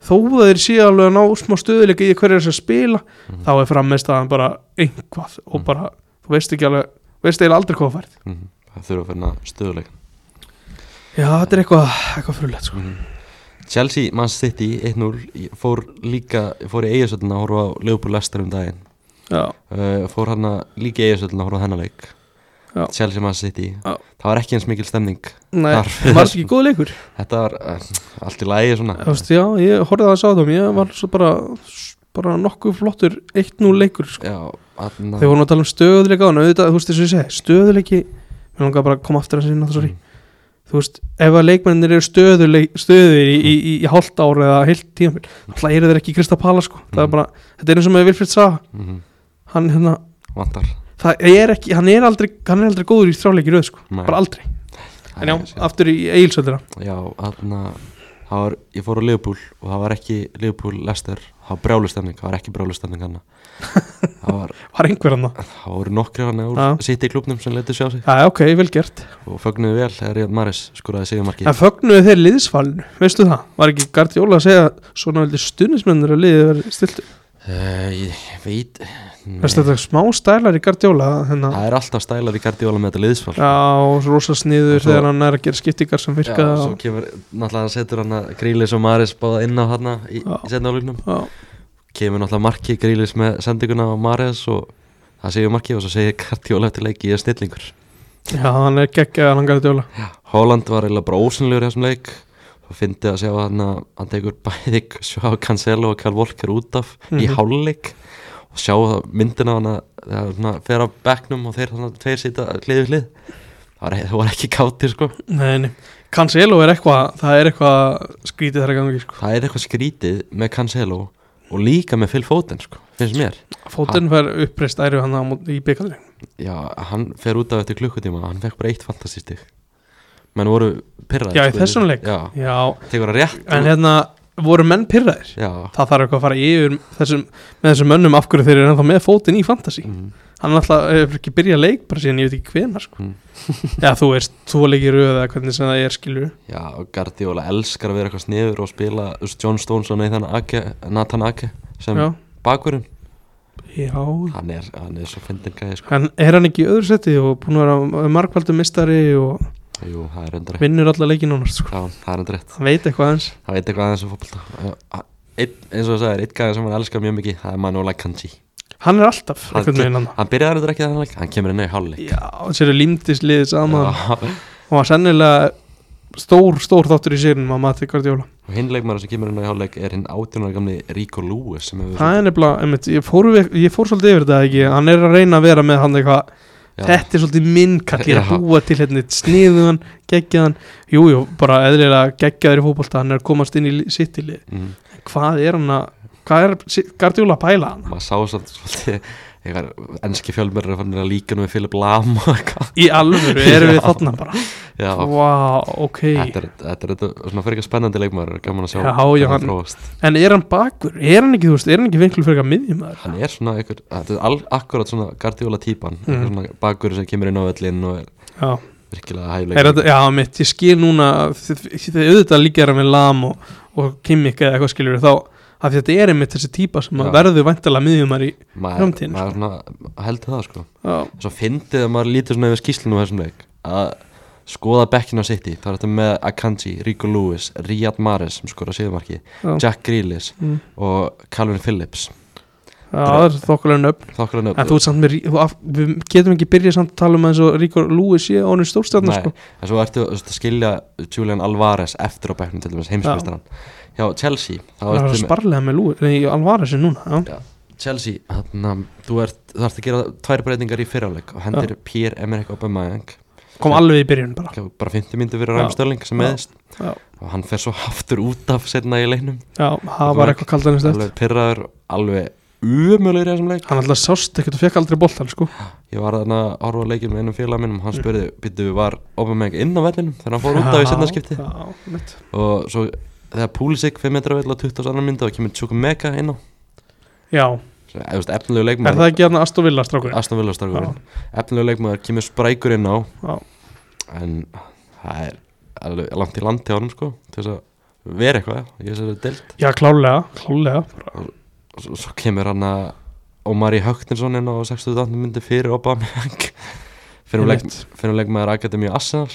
[SPEAKER 2] þó að þeir séu alveg að ná smá stöðuleika í hverju þess að spila
[SPEAKER 1] Mhm.
[SPEAKER 2] þá er frammeðstaðan bara einhvað og
[SPEAKER 1] Mhm.
[SPEAKER 2] bara, þú veist ekki alveg þú veist eiginlega aldrei hvað færð
[SPEAKER 1] mm -hmm. Það þurfa að finna stöðuleik
[SPEAKER 2] Já, þetta er eitthvað, eitthvað frulegt sko.
[SPEAKER 1] mm Chelsea, Man City 1-0 Ég Fór líka, fór í eigasöldin að horfa á Leopold Lester um daginn
[SPEAKER 2] Já,
[SPEAKER 1] uh, Fór hann að líka í eigasöldin að horfa á hennar leik
[SPEAKER 2] Já.
[SPEAKER 1] Chelsea, Man City
[SPEAKER 2] Já.
[SPEAKER 1] Það var ekki eins mikil stemning
[SPEAKER 2] nei,
[SPEAKER 1] Þar fyrir
[SPEAKER 2] það var ekki góð leikur
[SPEAKER 1] <laughs> Þetta var uh, allt í lagi svona
[SPEAKER 2] Þú veist, já, ég horfði að það sá þeim ég var svo bara, bara nokkuð flottur 1-0 leikur sko.
[SPEAKER 1] Já, þarna-
[SPEAKER 2] þegar vorum að tala um stöðuleika og auðvitað, þú veist, þess að ég segi, stöðuleiki mér langar bara að koma aftur að sinna,
[SPEAKER 1] Mm.
[SPEAKER 2] sorry þú veist, ef að leikmennir eru stöðuleik, stöður í, í, í, í hálft ára eða heilt tímafél, alltaf eru þeir ekki í Krista Pala sko, það er bara, þetta er eins og með Vilfrid Sa
[SPEAKER 1] mm -hmm.
[SPEAKER 2] hann, hérna,
[SPEAKER 1] Vantar
[SPEAKER 2] það er ekki hann er aldrei, hann er aldrei góður í þráleiki röð sko,
[SPEAKER 1] Nei.
[SPEAKER 2] bara aldrei, en já,
[SPEAKER 1] Æ, sér.
[SPEAKER 2] aftur í Egilsöldina,
[SPEAKER 1] Já, þarna það var, ég fór á Leopold og það var ekki Leopold Lester, það var brjálustemning það var ekki brjálustemning hann
[SPEAKER 2] <laughs>
[SPEAKER 1] það, var,
[SPEAKER 2] var einhver hann
[SPEAKER 1] það voru nokkri hann úr
[SPEAKER 2] Já.
[SPEAKER 1] sitt í klubnum sem letur sjá sig
[SPEAKER 2] já, ok, vel gert,
[SPEAKER 1] og fögnuðu vel þegar Ríðan Maris skoraði sigjumarki
[SPEAKER 2] en fögnuðu þeir liðsfallinu, veistu það, var ekki Gardi Óla að segja, svona veldi stunismennir að liðið verið stiltu,
[SPEAKER 1] uh, ég veit nei.
[SPEAKER 2] veistu þetta smá stælar í Gardi Óla, hérna,
[SPEAKER 1] það er alltaf stælar í gardjóla með þetta liðsfall
[SPEAKER 2] já, og svo rosa sniður
[SPEAKER 1] Og svo-
[SPEAKER 2] þegar hann er að gera skiptingar sem
[SPEAKER 1] Já,
[SPEAKER 2] virka
[SPEAKER 1] svo
[SPEAKER 2] og,
[SPEAKER 1] kemur, náttúrulega hann setur hann að Grílis og Maris báða inn á hann í,
[SPEAKER 2] Já.
[SPEAKER 1] í setna álugnum
[SPEAKER 2] já,
[SPEAKER 1] kemur náttúrulega marki Grílis með sendinguna á Maris og það segir marki og svo segir Gardjóla eftir leiki ég er snillingur
[SPEAKER 2] Já, hann er geggjaðan hann Gardi Óla
[SPEAKER 1] Holland var eiginlega bara ósynlegur í þessum leik og fyndi að sjá hann að hann tekur bæði <laughs> sjá Cancelo og Karl Volker út af í
[SPEAKER 2] Mhm.
[SPEAKER 1] háluleik og sjá það- myndina á hann að þegar hann svona fer af bekknum og þeir þannig að tveir sita hlið við hlið það var, það var ekki kátir sko
[SPEAKER 2] Nei, nei Cancelo er eitthvað, það er eitthvað skrítið þar að gangi sko.
[SPEAKER 1] það er eitthvað skrítið með Cancelo og líka með Phil Foden sko finnst mér
[SPEAKER 2] Fótinn fær uppreist æru hann á mót- í byggalri
[SPEAKER 1] já hann fer út af eftir klukkutíma hann fekk bara eitt fantasístig menn voru pyrraði
[SPEAKER 2] Já, í þessum leik
[SPEAKER 1] já
[SPEAKER 2] Já,
[SPEAKER 1] tekur hann rétt
[SPEAKER 2] en hérna voru menn pyrraðir
[SPEAKER 1] já
[SPEAKER 2] Það þarf eitthvað að fara yfir þessum, með þessum mönnum af hverju þeir eru ennþá með fótinn í fantasy
[SPEAKER 1] mm.
[SPEAKER 2] hann alltaf eh, hefur ekki byrjað leik bara síðan ég veit ekki hvenar sko.
[SPEAKER 1] Mm.
[SPEAKER 2] <laughs> já þú veist, þú leikir röð eða hvernig sem það er skilur
[SPEAKER 1] Já, og Guardiola elskar að vera eitthvað sniður og spila þú veist, John Stones og Nathan Ake, Nathan Ake sem
[SPEAKER 2] já,
[SPEAKER 1] bakurinn
[SPEAKER 2] já
[SPEAKER 1] hann er, hann er svo fyndin gæði sko.
[SPEAKER 2] hann er hann ekki í öðru seti og búin að vera markvældu mistari og
[SPEAKER 1] Jú, það er undri
[SPEAKER 2] vinnur alla leikin honast sko.
[SPEAKER 1] Já, það er undri
[SPEAKER 2] hann veit eitthvað eins
[SPEAKER 1] Það veit eitthvað aðeins um fótbolta Já, einn- eins og það er, eitt gæði sem hann elskar mjög mikið það er Manuela Kanji
[SPEAKER 2] hann er alltaf
[SPEAKER 1] Hann-
[SPEAKER 2] einhvern veginn hann
[SPEAKER 1] Hann byrjaði undri ekki þannig, hann kemur inn í hálfleik
[SPEAKER 2] já, þessi eru límtisliðið saman
[SPEAKER 1] Já,
[SPEAKER 2] og var sennilega stór, stór þáttur í sérunum að mati Guardiola
[SPEAKER 1] og hinn leikmaður sem kemur inn í hálfleik er hinn 18 ára gamli Rico Lewis sem hefur
[SPEAKER 2] það er nefnilega, einmitt, ég, fór, við- ég fór svolítið yfir þetta ekki, hann er að reyna að vera með hann eitthvað,
[SPEAKER 1] Já.
[SPEAKER 2] þetta er svolítið minn kall, ég er
[SPEAKER 1] Já.
[SPEAKER 2] að búa til hérna sniðuðan, geggjaðan, jújú jú, bara eðlilega geggjaður í fótbolta, hann er að komast inn í sittilið,
[SPEAKER 1] mm.
[SPEAKER 2] hvað er hann að hvað er Si- Guardiola að pæla hann
[SPEAKER 1] maður sá samt svolítið einhver enski fjölmörður er fannir að líka nú við Philip Lam og eitthvað
[SPEAKER 2] í alvöru, erum við
[SPEAKER 1] Já.
[SPEAKER 2] þarna bara
[SPEAKER 1] <laughs> Já,
[SPEAKER 2] vá, ok,
[SPEAKER 1] þetta er, þetta er þetta er svona fyrir eitthvað spennandi leikmaður gaman að sjá
[SPEAKER 2] Já,
[SPEAKER 1] hvernig
[SPEAKER 2] já, hann-
[SPEAKER 1] hann þróast
[SPEAKER 2] en er hann bakur er hann ekki, þú veist, er hann ekki vinklu fyrir eitthvað miðjumæður
[SPEAKER 1] hann er svona einhver, þetta er all, akkurat svona Guardiola típan,
[SPEAKER 2] Mhm.
[SPEAKER 1] mm. svona bakur sem kemur inn á öllin og er
[SPEAKER 2] já
[SPEAKER 1] virkilega
[SPEAKER 2] Er
[SPEAKER 1] hæfleik
[SPEAKER 2] þetta, já, mitt, ég skil núna þið þið auðvitað líka er hann við Lam og, og Kimmik eða eitthvað skiljur þá að þetta er einmitt þessi típa sem að
[SPEAKER 1] Já.
[SPEAKER 2] verður væntalega miðjumar í
[SPEAKER 1] maður,
[SPEAKER 2] framtíðin, sko?
[SPEAKER 1] maður svona heldur það sko
[SPEAKER 2] já,
[SPEAKER 1] svo fyndið að maður lítur svona yfir skýslinu á þessum leik að skoða bekkinu á City þá er þetta með Akanji, Rico Lewis Riyad Mahrez sem skora síðumarki
[SPEAKER 2] já, já,
[SPEAKER 1] Jack Grealish
[SPEAKER 2] Mm.
[SPEAKER 1] og Calvin Phillips
[SPEAKER 2] það er þokkulega nöfn
[SPEAKER 1] þokkulega
[SPEAKER 2] en þú ert samt með, Rí- þú af- við getum ekki byrjað samt að tala um að eins og Ríkor Lúi sé og hann er stórstjarnar
[SPEAKER 1] Nei,
[SPEAKER 2] sko
[SPEAKER 1] en svo ertu þú veist, að skilja Julian Alvarez eftir á bekknum til dæmis heimsmeistaran hjá Chelsea þá
[SPEAKER 2] það er
[SPEAKER 1] ertu
[SPEAKER 2] að
[SPEAKER 1] með
[SPEAKER 2] sparlega með Lúi, nei, alvara sér núna já,
[SPEAKER 1] Chelsea, þannig að þú ert, þú ert að gera tvær breytingar í fyrráleik og hendir Pierre-Emerick Aubameyang
[SPEAKER 2] kom alveg í byrjun bara
[SPEAKER 1] bara 50 myndir fyrir
[SPEAKER 2] Já.
[SPEAKER 1] Ræm Störling sem
[SPEAKER 2] Já.
[SPEAKER 1] meðist
[SPEAKER 2] Já.
[SPEAKER 1] og hann fer svo aftur út af setna í leiknum
[SPEAKER 2] já, það var eitthvað kaldanist eftir
[SPEAKER 1] alveg pyrraður, alveg umjöluður í þessum leik
[SPEAKER 2] hann alltaf sást ekkert og fekk aldrei boltan sko
[SPEAKER 1] ég var þarna að horfa á leikinn með einum félag minnum og hann spurði, býttu, var Aubameyang inn á vellinum þegar hann fór út af í setna skipti
[SPEAKER 2] Mm. Já, já, mitt.
[SPEAKER 1] og svo þegar Púlisik 5 metra vell á 22. myndu og kemur Tjóku Mega inn á
[SPEAKER 2] já,
[SPEAKER 1] Svo, eða, þú veist, efnilegu
[SPEAKER 2] er það
[SPEAKER 1] leikmaður
[SPEAKER 2] ekki hann að Aston Villa strákur
[SPEAKER 1] Aston Villa starkurinn efnilegu leikmaður kemur Sprækur inn á
[SPEAKER 2] Já.
[SPEAKER 1] en það er alveg langt í landi á hann sko til þess að vera eitthvað ég sér að deilt
[SPEAKER 2] Já, klálega, klálega
[SPEAKER 1] og svo, svo kemur hann að Ómari Högtinsson inn á 68. myndu fyrir Aubameyang <laughs> fyrir um leik,
[SPEAKER 2] Einmitt. Mm.
[SPEAKER 1] fyrir um leikmaður Akademi Arsenal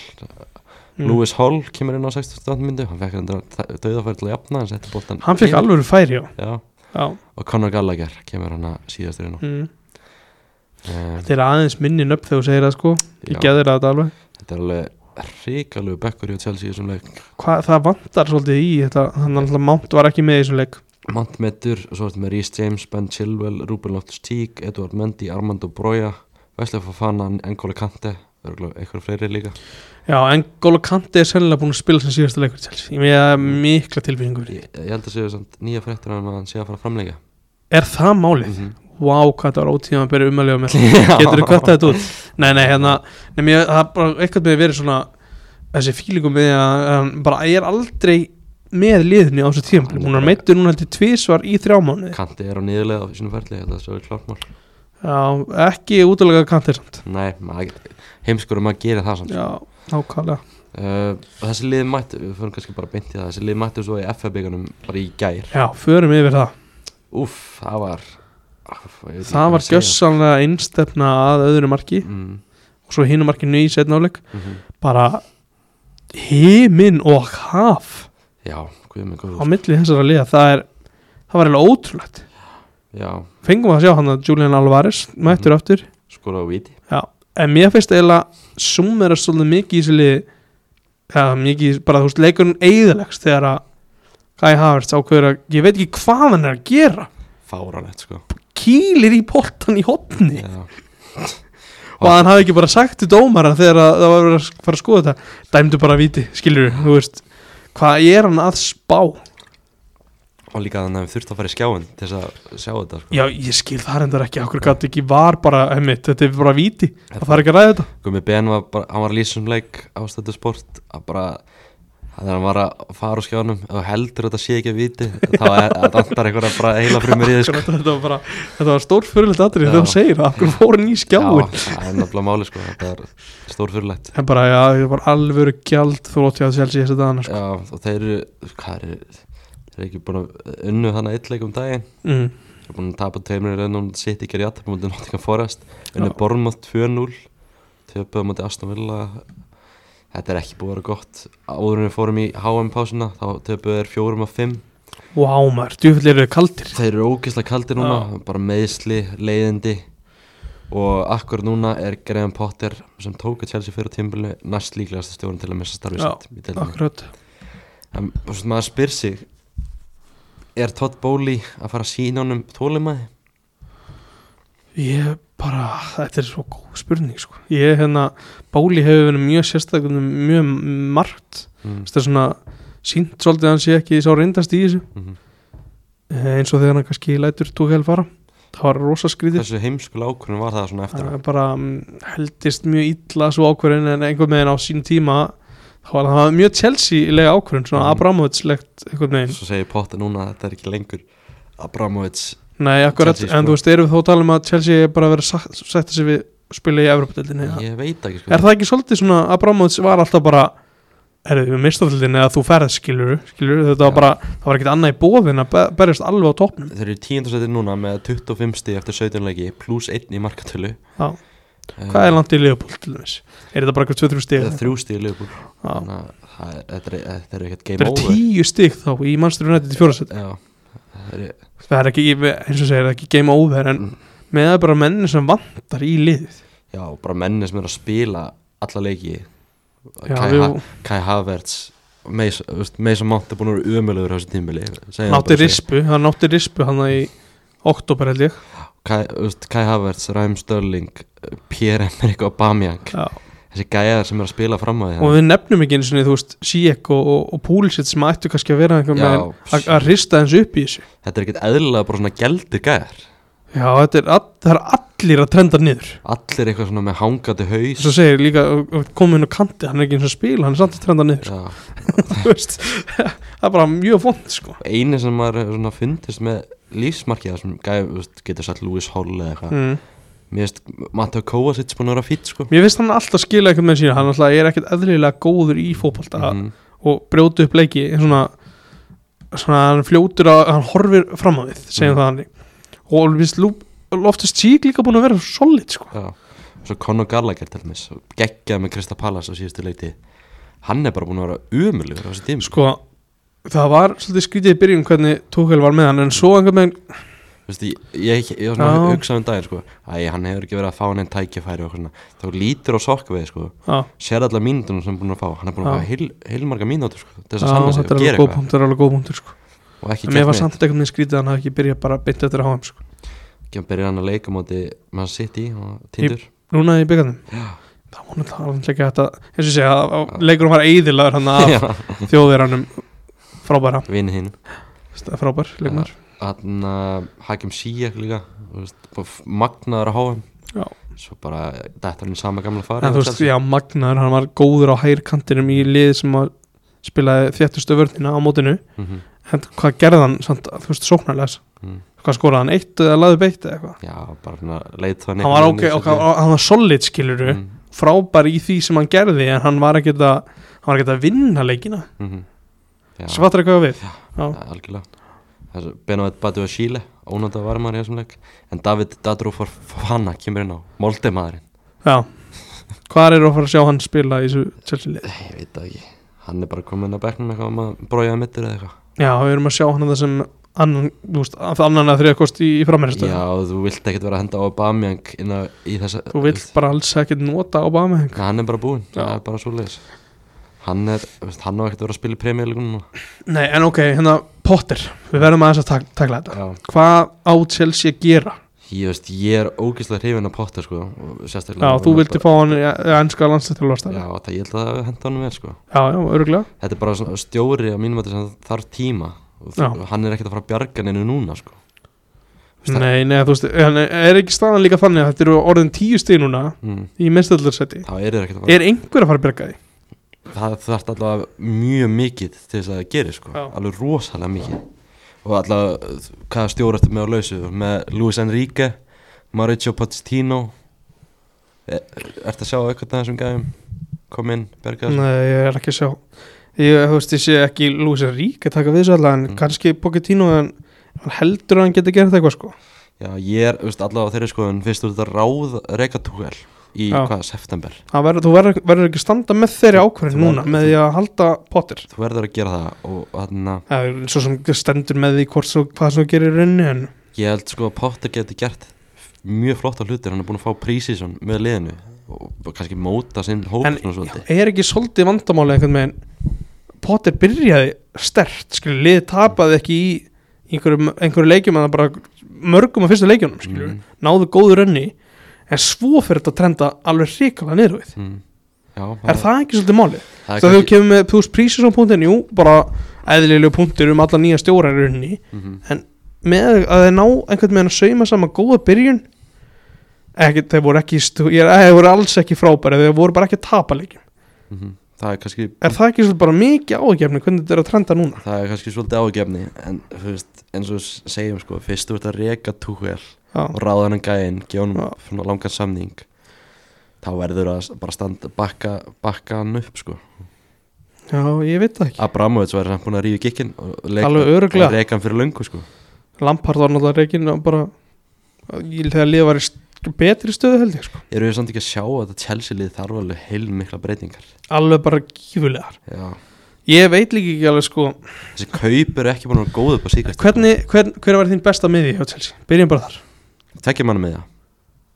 [SPEAKER 1] Lewis Hall kemur inn á 68. myndu hann fekk hann döðafæri til að jafna hann setti boltan
[SPEAKER 2] Hann fekk
[SPEAKER 1] inn.
[SPEAKER 2] alveg færi, já,
[SPEAKER 1] Já.
[SPEAKER 2] já.
[SPEAKER 1] og Conor Gallagher kemur hann að síðastur inn á
[SPEAKER 2] Mm.
[SPEAKER 1] um,
[SPEAKER 2] Þetta er aðeins minni nöfn þegar þú segir það sko Ég
[SPEAKER 1] já,
[SPEAKER 2] geði þér að þetta alveg
[SPEAKER 1] þetta er alveg hrikalegu bekkur hjá Chelsea í þessum leik
[SPEAKER 2] Hva, Það vantar svolítið í þetta Þannig alltaf Mount var ekki með í þessum leik
[SPEAKER 1] Mantmetur, svo ertu með Rhys James, Ben Chilwell, Ruben Loftus-Cheek, Eduard Mendy, Armando Broja, Wesley Fofana, N'Golo Kante, örugglega einhverju fleiri líka.
[SPEAKER 2] Já, en Golo Kante er sennilega búin að spila sem síðasta leikur til Ég með mikla tilbyggingur
[SPEAKER 1] Ég, ég held að séu samt nýja fréttur að hann sé að fara að framleika.
[SPEAKER 2] Er það málið?
[SPEAKER 1] -hmm.
[SPEAKER 2] Vá, hvað þetta var ótíma að byrja umæljóð með Getur þú kvætt þetta út? Nei, nei, hérna Nei, mér, það er bara eitthvað með verið svona Þessi fílingum með að um, bara ég er aldrei með liðinu á þessu tíma Hún er meittur núna heldur tvisvar í þrjá mánuði
[SPEAKER 1] Kante er á niðurlega á sínum ferli, ég held að það er klart mál.
[SPEAKER 2] Já, ekki útalega kantir samt
[SPEAKER 1] Nei, maður get- heimskur um að gera það samt.
[SPEAKER 2] Já, nákvæmlega
[SPEAKER 1] Uh, þessi lið mættu, við fyrir kannski bara beint í það, þessi lið mættu svo í FF-byggunum bara í gær.
[SPEAKER 2] Já, förum yfir það
[SPEAKER 1] Úff, það var... Úff, ég veit ekki
[SPEAKER 2] Það
[SPEAKER 1] hvað
[SPEAKER 2] var
[SPEAKER 1] að segja.
[SPEAKER 2] gjössanlega einstefna að öðru marki
[SPEAKER 1] Mm,
[SPEAKER 2] og svo hinu markinu í setnáleik
[SPEAKER 1] mm -hmm.
[SPEAKER 2] bara himin og haf
[SPEAKER 1] Já, hvað er með
[SPEAKER 2] á milli þessara liða það er það var eiginlega ótrúlegt
[SPEAKER 1] Já,
[SPEAKER 2] fengum við að sjá hann að Julian Alvarez mættur aftur
[SPEAKER 1] skoraði á viti
[SPEAKER 2] en mér finnst eiginlega sumera svolítið mikið í þessu liði eða mikið í- bara þú veist leikurinn eigðilegst þegar að Kai Havertz ákveður að ég veit ekki hvað hann er að gera
[SPEAKER 1] Fáralegt sko
[SPEAKER 2] kýlir í boltan í hotni
[SPEAKER 1] Já,
[SPEAKER 2] og að hann hafi ekki bara sagt til dómaran þegar að það var verið að fara að skoða þetta dæmdu bara viti, skilur þú veist hvað er hann að spá
[SPEAKER 1] Og líka þannig að við þurftum að fara í skjáin til þess að sjá þetta sko
[SPEAKER 2] já ég skil það reyndar ekki, okkur gæti ekki var bara einmitt, þetta er bara viti, það þarf ekki að ræða þetta
[SPEAKER 1] Gumi Ben var bara, hann var að lýsa um leik á stættu sport að bara, Þegar hann var að fara úr skjánum og heldur að þetta sé ekki að viti þá er andar einhverja bara heila frumur í sko. þessu
[SPEAKER 2] Akkurat, þetta var bara, þetta var stór fyrirlegt atrið
[SPEAKER 1] Já.
[SPEAKER 2] þegar þú segir það, af hverju fór hann í skjáin
[SPEAKER 1] Já, það er náttúrulega máli sko, þetta er stórfyrirlegt
[SPEAKER 2] en bara, já, þetta var alvöru gjald þrótt hjá Chelsea þessi dagana sko.
[SPEAKER 1] Já, og þeir eru, hvað eru þeir eru ekki búin að unnu þannig eitthleik um daginn
[SPEAKER 2] mm.
[SPEAKER 1] þeir eru búin að tapa tveimur í raunum sitt í gerði aðtapum mútið Nottingham Forest unnu
[SPEAKER 2] Já.
[SPEAKER 1] Bormótt 2-0 töpuð mútið Aston Villa þetta er ekki búin að vera gott áður en við fórum í HM pásuna þá töpuð er 4-5
[SPEAKER 2] wow, maður, djúfill eru þeir kaldir
[SPEAKER 1] Þeir eru ógeðslega kaldir núna, bara meðsli, leiðindi og akkur núna er Graham Potter sem tók að Chelsea fyrir tímbilinu næst líklegasta stjórn til að missa starfið
[SPEAKER 2] Já,
[SPEAKER 1] sitt í deildinni.
[SPEAKER 2] akkurat,
[SPEAKER 1] En og svona maður spyr sig, er Todd Bowley að fara að sína honum þólimaði?
[SPEAKER 2] ég bara þetta er svo góð spurning sko. ég, hérna, Báli hefur verið mjög sérstaklega mjög margt
[SPEAKER 1] Mm.
[SPEAKER 2] þetta er svona sínt svolítið að hann sé ekki sá reyndast í þessu
[SPEAKER 1] Mm -hmm.
[SPEAKER 2] eh, eins og þegar hann kannski lætur tókjál fara það var rosa skrítið
[SPEAKER 1] Þessu heimskulega ákvörðin var það svona eftir
[SPEAKER 2] það
[SPEAKER 1] á.
[SPEAKER 2] er bara mm, heldist mjög illa svo ákvörðin en einhvern veginn á sín tíma þá var það var mjög Chelsea-lega ákvörðin svona
[SPEAKER 1] Mhm.
[SPEAKER 2] mm. Abramovitslegt einhvern veginn
[SPEAKER 1] Svo segir Potter núna að þetta er ekki lengur Abramovits.
[SPEAKER 2] nei, akkurat,
[SPEAKER 1] Chelsea, sko.
[SPEAKER 2] en þú veist, erum við þó að tala um að Chelsea er bara að vera sagt- sætta sig við spila í Evropadeldinni
[SPEAKER 1] Ég veit ekki sko.
[SPEAKER 2] er það ekki svolítið svona Abramovits var alltaf bara er við mistafildinni eða þú ferð skilur, skilur þetta var
[SPEAKER 1] Já.
[SPEAKER 2] bara, það var ekkert annað í bóðin að be- berjast alveg á toppnum
[SPEAKER 1] Þeir eru tíundarsættir núna með 25 stíð eftir 17 leiki pluss 1 í markatölu. Eh,
[SPEAKER 2] Já. hvað er langt í Leopold til dæmis? er þetta bara eitthvað 2-3 stig?
[SPEAKER 1] Eða þrjú stíð í liðbúl
[SPEAKER 2] Já.
[SPEAKER 1] þannig að það er- þetta er- þetta er ekkert
[SPEAKER 2] þetta
[SPEAKER 1] game
[SPEAKER 2] er
[SPEAKER 1] over
[SPEAKER 2] 10 stig þá í Manchester United í fjórasett
[SPEAKER 1] Já, það er,
[SPEAKER 2] það er ekki, eins og segir, það er ekki game over en með það er bara menni sem vantar í liðið
[SPEAKER 1] já, bara menni sem er að spila alla leiki
[SPEAKER 2] Já,
[SPEAKER 1] Kai,
[SPEAKER 2] við-
[SPEAKER 1] ha Kai Havertz Meisa Mount er búin að vera umöluður á þessu tímbili
[SPEAKER 2] hann átti rispu, hann átti rispu hann í oktober held ég
[SPEAKER 1] Kai, þú veist, Kai Havertz, Raheem Störling Pierre-Emerick Aubameyang
[SPEAKER 2] Já.
[SPEAKER 1] þessi gæjar sem er að spila fram á því
[SPEAKER 2] og við nefnum ekki eins og þú veist Sijek og, og, og Púlisitt sem ættu kannski að vera einhver
[SPEAKER 1] Já,
[SPEAKER 2] meginn að- að rista eins upp í þessu
[SPEAKER 1] þetta er ekkert eðlilega bara svona gældir gæjar
[SPEAKER 2] já, þetta er, all, það er allir að trenda niður
[SPEAKER 1] allir eitthvað svona með hangandi haus
[SPEAKER 2] þess að segir líka komin á kanti hann er ekki eins og að spila, hann er samt að trenda niður
[SPEAKER 1] Já.
[SPEAKER 2] <laughs> þú veist, það er bara mjög vond sko.
[SPEAKER 1] eini sem maður hefur svona fundist með lífsmarkið þessum gæjar, þú veist, getur sagt Lewis Hall eða eitthvað
[SPEAKER 2] mm.
[SPEAKER 1] Mér finnst Matteo Kovacic búin að vera fýtt sko
[SPEAKER 2] mér finnst hann alltaf skila eitthvað með sína hann alltaf er ekkert eðlilega góður í fótbolta
[SPEAKER 1] Mhm.
[SPEAKER 2] og brjótu upp leiki svona, svona hann fljótur að hann horfir fram á við segjum
[SPEAKER 1] Mm.
[SPEAKER 2] það hann og viðst, Loftus Cheek líka búin að vera solid sko.
[SPEAKER 1] Já, og svo Conor Gallagher til dæmis geggjað með Krista Pallas á síðustu leiti Hann er bara búin að vera umulugur á þessi tími sko.
[SPEAKER 2] sko það var svolítið skrítið í byrjun hvernig Tuchel var með hann en svo einhvern veginn
[SPEAKER 1] Vist, Ég, ég, ég var svona
[SPEAKER 2] Já.
[SPEAKER 1] að hugsa um daginn sko Æ, hann hefur ekki verið að fá hann einn tækifæri og eitthvað svona Þá lítur á sokka við sko
[SPEAKER 2] já,
[SPEAKER 1] Sér allar mínútur sem hann er búin að fá Hann er búin að
[SPEAKER 2] Já.
[SPEAKER 1] fá heil, heilmarga mínútur sko Til
[SPEAKER 2] já,
[SPEAKER 1] þess að sanna sig
[SPEAKER 2] þetta
[SPEAKER 1] og gera
[SPEAKER 2] er alveg góð
[SPEAKER 1] eitthvað
[SPEAKER 2] punktur, alveg góð punktur sko.
[SPEAKER 1] Og ekki
[SPEAKER 2] en mér
[SPEAKER 1] gert
[SPEAKER 2] var
[SPEAKER 1] neitt
[SPEAKER 2] samt einhvern veginn skrítið að hann hafði ekki byrjað bara beint eftir að háum sko.
[SPEAKER 1] Ekki að byrja hann að leika móti Man City og Tindur
[SPEAKER 2] núna í byggarnum það var náttúrulega alveg ekki hægt að um eins og ég segja, að- að leikurum var eðilagur hann
[SPEAKER 1] <laughs>
[SPEAKER 2] af þjóðverðanum frábæra,
[SPEAKER 1] Vinni hinn
[SPEAKER 2] frábær leikmar
[SPEAKER 1] hann uh, Hakim Sijak líka þú veist, bara f- magnaður á háum
[SPEAKER 2] Já.
[SPEAKER 1] svo bara dættar hann í sama gamla fari
[SPEAKER 2] En þú veist, já, Magnaður, hann var góður á hægirkantinum í liði sem að spilaði þjættustu vörnina á mótinu
[SPEAKER 1] mm -hmm.
[SPEAKER 2] en hvað gerði hann, samt, þú veist, sóknarlegs
[SPEAKER 1] Mm.
[SPEAKER 2] hvað skoraði hann, eitt eða laði beitt eða eitthvað
[SPEAKER 1] já, bara svona leit þannig
[SPEAKER 2] hann var, okay, okay, hann var solid, skiluru
[SPEAKER 1] mm
[SPEAKER 2] frábær í því sem hann gerði en hann var ekkert að, hann var ekkert að vinna leikina
[SPEAKER 1] -hmm. já,
[SPEAKER 2] svo fattar eitthvað við
[SPEAKER 1] ja, algjörlega Þessu, Benoit Batu og Chile, ónönda varmar í þessum leik en David Dadro for Fana kemur inn á Moldemadurinn
[SPEAKER 2] já, hvað er að fara að sjá hann spila í þessu Chelsea liði
[SPEAKER 1] ég veit það ekki, hann er bara komin að bekknum eitthvað um að brója mittur eða eitthvað
[SPEAKER 2] já, við erum að sjá hann það sem annan, þú veist, annan að þriða kost í, í framherjastöðu
[SPEAKER 1] já, þú vilt ekkert vera að henda á Bamjang inn á í þessa
[SPEAKER 2] þú vilt bara alls ekkert nota á bama
[SPEAKER 1] Nei, hann er bara búinn,
[SPEAKER 2] Já.
[SPEAKER 1] það er bara svo leiðis Hann er, þú veist, hann á ekkert að vera að spila í premjörleikunum núna
[SPEAKER 2] Nei, en ok, hérna Potter, við verðum aðeins að tak takla þetta
[SPEAKER 1] Já,
[SPEAKER 2] Hvað á Chelsea að gera?
[SPEAKER 1] ég veist, ég er ógeðslega hrifin að potta sko og
[SPEAKER 2] Já,
[SPEAKER 1] sérstaklega
[SPEAKER 2] þú vildi fá hann í í ennska landslýttilvastar
[SPEAKER 1] Já,
[SPEAKER 2] Já,
[SPEAKER 1] það ég held að það henda honum vel sko
[SPEAKER 2] já, öruglega
[SPEAKER 1] Þetta er bara svona stjóri á mínum að sem þarf tíma og
[SPEAKER 2] Já.
[SPEAKER 1] þú- hann er ekkert að fara að bjarga neinu núna sko Veist það-
[SPEAKER 2] Nei, nei, þú veist, en eh, er ekki staðan líka þannig að þetta eru orðin tíu stig núna
[SPEAKER 1] mm,
[SPEAKER 2] í minnstöldarsæti
[SPEAKER 1] Þá er þeir ekkert að fara
[SPEAKER 2] Er einhver að fara að berga því?
[SPEAKER 1] það þarf allavega mjög mikið til þess að það gerir sko,
[SPEAKER 2] Já.
[SPEAKER 1] alveg rosalega mikið og allavega uh, hvaða stjóra eftir með á lausu með Luis Enrique Mauricio Pochettino er, Ertu að sjá eitthvað af þessum gæfum kom inn, bergar
[SPEAKER 2] Nei, ég er ekki að sjá Ég, þú veist, ég sé ekki Luis Rík að taka við þessu allavega en
[SPEAKER 1] Mm.
[SPEAKER 2] kannski Pochettino en hann heldur að hann geti gert eitthvað sko
[SPEAKER 1] Já, ég er veist, allavega á þeirri sko en fyrst úr þetta ráð rekatúkel í
[SPEAKER 2] Já.
[SPEAKER 1] hvað, september
[SPEAKER 2] Það verður, þú verður, verður ekki að standa með þeirri ákvörðin
[SPEAKER 1] Þú
[SPEAKER 2] núna
[SPEAKER 1] verður-
[SPEAKER 2] með því að halda Potter
[SPEAKER 1] þú verður að gera það og þarna,
[SPEAKER 2] Það er svo sem stendur með því hvort svo, hvað svo gerir í rauninni en
[SPEAKER 1] ég held sko að Potter geti gert mjög flotta hlutir, hann er búin að fá prísísson með liðinu og kannski móta sinn hóp
[SPEAKER 2] En-
[SPEAKER 1] svona svolítið
[SPEAKER 2] er ekki svolítið vandamáli einhvern veginn Potter byrjaði stert skilur, liðið tapaði ekki í einhverju, einhverju leikjum en það bara mörgum af fyrstu leikjunum skilur,
[SPEAKER 1] Mm.
[SPEAKER 2] náðu góðu rönni en svo fyrir þetta að trenda alveg hrikalega niður við
[SPEAKER 1] mm. Já,
[SPEAKER 2] er það ekki svolítið máli?
[SPEAKER 1] það er
[SPEAKER 2] Þegar þú
[SPEAKER 1] kannski,
[SPEAKER 2] kemur með pluss prísir á punktin, jú, bara eðlilegu punktir um alla nýja stjórar í rauninni
[SPEAKER 1] mhm,
[SPEAKER 2] með að þeir ná einhvern veginn að sauma saman góða byrjun ekki, þeir voru ekki stu, ég, þeir voru alls ekki frábæri, þeir voru bara ekki að tapa leikjum
[SPEAKER 1] mhm. það er kannski
[SPEAKER 2] er það ekki svolítið bara mikið ágefni hvernig þetta er að trenda núna
[SPEAKER 1] það er kannski svolítið ágefni en þú veist, eins og við segjum sko fyrst þú ert að reka túkvel og
[SPEAKER 2] já,
[SPEAKER 1] ráða hennan gæinn, gefa
[SPEAKER 2] Já.
[SPEAKER 1] hann langan samning þá verður að bara standa bakka, bakka hann upp sko
[SPEAKER 2] já, ég veit það ekki
[SPEAKER 1] Abramovits var hann búin að ríða gikkin og
[SPEAKER 2] Alveg örugglega.
[SPEAKER 1] reka hann fyrir löngu sko
[SPEAKER 2] Lampard var náttúrulega reikinn og bara ég þegar liða var í st- betri stöðu held ég sko.
[SPEAKER 1] Eru við samt ekki að sjá að þetta Chelsea lið þarf alveg heil mikla breytingar
[SPEAKER 2] alveg bara gífulegar
[SPEAKER 1] Já.
[SPEAKER 2] ég veit líka ekki alveg sko
[SPEAKER 1] Þessi kaup eru ekki búin að vera góð upp á síkast
[SPEAKER 2] hvernig, hvern, hver var þín besta miði hjá Chelsea byrjum bara þar
[SPEAKER 1] Tvekja manna með það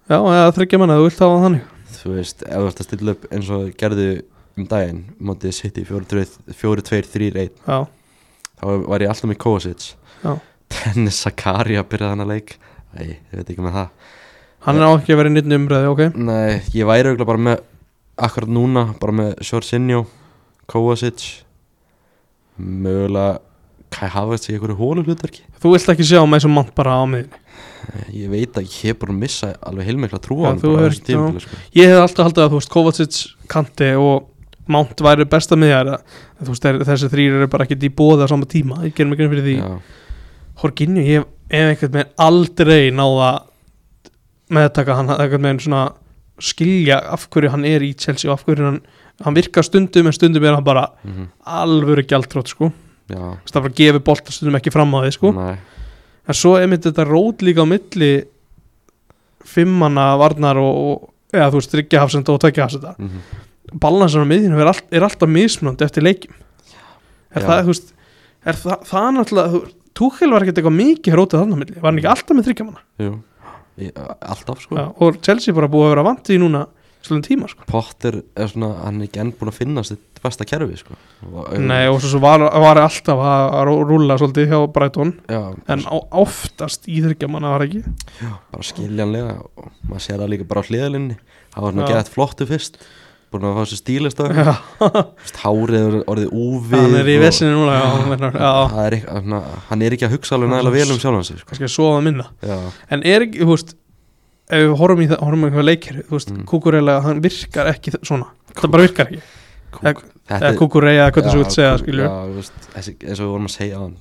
[SPEAKER 2] já, eða þryggja manna, þú vilt hafa það þannig
[SPEAKER 1] Þú veist, ef þú ert að stilla upp eins og gerðu um daginn Mótið sitt í 4-2-3-1
[SPEAKER 2] já,
[SPEAKER 1] Þá var ég alltaf með Kovacic
[SPEAKER 2] Já.
[SPEAKER 1] Dennis Zakaria byrjaði hann að leik Æ, ég veit ekki með það
[SPEAKER 2] hann á ekki að vera í nýtt umræði, ok
[SPEAKER 1] Nei, ég væri auðvitað bara með Akkurat núna, bara með Sjórsinjó Kovacic Mögulega Kai Havertz í einhverju hólu hlutverki
[SPEAKER 2] Þú vilt ekki sjá með þessum mann bara á miðinni
[SPEAKER 1] Ég veit að ég hef búin að missa alveg heilmikla trú
[SPEAKER 2] Já,
[SPEAKER 1] á hann
[SPEAKER 2] þú
[SPEAKER 1] bara á
[SPEAKER 2] hefur-
[SPEAKER 1] þessu tímabili, sko.
[SPEAKER 2] Ég hef alltaf haldið að þú veist Kovacic, Kanti og Mount væri besta miðjar þú veist þeir- þessi þrýr eru bara ekkert í bóða á sama tíma, ég gerum ekki fyrir því
[SPEAKER 1] Já,
[SPEAKER 2] Horginju, ég hef- hef einhvern veginn aldrei náða meðtaka hann, einhvern veginn svona skilja af hverju hann er í Chelsea og af hverju hann, hann virkar stundum en stundum er hann bara
[SPEAKER 1] mhm,
[SPEAKER 2] alvöru gjaldrótt sko,
[SPEAKER 1] já
[SPEAKER 2] Þú veist, það bara gefi bolt stundum ekki fram á því sko
[SPEAKER 1] Nei,
[SPEAKER 2] en svo er mitt þetta rót líka á milli fimmana varnar og, og eða þú veist, tryggja hafsenda og tvekja hafsenda
[SPEAKER 1] mhm.
[SPEAKER 2] balansan á miðinu er, all, er alltaf mismunandi eftir leikjum er
[SPEAKER 1] Já.
[SPEAKER 2] það, þú veist er það, það er náttúrulega, þú- Tuchel var ekkert eitthvað mikið rótið þarna á milli, var hann
[SPEAKER 1] Mm.
[SPEAKER 2] ekki alltaf með þryggja manna
[SPEAKER 1] Jú, í, alltaf sko
[SPEAKER 2] ja, og Chelsea bara búið að vera vant í núna svolítið tíma sko
[SPEAKER 1] Potter er svona, hann er ekki enn búin að finna sitt besta kerfi sko og,
[SPEAKER 2] Nei, og svo, svo var, var alltaf að að rú- rúlla svolítið hjá Brighton
[SPEAKER 1] já,
[SPEAKER 2] en á, oftast í þryggja manna var ekki
[SPEAKER 1] bara skiljanlega og maður sér það líka bara á hliðalinni það var svona
[SPEAKER 2] Já.
[SPEAKER 1] gett flottu fyrst búin að fá sér stílist á
[SPEAKER 2] Já,
[SPEAKER 1] hárið er orðið úfið
[SPEAKER 2] hann er í
[SPEAKER 1] og-
[SPEAKER 2] vesinu núna já, hann er- já,
[SPEAKER 1] Það er ekki- svona, hann er ekki að hugsa alveg nægilega vel um sjálfan sig sko.
[SPEAKER 2] kannski að sofa minna
[SPEAKER 1] já,
[SPEAKER 2] En er ekki, þú veist ef við horfum í það, horfum einhver leikir þú veist,
[SPEAKER 1] Mm.
[SPEAKER 2] mm. hann virkar ekki þ- svona það bara virkar ekki,
[SPEAKER 1] kúk, þetta
[SPEAKER 2] eða kúkureyja eða hvernig svo vilt segja, skilju
[SPEAKER 1] já, þú veist, þessi, eins og við vorum að segja á hann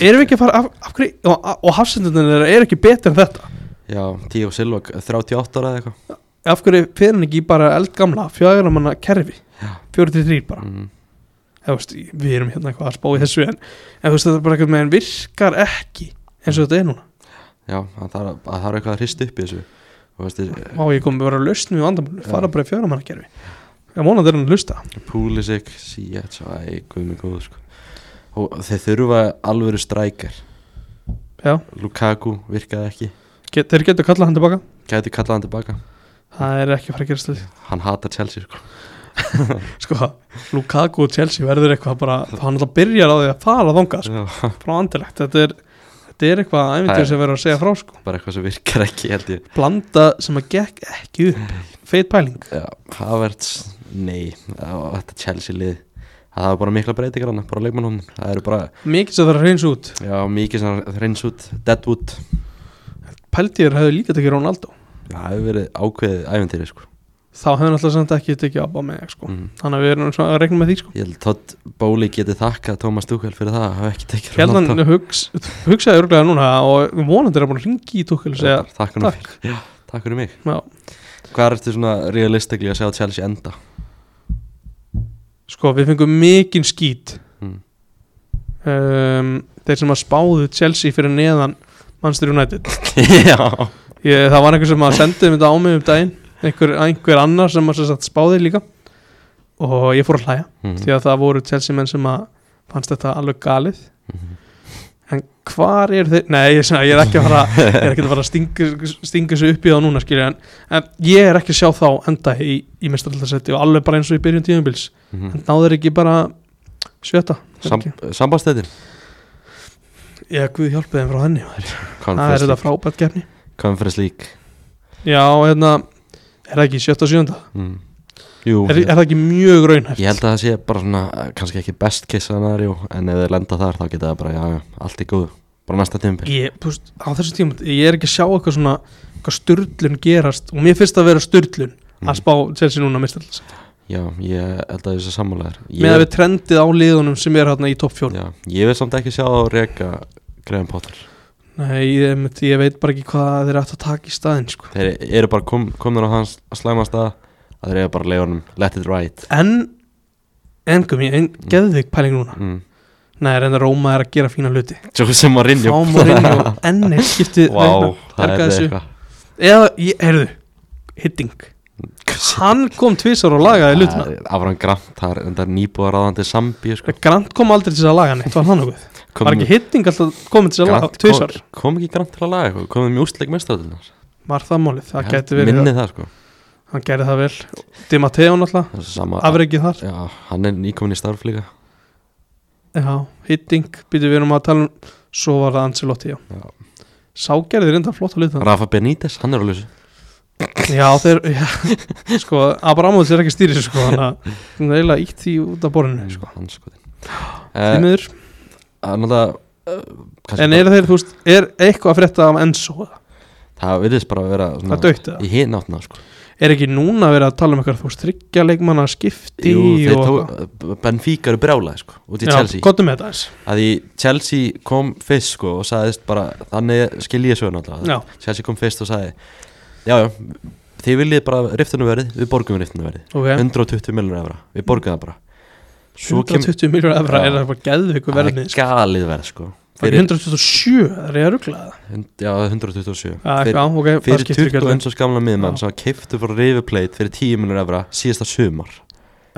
[SPEAKER 2] erum við ekki að fara, af, af hverju, og, og hafsendunir þeirra er ekki betur en þetta
[SPEAKER 1] já, Tíu Silva, 38 ára eða eitthvað
[SPEAKER 2] af hverju fyrir hann ekki í bara eldgamla fjögur manna kerfi,
[SPEAKER 1] Já.
[SPEAKER 2] 43 bara
[SPEAKER 1] mm,
[SPEAKER 2] eða, þú veist, við erum hérna eitthvað að spá í þessu en, en þú veist, þetta er bara eitthvað með hann virkar ekki eins og þetta er núna
[SPEAKER 1] já, það þarf það þarf eitthvað að hrista upp í þessu og veist, þessi-
[SPEAKER 2] má ég komið bara að lausnum í vandamálinu,
[SPEAKER 1] Já.
[SPEAKER 2] fara bara í fjögur manna kerfi ég vonandi er hann að lusta
[SPEAKER 1] Pulisic, Sietz Æ, guð mig góð sko. og þeir þurfa alvöru strækjar
[SPEAKER 2] Já.
[SPEAKER 1] Lukaku virkaði ekki
[SPEAKER 2] Get, þeir getur kallað hann tilbaka
[SPEAKER 1] gæti kallað hann tilbaka
[SPEAKER 2] það er ekki að fara að gerast til
[SPEAKER 1] hann hatar Chelsea sko.
[SPEAKER 2] sko, Lukaku og Chelsea verður eitthvað bara, hann alltaf byrjar á því að fara þangað, sko,
[SPEAKER 1] Já,
[SPEAKER 2] frá andilegt þetta er, þetta er eitthvað æfintur
[SPEAKER 1] Það-
[SPEAKER 2] sem verður að segja frá sko,
[SPEAKER 1] bara eitthvað sem virkar ekki held ég
[SPEAKER 2] blanda sem að gekk ekki upp, feit pæling
[SPEAKER 1] Já, Havertz, nei og þetta Chelsea lið það var bara mikla breytingar hann, bara leikmannhóðin það eru bara,
[SPEAKER 2] mikið sem það reyns út,
[SPEAKER 1] já, mikið sem reyns út Deadwood,
[SPEAKER 2] Peltier hefur líka tekið Ronaldo
[SPEAKER 1] það hefur verið ákveðið æfintýri sko
[SPEAKER 2] þá hefur náttúrulega samt ekki tekið abba með sko.
[SPEAKER 1] Mm.
[SPEAKER 2] þannig að við erum svona að regna með því sko.
[SPEAKER 1] Ég held Todd Bóli geti þakkað Thomas Tuchel fyrir það að hafa ekki tekið
[SPEAKER 2] hérna hugs, hugsaði örglega núna og vonandi er að búin að ringi í Tukkel og segja
[SPEAKER 1] Takk fyrir
[SPEAKER 2] takk
[SPEAKER 1] Já, Takk fyrir mig
[SPEAKER 2] Já.
[SPEAKER 1] Hvað ertu svona realistikli að sjá Chelsea
[SPEAKER 2] <laughs>
[SPEAKER 1] enda?
[SPEAKER 2] sko við fengum mikinn skít
[SPEAKER 1] Mm.
[SPEAKER 2] um, þeir sem að spáðu Chelsea fyrir neðan Manchester United
[SPEAKER 1] Já
[SPEAKER 2] ég, það var einhver sem að sendi um þetta á mig um daginn einhver, einhver annar sem að sem sagt spáði líka og ég fór að hlæja
[SPEAKER 1] Mhm.
[SPEAKER 2] því að það voru Chelsea menn sem að fannst þetta alveg galið
[SPEAKER 1] Mhm.
[SPEAKER 2] en hvar er þeir nei, ég, er svona- ég er ekki að fara, ég er ekki að fara að stinga, stinga sig upp í þá núna skilja en, en ég er ekki að sjá þá enda í, í mestarallarsetti og alveg bara eins og í byrjun tíðanbils en náður ekki bara sjötta
[SPEAKER 1] Mhm. Sam, Sambastættin
[SPEAKER 2] ég guð hjálpið þeim frá henni maður. það er
[SPEAKER 1] Conference,
[SPEAKER 2] þetta
[SPEAKER 1] League.
[SPEAKER 2] frábært gefni
[SPEAKER 1] Conference League
[SPEAKER 2] já, hérna, er það ekki sjötta og sjönda
[SPEAKER 1] mm. Jú
[SPEAKER 2] er, er það ekki mjög raunhæft
[SPEAKER 1] Ég held að það sé bara svona eh, kannski ekki best kiss scenario en ef þið lenda þar þá geta það bara já, já, allt í góðu bara næsta tímpil
[SPEAKER 2] ég, þú veist, á þessu tíma ég er ekki að sjá eitthvað svona eitthvað styrlun gerast og mér finnst að vera styrlun
[SPEAKER 1] Mm.
[SPEAKER 2] að spá Chelsea núna mistallins
[SPEAKER 1] Já, ég held að þessi sammálaðir
[SPEAKER 2] með að við trendið á liðunum sem er hérna í topp fjórum
[SPEAKER 1] Já, ég vil samt ekki sjá það reka Graham Potter
[SPEAKER 2] nei, ég, einmitt, ég veit bara ekki hvað þeir ættu að taka í staðinn sko.
[SPEAKER 1] Þeir eru bara kom, komnir á hans slæmasta að þeir eru bara leiðunum let it ride
[SPEAKER 2] en engum, ég en, geði þig pæling núna
[SPEAKER 1] mm.
[SPEAKER 2] nei, reynda Róma er að gera fína hluti
[SPEAKER 1] Svo sem að rinja
[SPEAKER 2] frá
[SPEAKER 1] <laughs>
[SPEAKER 2] Mourinho, enn er skiptið
[SPEAKER 1] Vá, það
[SPEAKER 2] Helga
[SPEAKER 1] er
[SPEAKER 2] þessu.
[SPEAKER 1] eitthvað
[SPEAKER 2] eða, ég, heyrðu, hitting hann kom tvisar og lagaði hlutina
[SPEAKER 1] Afran Grant, það er enda nýbúðar aðandi sambíu sko.
[SPEAKER 2] Grant kom aldrei til þess að laga hann var hann okkur
[SPEAKER 1] Kom-
[SPEAKER 2] var ekki hitting alltaf komið til að laga
[SPEAKER 1] Grant-
[SPEAKER 2] tvisar
[SPEAKER 1] kom, kom ekki Grant til að laga eitthvað komið mjústleik mestaröldunar
[SPEAKER 2] var það málið, það gæti verið
[SPEAKER 1] minni það sko
[SPEAKER 2] hann gerði það vel, Di Matteo náttúrulega
[SPEAKER 1] Það er sama,
[SPEAKER 2] afreikið þar,
[SPEAKER 1] já, hann er nýkomin í starf líka
[SPEAKER 2] já, hitting býtu við erum að tala um, svo var það Ancelotti, já,
[SPEAKER 1] Já.
[SPEAKER 2] sá gerði reynda flott að luta
[SPEAKER 1] Rafa Benítez, hann er á lausu
[SPEAKER 2] já, þeir, já, <laughs> sko Abramovits er ekki stýrið, sko þannig að það er eiginlega ítt því út af borðinu sko.
[SPEAKER 1] hann sko
[SPEAKER 2] Því
[SPEAKER 1] uh,
[SPEAKER 2] miður.
[SPEAKER 1] annað, uh,
[SPEAKER 2] Eh, en eru þeir, þú veist, er eitthvað að frétta af Enzo, eða?
[SPEAKER 1] það virðist bara að vera
[SPEAKER 2] það dögt það
[SPEAKER 1] í hinn áttuna sko.
[SPEAKER 2] er ekki núna að vera að tala um eitthvað, þú veist, tryggja leikmanna skipti
[SPEAKER 1] Jú, þeir
[SPEAKER 2] og eitthvað?
[SPEAKER 1] tók- Benfica eru brjálaði sko, út í
[SPEAKER 2] já,
[SPEAKER 1] Chelsea
[SPEAKER 2] gottum með þetta eins
[SPEAKER 1] að því Chelsea kom fyrst sko og sagðist bara, þannig skil ég söguna alltaf
[SPEAKER 2] Já.
[SPEAKER 1] Chelsea kom fyrst og sagði já, já, þið viljið bara riftunaverið, við borgum riftunaverið
[SPEAKER 2] okay.
[SPEAKER 1] 120 miljonar evra, við borgum það bara Svo kem-
[SPEAKER 2] 120 miljónu
[SPEAKER 1] Já.
[SPEAKER 2] efra er það bara geðviku
[SPEAKER 1] það er
[SPEAKER 2] verðni
[SPEAKER 1] galið verð sko
[SPEAKER 2] fyrir 127, það er ég að ruggla það
[SPEAKER 1] hund- já, 127
[SPEAKER 2] Já,
[SPEAKER 1] Fyrir-
[SPEAKER 2] já, ok, það
[SPEAKER 1] fyrir
[SPEAKER 2] skiptir ekki
[SPEAKER 1] 21
[SPEAKER 2] öllu.
[SPEAKER 1] eins og skamla miðmann
[SPEAKER 2] Já.
[SPEAKER 1] sem keiftu frá River Plate fyrir 10 miljonar evra síðasta sumar,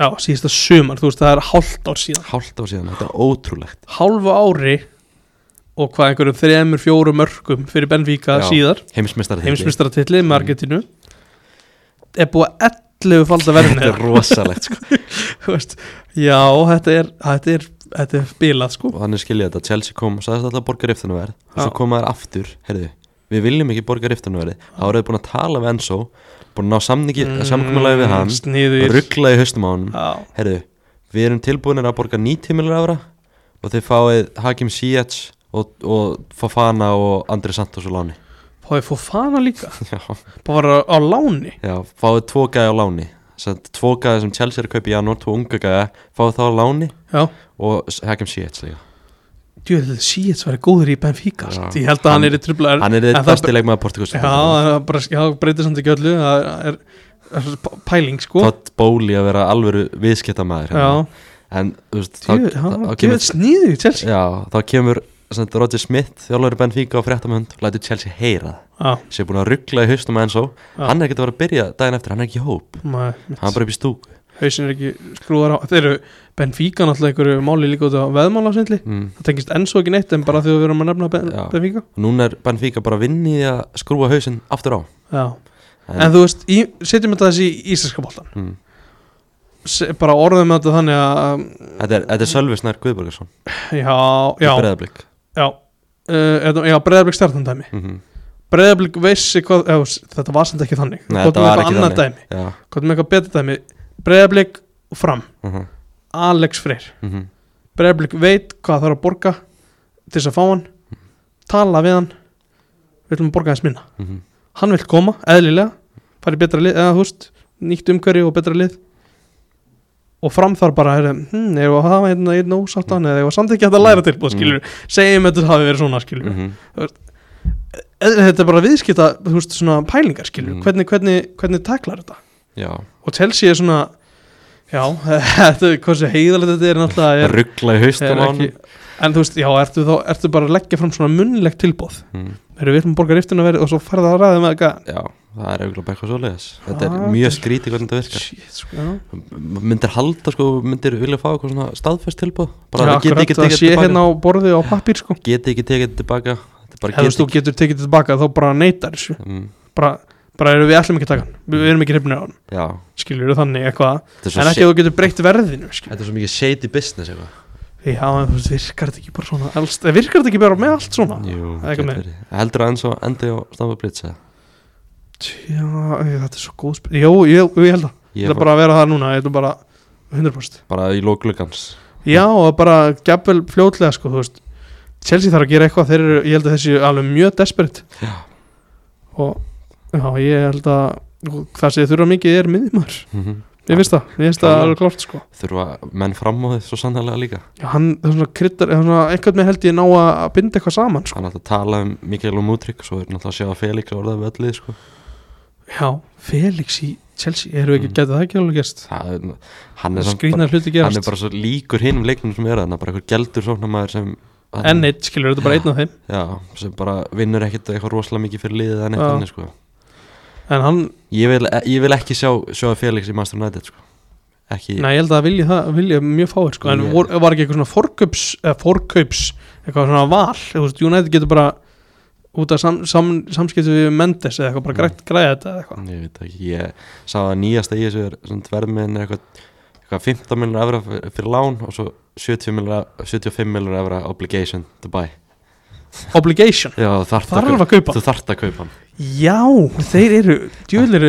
[SPEAKER 2] Já, síðasta sumar, þú veist, það er hálft ár síðan
[SPEAKER 1] hálft á síðan þetta er ótrúlegt
[SPEAKER 2] Hálfu ári og hvað einhverjum þremur, fjórum mörgum fyrir Benfica
[SPEAKER 1] Já.
[SPEAKER 2] síðar
[SPEAKER 1] heimsmeistar
[SPEAKER 2] heimsmyndstaratilli með Argentínu er búið að 11 falda verðinni
[SPEAKER 1] þetta er rosalegt sko
[SPEAKER 2] Já, þetta er, þetta er, þetta er bilað sko
[SPEAKER 1] og þannig skilja þetta, Chelsea kom og sagðist alltaf að borga riftunaverð og svo
[SPEAKER 2] Já.
[SPEAKER 1] koma þær aftur, heyrðu við viljum ekki borga riftunaverði, þá eru þau búin að tala við Enzo, búin að ná samningi mm, samkomulagi við hann,
[SPEAKER 2] Sniður
[SPEAKER 1] ruggla í haustum á hann
[SPEAKER 2] Já,
[SPEAKER 1] heyrðu, við erum tilbúinir að borga 90 miljonar evra og þið fáið Hakim Ziyech og, og Fafana og Andri Santos og Láni <laughs>
[SPEAKER 2] fáið Fofana líka
[SPEAKER 1] já,
[SPEAKER 2] Bara á láni
[SPEAKER 1] já, fáið tvo gæði á Láni Sett, tvo gæði sem Chelsea er að kaupa í janúar, tvo unga gæði fáið þá á Láni
[SPEAKER 2] Já,
[SPEAKER 1] og S- Hakim Ziyech líka
[SPEAKER 2] djúðið síðan verið góður í Benfica
[SPEAKER 1] Já.
[SPEAKER 2] sko. Ég held að hann
[SPEAKER 1] Hann-
[SPEAKER 2] er í trublar
[SPEAKER 1] hann er
[SPEAKER 2] en
[SPEAKER 1] þitt
[SPEAKER 2] það-
[SPEAKER 1] besti leikmaður Portugals
[SPEAKER 2] Já, það er bara, já, breytir samt ekki öllu Það er, er pæling sko
[SPEAKER 1] Todd Bowley að vera alvöru viðskiptamaður
[SPEAKER 2] Já,
[SPEAKER 1] hérna. en þú veist, þá,
[SPEAKER 2] djöð,
[SPEAKER 1] þá, þá
[SPEAKER 2] djöð
[SPEAKER 1] kemur
[SPEAKER 2] sniðu Chelsea
[SPEAKER 1] já, þá kemur sem, Roger Smith, þjálfur Benfica og fréttamönd lætur Chelsea heyra það
[SPEAKER 2] Já,
[SPEAKER 1] sem er búin að ruggla í haustum að Enzo
[SPEAKER 2] Já.
[SPEAKER 1] hann er ekkert að vera að byrja daginn eftir, hann er ekki í hóp hann er
[SPEAKER 2] maður
[SPEAKER 1] bara upp í stúku
[SPEAKER 2] Hauðsinn er ekki skrúðar á Þeir eru Benfica náttúrulega einhverju máli líka út á veðmálasindli
[SPEAKER 1] mm.
[SPEAKER 2] Það tengist enn svo ekki neitt en bara því að við erum að nefna ben,
[SPEAKER 1] Já.
[SPEAKER 2] Benfica
[SPEAKER 1] og núna er Benfica bara að vinni í að skrúa hausinn aftur á
[SPEAKER 2] Já
[SPEAKER 1] En-
[SPEAKER 2] En, þú veist, í, setjum þetta þessi í íslenska bóltan
[SPEAKER 1] mm.
[SPEAKER 2] Bara orðum þetta þannig að um,
[SPEAKER 1] þetta er, þetta er Sölvi Snær Guðbergarsson
[SPEAKER 2] Já,
[SPEAKER 1] í
[SPEAKER 2] já,
[SPEAKER 1] breðablík
[SPEAKER 2] já Uh, eða- já, breyðarblik stjartandæmi
[SPEAKER 1] mm -hmm.
[SPEAKER 2] breyðarblik vissi hvað eða, þú veist, þetta var samt ekki þannig
[SPEAKER 1] Nei,
[SPEAKER 2] Hvort
[SPEAKER 1] þetta
[SPEAKER 2] með
[SPEAKER 1] var
[SPEAKER 2] eitthvað
[SPEAKER 1] ekki
[SPEAKER 2] annað
[SPEAKER 1] þannig.
[SPEAKER 2] dæmi
[SPEAKER 1] já,
[SPEAKER 2] hvað með eitthvað betur dæmi breyðarblik og fram
[SPEAKER 1] mm -hmm.
[SPEAKER 2] Alex Freyr
[SPEAKER 1] Mm -hmm.
[SPEAKER 2] Breiðarblik veit hvað þarf að borga til þess að fá hann tala við hann
[SPEAKER 1] mhm,
[SPEAKER 2] við ætlum að borga þess minna hann vil koma, eðlilega, fara í betra lið eða þú veist, nýtt umhverju og betra lið og fram þar bara er, hm, eða að hafa einn einn ósáttan eða eða samt ekki hægt að læra til mm.
[SPEAKER 1] Mm.
[SPEAKER 2] skilur, segjum þetta hafi verið svona skilur mm.
[SPEAKER 1] Mhm.
[SPEAKER 2] Eh, þetta er bara viðskipta þú veist, svona pælingar skilur
[SPEAKER 1] Mm.
[SPEAKER 2] hvernig, hvernig, hvernig taklar þetta
[SPEAKER 1] Já,
[SPEAKER 2] og Chelsea er svona já, <laughs> þetta er hversu heiðalegt þetta er náttúrulega er,
[SPEAKER 1] ruggla í haustum
[SPEAKER 2] er
[SPEAKER 1] á hann
[SPEAKER 2] ekki, en þú veist, já, ertu, þá, ertu bara að leggja fram svona munnlegt tilbóð
[SPEAKER 1] mm.
[SPEAKER 2] Heyrðu, við ætlum að borga riftinu að verið og svo farða að ræða með eitthvað
[SPEAKER 1] Já, það er auðvitað bara eitthvað svoleiðis Þetta er
[SPEAKER 2] Ah,
[SPEAKER 1] mjög
[SPEAKER 2] þetta er-
[SPEAKER 1] skrítið hvernig þetta virkar
[SPEAKER 2] Shit, sko, já.
[SPEAKER 1] M- Myndir halda sko, myndir vilja fá eitthvað svona staðfest tilbúð
[SPEAKER 2] Já,
[SPEAKER 1] Bara geti
[SPEAKER 2] akkurat,
[SPEAKER 1] ekki
[SPEAKER 2] það
[SPEAKER 1] tekið
[SPEAKER 2] sé
[SPEAKER 1] þetta
[SPEAKER 2] hérna
[SPEAKER 1] tilbaka
[SPEAKER 2] á borði á pappír sko
[SPEAKER 1] Geti ekki tekið þetta tilbaka Þetta er bara
[SPEAKER 2] ef þú
[SPEAKER 1] geti
[SPEAKER 2] getur tekið þetta tilbaka þá bara neytar þessu
[SPEAKER 1] ekki mm.
[SPEAKER 2] bara, bara erum við ætlum ekki að taka hann við við erum ekki hrifnir á hann,
[SPEAKER 1] Já,
[SPEAKER 2] skilur við þannig eitthvað
[SPEAKER 1] þetta er svo,
[SPEAKER 2] en ekki
[SPEAKER 1] shit-
[SPEAKER 2] að þú getur breytt verðinu skilur
[SPEAKER 1] þetta er svo mikið shady business eitthvað
[SPEAKER 2] við já, en þú veist, virkar þetta ekki bara svona alls, eh, virkar þetta ekki bara með allt svona
[SPEAKER 1] Jú,
[SPEAKER 2] það er ekki
[SPEAKER 1] gæti
[SPEAKER 2] með.
[SPEAKER 1] verið. heldur að enn svo endi á Stamford Blitz eða?
[SPEAKER 2] já, eh, þetta er svo góð spil jú, ég, ég held að, ég
[SPEAKER 1] Ég
[SPEAKER 2] ætla
[SPEAKER 1] fór bara,
[SPEAKER 2] bara að vera það núna ég ætla bara 100%
[SPEAKER 1] í lókluggans
[SPEAKER 2] já, og bara gæfvel fljótlega sko, þú veist Chelsea þarf að gera eitthvað, þeir eru, ég held að þessi alveg mjög desperate
[SPEAKER 1] Já.
[SPEAKER 2] og já, ég held að og það sem þið þurfa mikið er miðjumar Ég finnst það, ég finnst það
[SPEAKER 1] Klárlega.
[SPEAKER 2] alveg klart sko
[SPEAKER 1] Mhm. Þurfa menn fram á þið svo sannlega líka
[SPEAKER 2] Já, hann, það er svona kryddar, það er svona eitthvað með held ég ná að að binda eitthvað saman sko
[SPEAKER 1] Hann ætla að tala um Mikael og Mútrygg Svo er náttúrulega að sjá að Felix orðaði völlið sko.
[SPEAKER 2] Já, Felix í Chelsea, eru ekki,
[SPEAKER 1] Mm.
[SPEAKER 2] getur það ekki alveg gerst
[SPEAKER 1] Það er- Hann er samt bara-
[SPEAKER 2] Skrýnar hluti
[SPEAKER 1] hann er
[SPEAKER 2] gerast
[SPEAKER 1] bara svo líkur hinum leiknum sem er þannig bara eitthvað gældur sóknamaður sem
[SPEAKER 2] Enn eitt, skilur, þetta er bara einn af þeim
[SPEAKER 1] já, sem bara vinnur ekkert eitthvað rosalega mikið fyrir liðið en
[SPEAKER 2] Já.
[SPEAKER 1] eitthvað annir sko
[SPEAKER 2] En hann,
[SPEAKER 1] ég vil, ég vil ekki sjá, sjá Felix í Master United sko ekki,
[SPEAKER 2] næ, ég held að vilja það, vilja mjög fáir sko En
[SPEAKER 1] Ég-
[SPEAKER 2] vor, var ekki eitthvað svona forkaups, eða forkaups, eitthvað svona val Þú veist, United getur bara út af sam, sam, samskipti við Mendes eða eitthvað, bara
[SPEAKER 1] Mm.
[SPEAKER 2] grætt græða þetta eða eitthvað
[SPEAKER 1] ég veit ekki ég sá að nýjasta í þessu er svona tvermiðin eitthvað, eitthvað 15 miljonar evra fyrir, fyrir lán og svo 70 miljonar 75 miljonar evra obligation to buy
[SPEAKER 2] Obligation,
[SPEAKER 1] já, þarft
[SPEAKER 2] þar
[SPEAKER 1] að,
[SPEAKER 2] að kaupa
[SPEAKER 1] þú þarft að kaupa hann
[SPEAKER 2] Já, þeir eru, djúðlir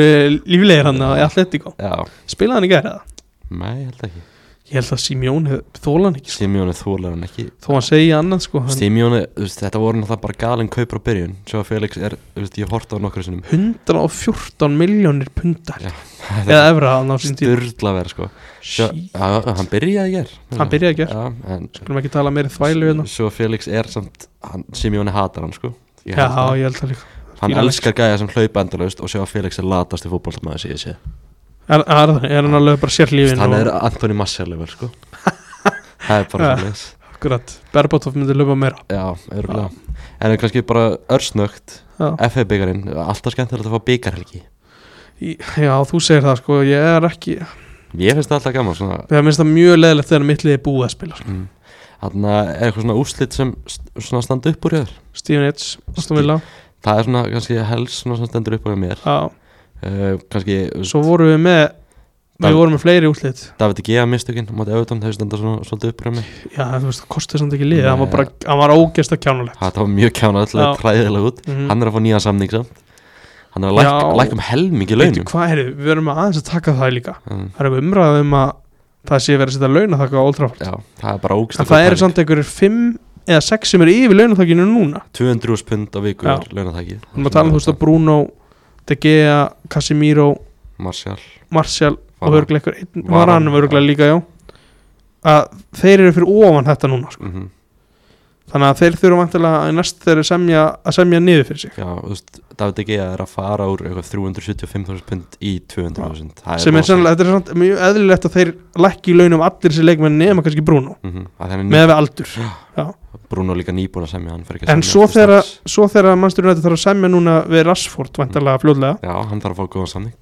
[SPEAKER 2] líflegir hann að Atletico
[SPEAKER 1] já,
[SPEAKER 2] Spilaði hann í gæri það?
[SPEAKER 1] nei, ég held ekki
[SPEAKER 2] Ég held að Simjón þóla hann ekki sko.
[SPEAKER 1] Simjóni þólar hann ekki
[SPEAKER 2] Þó hann segi annað sko hann
[SPEAKER 1] Stímjóni, þetta voru náttúrulega bara galin kaupur á byrjun Sjá að Felix er, þú veist, ég horta á nokkru sinnum
[SPEAKER 2] 114 miljónir pundar
[SPEAKER 1] Já,
[SPEAKER 2] Eða evra hann á sín tíð
[SPEAKER 1] Sturla verð, sko Sjá,
[SPEAKER 2] Shit.
[SPEAKER 1] að, að, Hann byrjaði hér
[SPEAKER 2] Hann byrjaði í gær.
[SPEAKER 1] Já, en
[SPEAKER 2] Skulum ekki tala meiri þvælu hérna
[SPEAKER 1] Sjá að Felix er samt, hann, Stímjóni hatar hann, sko Ég
[SPEAKER 2] Já,
[SPEAKER 1] held það.
[SPEAKER 2] ég held það líka
[SPEAKER 1] Hann
[SPEAKER 2] fíla hann
[SPEAKER 1] elskar gæja sem hlaupa endalaust Og sjá að Felix er latast í fótballtamaður síðan sé
[SPEAKER 2] Er, er, er hann alveg bara sér lífin
[SPEAKER 1] Hann er Antoni Masselever,
[SPEAKER 2] <laughs>
[SPEAKER 1] sko Það er bara
[SPEAKER 2] Já.
[SPEAKER 1] svolítið
[SPEAKER 2] Akkurat, Berbatov myndi löpa meira
[SPEAKER 1] Já, örgulega En kannski bara örsnögt
[SPEAKER 2] Já.
[SPEAKER 1] FA byggarinn, alltaf skemmtilegt að fá byggarhelgi
[SPEAKER 2] Í- Já, þú segir það sko Ég er ekki,
[SPEAKER 1] Ég finnst það alltaf gaman, svona
[SPEAKER 2] það minnst það mjög leðilegt þegar mitt liði er búið að spila sko.
[SPEAKER 1] mm. Þannig að er eitthvað svona úslit sem st- svona standa upp úr hér
[SPEAKER 2] Steven Edge, Aston Villa
[SPEAKER 1] Það er svona kannski helst svona sem stendur upp úr hjá mér
[SPEAKER 2] Já,
[SPEAKER 1] uh, Kannski Svo...
[SPEAKER 2] Svo vorum við með
[SPEAKER 1] Dan-
[SPEAKER 2] Við vorum með fleiri útlit
[SPEAKER 1] David Gea mistökin Mátti auðvitað þau standa svona svolítið upp úr hjá mér
[SPEAKER 2] Já, þú veist, það kostið samt ekki liðið, hann var
[SPEAKER 1] Nei.
[SPEAKER 2] bara, hann var ógesta kjánulegt.
[SPEAKER 1] Það var mjög kjána
[SPEAKER 2] Já.
[SPEAKER 1] alltaf træðilega út
[SPEAKER 2] Mm.
[SPEAKER 1] Hann er að fá nýja samning samt Hann er að læk,
[SPEAKER 2] Já.
[SPEAKER 1] lækka um helming í launum
[SPEAKER 2] Hvað er þið, við verðum að aðeins að taka það líka.
[SPEAKER 1] Mm,
[SPEAKER 2] Það er eitthvað umræðið um að það sé verið að setja launathakka á Old Trafford.
[SPEAKER 1] Já, það er bara ógst
[SPEAKER 2] En það eru samt einhverjir fimm eða sex sem eru yfir launathakinu núna.
[SPEAKER 1] 200 pund á viku
[SPEAKER 2] Já.
[SPEAKER 1] er launatækið
[SPEAKER 2] Við erum að tala um þú veist að Bruno, De Gea, Casemiro,
[SPEAKER 1] Martial
[SPEAKER 2] Martial og
[SPEAKER 1] Varane.
[SPEAKER 2] örglega einhver, einn-
[SPEAKER 1] Varane,
[SPEAKER 2] Varane var örglega líka, já. Að þeir eru fyrir ofan þetta núna, sko.
[SPEAKER 1] Mhm.
[SPEAKER 2] Þannig að þeir þurfa vantilega að næst þeir semja, að semja niður fyrir sig.
[SPEAKER 1] Já, þú veist, David Gea er að fara úr eitthvað 375.000 pund í 200.000 Það
[SPEAKER 2] sem er
[SPEAKER 1] rosalegt.
[SPEAKER 2] sannlega, þetta er samt mjög eðlilegt að þeir lækki í launum allir þessi leikmenn nema kannski Bruno
[SPEAKER 1] Mm -hmm. að hann er
[SPEAKER 2] með við aldur
[SPEAKER 1] Bruno líka nýbúin að semja hann fer ekki að
[SPEAKER 2] en
[SPEAKER 1] semja
[SPEAKER 2] svo
[SPEAKER 1] eftir
[SPEAKER 2] þegar,
[SPEAKER 1] strax.
[SPEAKER 2] svo þegar mannstur nættu þarf að semja núna við Rashford vantarlega fljóðlega,
[SPEAKER 1] Já, hann þarf að fá góðan samning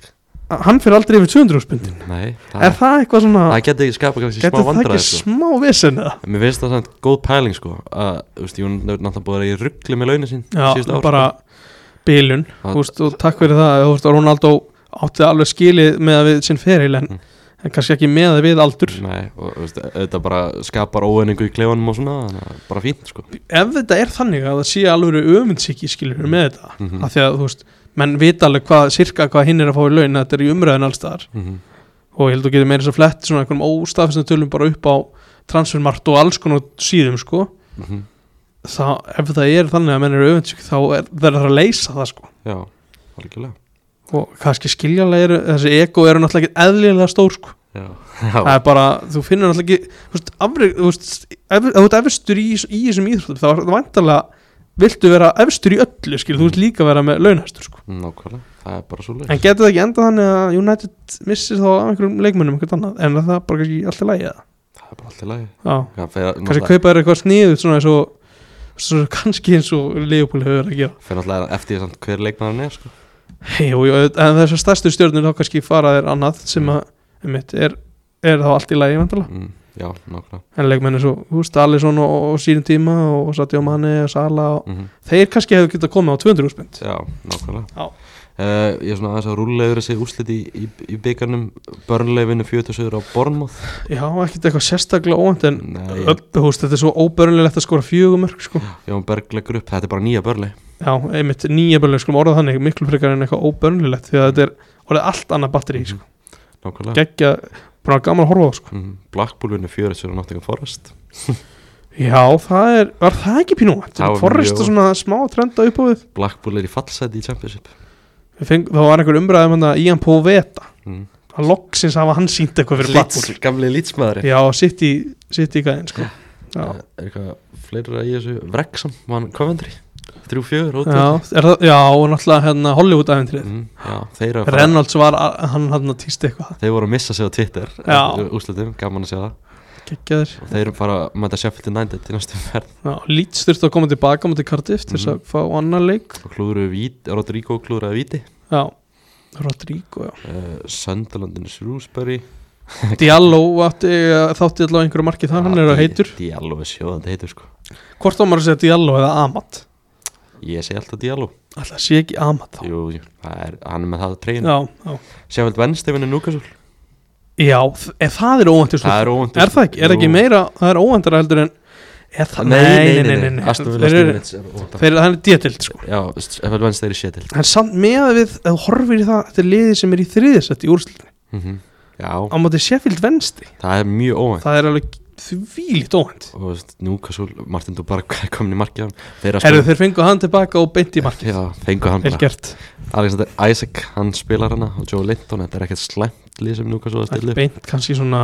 [SPEAKER 2] hann fyrir aldrei yfir 200 spundin,
[SPEAKER 1] Nei, það,
[SPEAKER 2] er það eitthvað svona
[SPEAKER 1] það geti ekki skapa kannski smá
[SPEAKER 2] getur það
[SPEAKER 1] vandræði
[SPEAKER 2] ekki
[SPEAKER 1] sko.
[SPEAKER 2] smá vesen eða
[SPEAKER 1] Mér finnst það samt góð pæling sko að, þú veist, Jón er náttúrulega búið að vera í ruggli með launin sín síðustu
[SPEAKER 2] já,
[SPEAKER 1] ár, sko.
[SPEAKER 2] bara bilun
[SPEAKER 1] Það-
[SPEAKER 2] úst, og takk fyrir það, þú veist, Ronaldo átti alveg skilið með að við sinn feril en,
[SPEAKER 1] Mm.
[SPEAKER 2] en kannski ekki með að við aldur
[SPEAKER 1] sko. Nei, og þú veist, þetta bara skapar óenningu í klefanum og svona þannig að bara fínt sko
[SPEAKER 2] ef þetta er þannig að það sé alveg öfundsíki skilur með þetta
[SPEAKER 1] mm -hmm.
[SPEAKER 2] af því að þú veist, menn vita alveg hvað sirka hvað hinn er að fá í laun þetta er í umræðin allstaðar
[SPEAKER 1] Mhm.
[SPEAKER 2] og ég held að þú getur meira þess að flett svona einhverjum óstafistum tölum bara upp á transfermart og alls konar síðum sko
[SPEAKER 1] Mhm.
[SPEAKER 2] þá, ef það er þannig að menn eru öfundsík þá er, verður það að leysa það sko
[SPEAKER 1] Já, algjörlega
[SPEAKER 2] og kannski skiljanlega eru þessi ego eru náttúrulega ekki eðlilega stór sko.
[SPEAKER 1] já, <laughs>
[SPEAKER 2] það
[SPEAKER 1] já,
[SPEAKER 2] er bara, þú finnur náttúrulega ekki þú veist, afri, þú veist, ef ef þú ert efstur í, í þessum íþróttum, þá er það vantarlega viltu vera efstur í öllu skil, þú vilt líka vera með launhæstur sko.
[SPEAKER 1] nákvæmlega það er bara svo leið
[SPEAKER 2] en getur það ekki endað þannig að United missir þá af einhverjum leikmönnum einhvern annað, en er það bara kannski alltaf lægið
[SPEAKER 1] það er bara allt í lagi
[SPEAKER 2] já,
[SPEAKER 1] Já, fer
[SPEAKER 2] kannski
[SPEAKER 1] náttúrulega-
[SPEAKER 2] kaupa þér eitthvað sniðut svona eins og svo, kannski eins og Leopold hefur verið að gera
[SPEAKER 1] fer náttúrulega eftir því samt hver leikmaðurinn er sko.
[SPEAKER 2] hey, jú, jú, en þessar stærstu stjórnir þá kannski fara þér annað sem að einmitt, er, er þá allt í lægi vandalega
[SPEAKER 1] mm, já, nákvæmlega
[SPEAKER 2] en leikmenn er svo, þú veist, Alisson og, og sínum tíma og Sadio Mane og Sala og,
[SPEAKER 1] mm
[SPEAKER 2] þeir kannski hefur getað komið á 200 úrspund
[SPEAKER 1] já, nákvæmlega
[SPEAKER 2] Já.
[SPEAKER 1] Eh, ég er svona aðeins að rúlegur þessi úslit í, í, í byggarnum börnleifinu 47 á Bornmoth
[SPEAKER 2] já, ekkert eitthvað sérstaklega óvænt en
[SPEAKER 1] Nei,
[SPEAKER 2] öll, þú veist, þetta er svo óbörnilegt að skora fjögumörk sko.
[SPEAKER 1] Jón Berg leggur upp, þetta er bara nýja börnleif
[SPEAKER 2] já, einmitt nýja börnileg skulum orða þannig miklu frekar en eitthvað óbörnilegt því að þetta er orðið allt annað batteri sko.
[SPEAKER 1] Mhm. nákvæmlega
[SPEAKER 2] geggja, bara gaman að horfa á sko.
[SPEAKER 1] mm, Blackpool vinnu 47 á Nottingham Forest
[SPEAKER 2] Já, það er, var það ekki pínúvænt?
[SPEAKER 1] Það var
[SPEAKER 2] Forrest
[SPEAKER 1] mjög-
[SPEAKER 2] er svona smá að trenda upp á við
[SPEAKER 1] Blackpool er í fallseti í Championship
[SPEAKER 2] Við feng, Það var einhver umræðum hann að Ian Poveta
[SPEAKER 1] mm.
[SPEAKER 2] að loksins hafa hann sínt eitthvað fyrir Blackpool
[SPEAKER 1] gamli lýtsmaðurinn
[SPEAKER 2] Já, sitt í, sitt í gæðin sko Já,
[SPEAKER 1] Eh, Er eitthvað fleira í þessu Wrexham, mann Coventry 3-4 út
[SPEAKER 2] já, er það, já og náttúrulega hérna Hollywood-æventrið
[SPEAKER 1] mm, já, þeir eru að fara-
[SPEAKER 2] Reynolds var, að- hann hann að týsti eitthvað
[SPEAKER 1] Þeir voru að missa sig á Twitter
[SPEAKER 2] Já.
[SPEAKER 1] úslitum, gaman að sjá það
[SPEAKER 2] Geggjaður
[SPEAKER 1] og þeir eru bara að mæta Sheffield United í næstu ferð
[SPEAKER 2] Já, Leeds þurfti að koma tilbaka mútið Cardiff
[SPEAKER 1] Mhm.
[SPEAKER 2] til þess að fá annar leik
[SPEAKER 1] og klúðuruðu víti, Rodrigo klúðuruðu víti
[SPEAKER 2] Já,
[SPEAKER 1] <laughs>
[SPEAKER 2] Rodrigo, já
[SPEAKER 1] uh, Sunderlandinu Shrewsbury
[SPEAKER 2] Diallo átti, eh, þátti allavega einhverju markið þar, hann er að heitur
[SPEAKER 1] Diallo er sjóðandi heitur sko
[SPEAKER 2] Hvort á maður að segja Diallo eða Amat?
[SPEAKER 1] Ég segi alltaf Diallo
[SPEAKER 2] Alltaf sé ekki Amat þá
[SPEAKER 1] Jú, jú, það er, hann er með það að treyna
[SPEAKER 2] já, já.
[SPEAKER 1] Sheffield Wednesday vinnur Newcastle
[SPEAKER 2] já ef það er óvænt í
[SPEAKER 1] Það
[SPEAKER 2] slútt
[SPEAKER 1] er óvænt
[SPEAKER 2] er það ekki, er ekki meira það er óvæntara heldur en er það,
[SPEAKER 1] Nei, nei, nei, nei, Aston Villa
[SPEAKER 2] þeir eru
[SPEAKER 1] Stífinits er óvænt
[SPEAKER 2] þeir- það er détild sko
[SPEAKER 1] Já, Sheffield Wednesday er í sétild
[SPEAKER 2] en samt með við, ef þú horfir í það þetta er liðið sem er í þriðisett í úrslutinni
[SPEAKER 1] Já,
[SPEAKER 2] Mhm. á móti Sheffield Vensti
[SPEAKER 1] það er mjög óvænt
[SPEAKER 2] það er alveg þvílít óvænt
[SPEAKER 1] og þú veist, Newcastle, Martin Dubark komin í markið á hann. Þeir eru að
[SPEAKER 2] Herru,
[SPEAKER 1] spila-
[SPEAKER 2] þeir fengu hann tilbaka og beint í markið
[SPEAKER 1] Já, fengu hann
[SPEAKER 2] vel
[SPEAKER 1] bara
[SPEAKER 2] gert,
[SPEAKER 1] Alexander Isaac, hann spilar hana og Joe Linton, þetta er ekkert slæmt lið sem Newcastle er að
[SPEAKER 2] Ekki
[SPEAKER 1] stilla upp.
[SPEAKER 2] beint kannski svona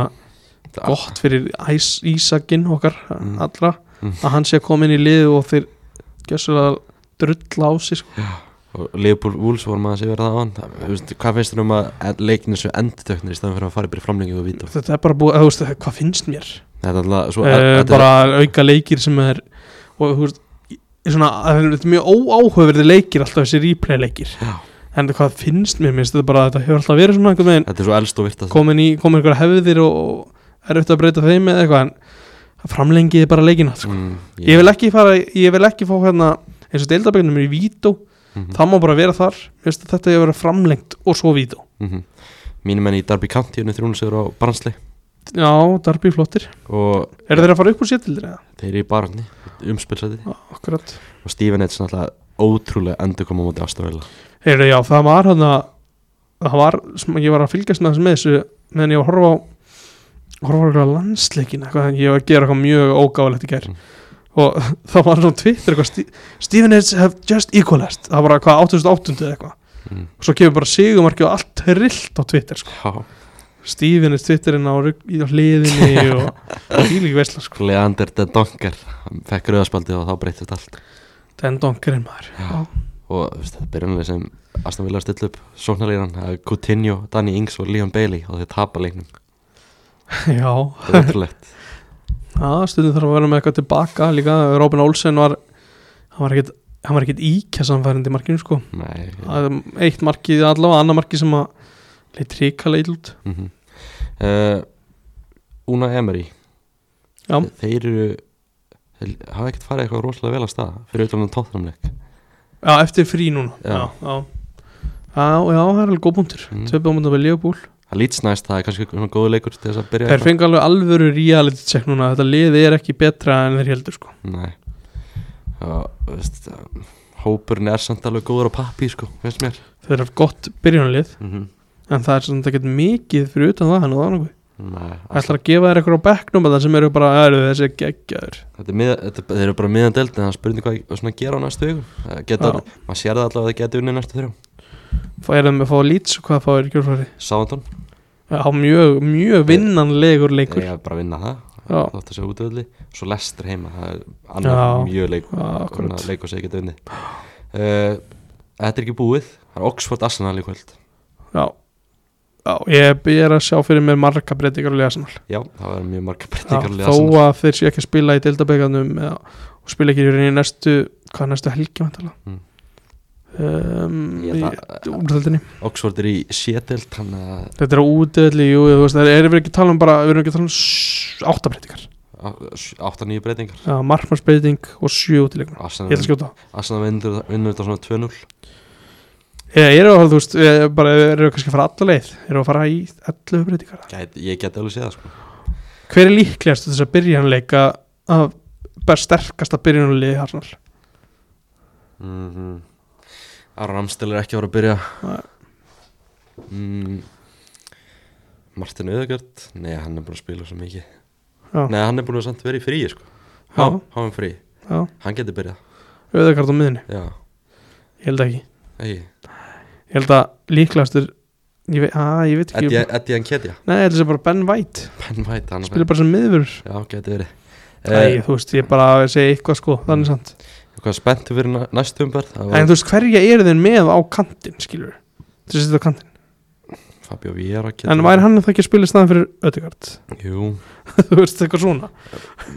[SPEAKER 1] Þetta-
[SPEAKER 2] gott fyrir Æs- Ísakinn okkar
[SPEAKER 1] Mm.
[SPEAKER 2] allra
[SPEAKER 1] Mm.
[SPEAKER 2] að hann sé að koma inn í liðið og þeir gjössulega drull á sig sko.
[SPEAKER 1] og Leopold Wolves voru maður að sé verið það á hann Þú veist, hvað finnst þér um að leikinu svo endutöknir í staðan fyrir að fara upp í framlengi og vítum
[SPEAKER 2] þetta er bara búið, þú veist, hvað finnst mér
[SPEAKER 1] þetta er alltaf svo
[SPEAKER 2] uh,
[SPEAKER 1] þetta er-
[SPEAKER 2] bara auka leikir sem er og þú veist í- svona, það er þetta er mjög óáhugaverði leikir alltaf þessi replay leikir
[SPEAKER 1] Já.
[SPEAKER 2] en hvað finnst mér, minnst þetta bara þetta hefur alltaf verið svona einhvern veginn,
[SPEAKER 1] þetta er svo elst og virtast
[SPEAKER 2] komin í, komin einhverja hefðir og, og er auðvitað að breyta þeim eða eitthvað en framlengiði bara leikina sko.
[SPEAKER 1] mm,
[SPEAKER 2] ég vil ekki fara, ég vil ekki fá hérna eins og deildabegnum er í vító
[SPEAKER 1] mm
[SPEAKER 2] það má bara vera þar, minnst þetta hefur verið framlengt og svo vító
[SPEAKER 1] mínu mhm. menn í Darby County unni þrjónusegur á Barnsley
[SPEAKER 2] já, Darby flottir,
[SPEAKER 1] og
[SPEAKER 2] eru þeir að fara upp úr sétildir eða?
[SPEAKER 1] þeir eru í barni umspilsæti
[SPEAKER 2] Akkurat
[SPEAKER 1] og Steven Edson alltaf ótrúlega endur koma á móti ástafélag
[SPEAKER 2] Heyrðu, já, það var hann að það var, sem ég var að fylgjast með þessu með þessu, meðan ég var að horfa á horfa á eitthvað landsleikin eitthvað, en ég var að gera eitthvað mjög ógáðlegt í gær
[SPEAKER 1] Mm.
[SPEAKER 2] og <laughs> það var svona Twitter eitthvað, "Ste- Steven Edge have just equalized það var bara hvað 8800 eða eitthvað
[SPEAKER 1] mm.
[SPEAKER 2] og svo kemur bara sigumarki og allt trillt á Twitter sko.
[SPEAKER 1] já,
[SPEAKER 2] Steven Edge Twitterinn á, rugg- í- á hliðinni
[SPEAKER 1] <laughs>
[SPEAKER 2] og fílík veisla sko.
[SPEAKER 1] Leander Dendonker hann fekk rauðaspaldið og þá breytist allt
[SPEAKER 2] Dendonkerinn maður
[SPEAKER 1] Já. og þú veist, þetta byrjunlega sem Aston Villa stilla upp sóknarleginan, Coutinho, Danny Ings og Leon Bailey og þeir tapa leiknum
[SPEAKER 2] já,
[SPEAKER 1] það er
[SPEAKER 2] <laughs>
[SPEAKER 1] ótrúlegt
[SPEAKER 2] Já, stundum þarf að vera með eitthvað tilbaka líka, Robin Olsen var hann var ekkit, hann var ekkit íkja samfærandi í markinu sko,
[SPEAKER 1] Nei, ja.
[SPEAKER 2] Það er eitt markið allavega, annar markið sem að leitt ríka leitt út,
[SPEAKER 1] mm uh, Una Emery
[SPEAKER 2] Já.
[SPEAKER 1] þeir eru þeir hafa ekkert farið eitthvað rosalega vel að stað fyrir um auðvitað tóttamleik
[SPEAKER 2] já, eftir frí núna
[SPEAKER 1] Já.
[SPEAKER 2] já, já. Já, já, það er alveg góð búntur
[SPEAKER 1] Mm.
[SPEAKER 2] mm. Tvei búntur með Leopool
[SPEAKER 1] það lýts næst, það er kannski svona góðu leikur til þess að byrja
[SPEAKER 2] Þeir fengi alveg alvöru reality check núna Þetta liði er ekki betra en þeir heldur sko
[SPEAKER 1] Nei og, þú veist, eh, hópurinn er samt alveg góður á pappi sko, veist mér
[SPEAKER 2] Þeir eru gott byrjunalið
[SPEAKER 1] mm -hmm.
[SPEAKER 2] En það er svona ekkert mikið fyrir utan það hérna hann og það er nokkuð
[SPEAKER 1] Nei,
[SPEAKER 2] Það ætlar að gefa þér eitthvað á bekknum Það sem eru bara, eru þessi geggjaður
[SPEAKER 1] Þetta er mið, þetta, er- þeir eru bara miðan delt en það er spurning hvað svona gera á næstu vikum Það geta,
[SPEAKER 2] Já.
[SPEAKER 1] maður sér það allavega að það geti unni næstu þrjá
[SPEAKER 2] er það með að fá lýts og hvað fá er kjölfari
[SPEAKER 1] Sándón,
[SPEAKER 2] á mjög, mjög vinnanlegur
[SPEAKER 1] ég
[SPEAKER 2] leikur
[SPEAKER 1] er bara að vinna það
[SPEAKER 2] já,
[SPEAKER 1] þótt að segja útvöldi, svo lestur heima það er
[SPEAKER 2] Já.
[SPEAKER 1] annar mjög leik
[SPEAKER 2] Já, akkurat.
[SPEAKER 1] annar leik og segja geta unni uh, Þetta er ekki búið það er Oxford Arsenal í kvöld
[SPEAKER 2] já já, ég, ég er að sjá fyrir mér marga breytingar og lesanál
[SPEAKER 1] Já, það verður mjög marga
[SPEAKER 2] Já,
[SPEAKER 1] breytingar
[SPEAKER 2] þó að þeir séu ekki að spila í deildabeganum eða, og spila ekki í rauninni næstu hvað er næstu helgi vantala
[SPEAKER 1] Mm. Ég
[SPEAKER 2] um,
[SPEAKER 1] held að-
[SPEAKER 2] úrþöldinni
[SPEAKER 1] Oxford er í sételt þannig að
[SPEAKER 2] þetta er útvelli, jú, þú veist það erum við ekki að tala um bara, við erum ekki að tala um áttabreitingar,
[SPEAKER 1] átta nýju breytingar
[SPEAKER 2] já, markmannsbreiting og sjö útileikuna, ég ætla að
[SPEAKER 1] Arsenal,
[SPEAKER 2] skjóta
[SPEAKER 1] Arsenal vinnur, vinnur þetta svona 2-0
[SPEAKER 2] ég er að fara, þú veist, ég, bara erum við kannski að fara alla leið, erum við að fara í 11 breytingar
[SPEAKER 1] Gæt, ég geti alveg séð það sko
[SPEAKER 2] hver er líklegast til þess að byrjanleika að bara sterkasta byrjanleika Arsenal,
[SPEAKER 1] mm -hmm. Aron Amstel er ekki að fara að byrja
[SPEAKER 2] Nei.
[SPEAKER 1] mm, Martin Öðegard nei hann er búin að spila svo mikið
[SPEAKER 2] Já.
[SPEAKER 1] nei hann er búin að samt vera í fríi sko
[SPEAKER 2] Já.
[SPEAKER 1] hann er frí,
[SPEAKER 2] já,
[SPEAKER 1] hann geti byrjað
[SPEAKER 2] auðvitað á miðinni,
[SPEAKER 1] já,
[SPEAKER 2] ég held ekki
[SPEAKER 1] ekki
[SPEAKER 2] ég held að líklegastur ég veit, að, ég veit ekki
[SPEAKER 1] Eddie Eddie Nketiah,
[SPEAKER 2] nei, ég held að það er bara Ben White
[SPEAKER 1] Ben White hann er
[SPEAKER 2] spilur bara sem miðvörur
[SPEAKER 1] já geti verið
[SPEAKER 2] Æ,
[SPEAKER 1] Eh, Mm.
[SPEAKER 2] þú veist, ég bara að segja eitthvað sko, þannig sant
[SPEAKER 1] Hvað spenntu fyrir na- næstu umberð Það
[SPEAKER 2] en
[SPEAKER 1] var
[SPEAKER 2] þú veist, hverja eru þeir með á kantinn skilur, þú veist, þetta á kantinn
[SPEAKER 1] Fabio Vieira getur-
[SPEAKER 2] en væri hann þá ekki að spila í staðan fyrir Ödegard
[SPEAKER 1] Jú,
[SPEAKER 2] <laughs> þú veist, eitthvað svona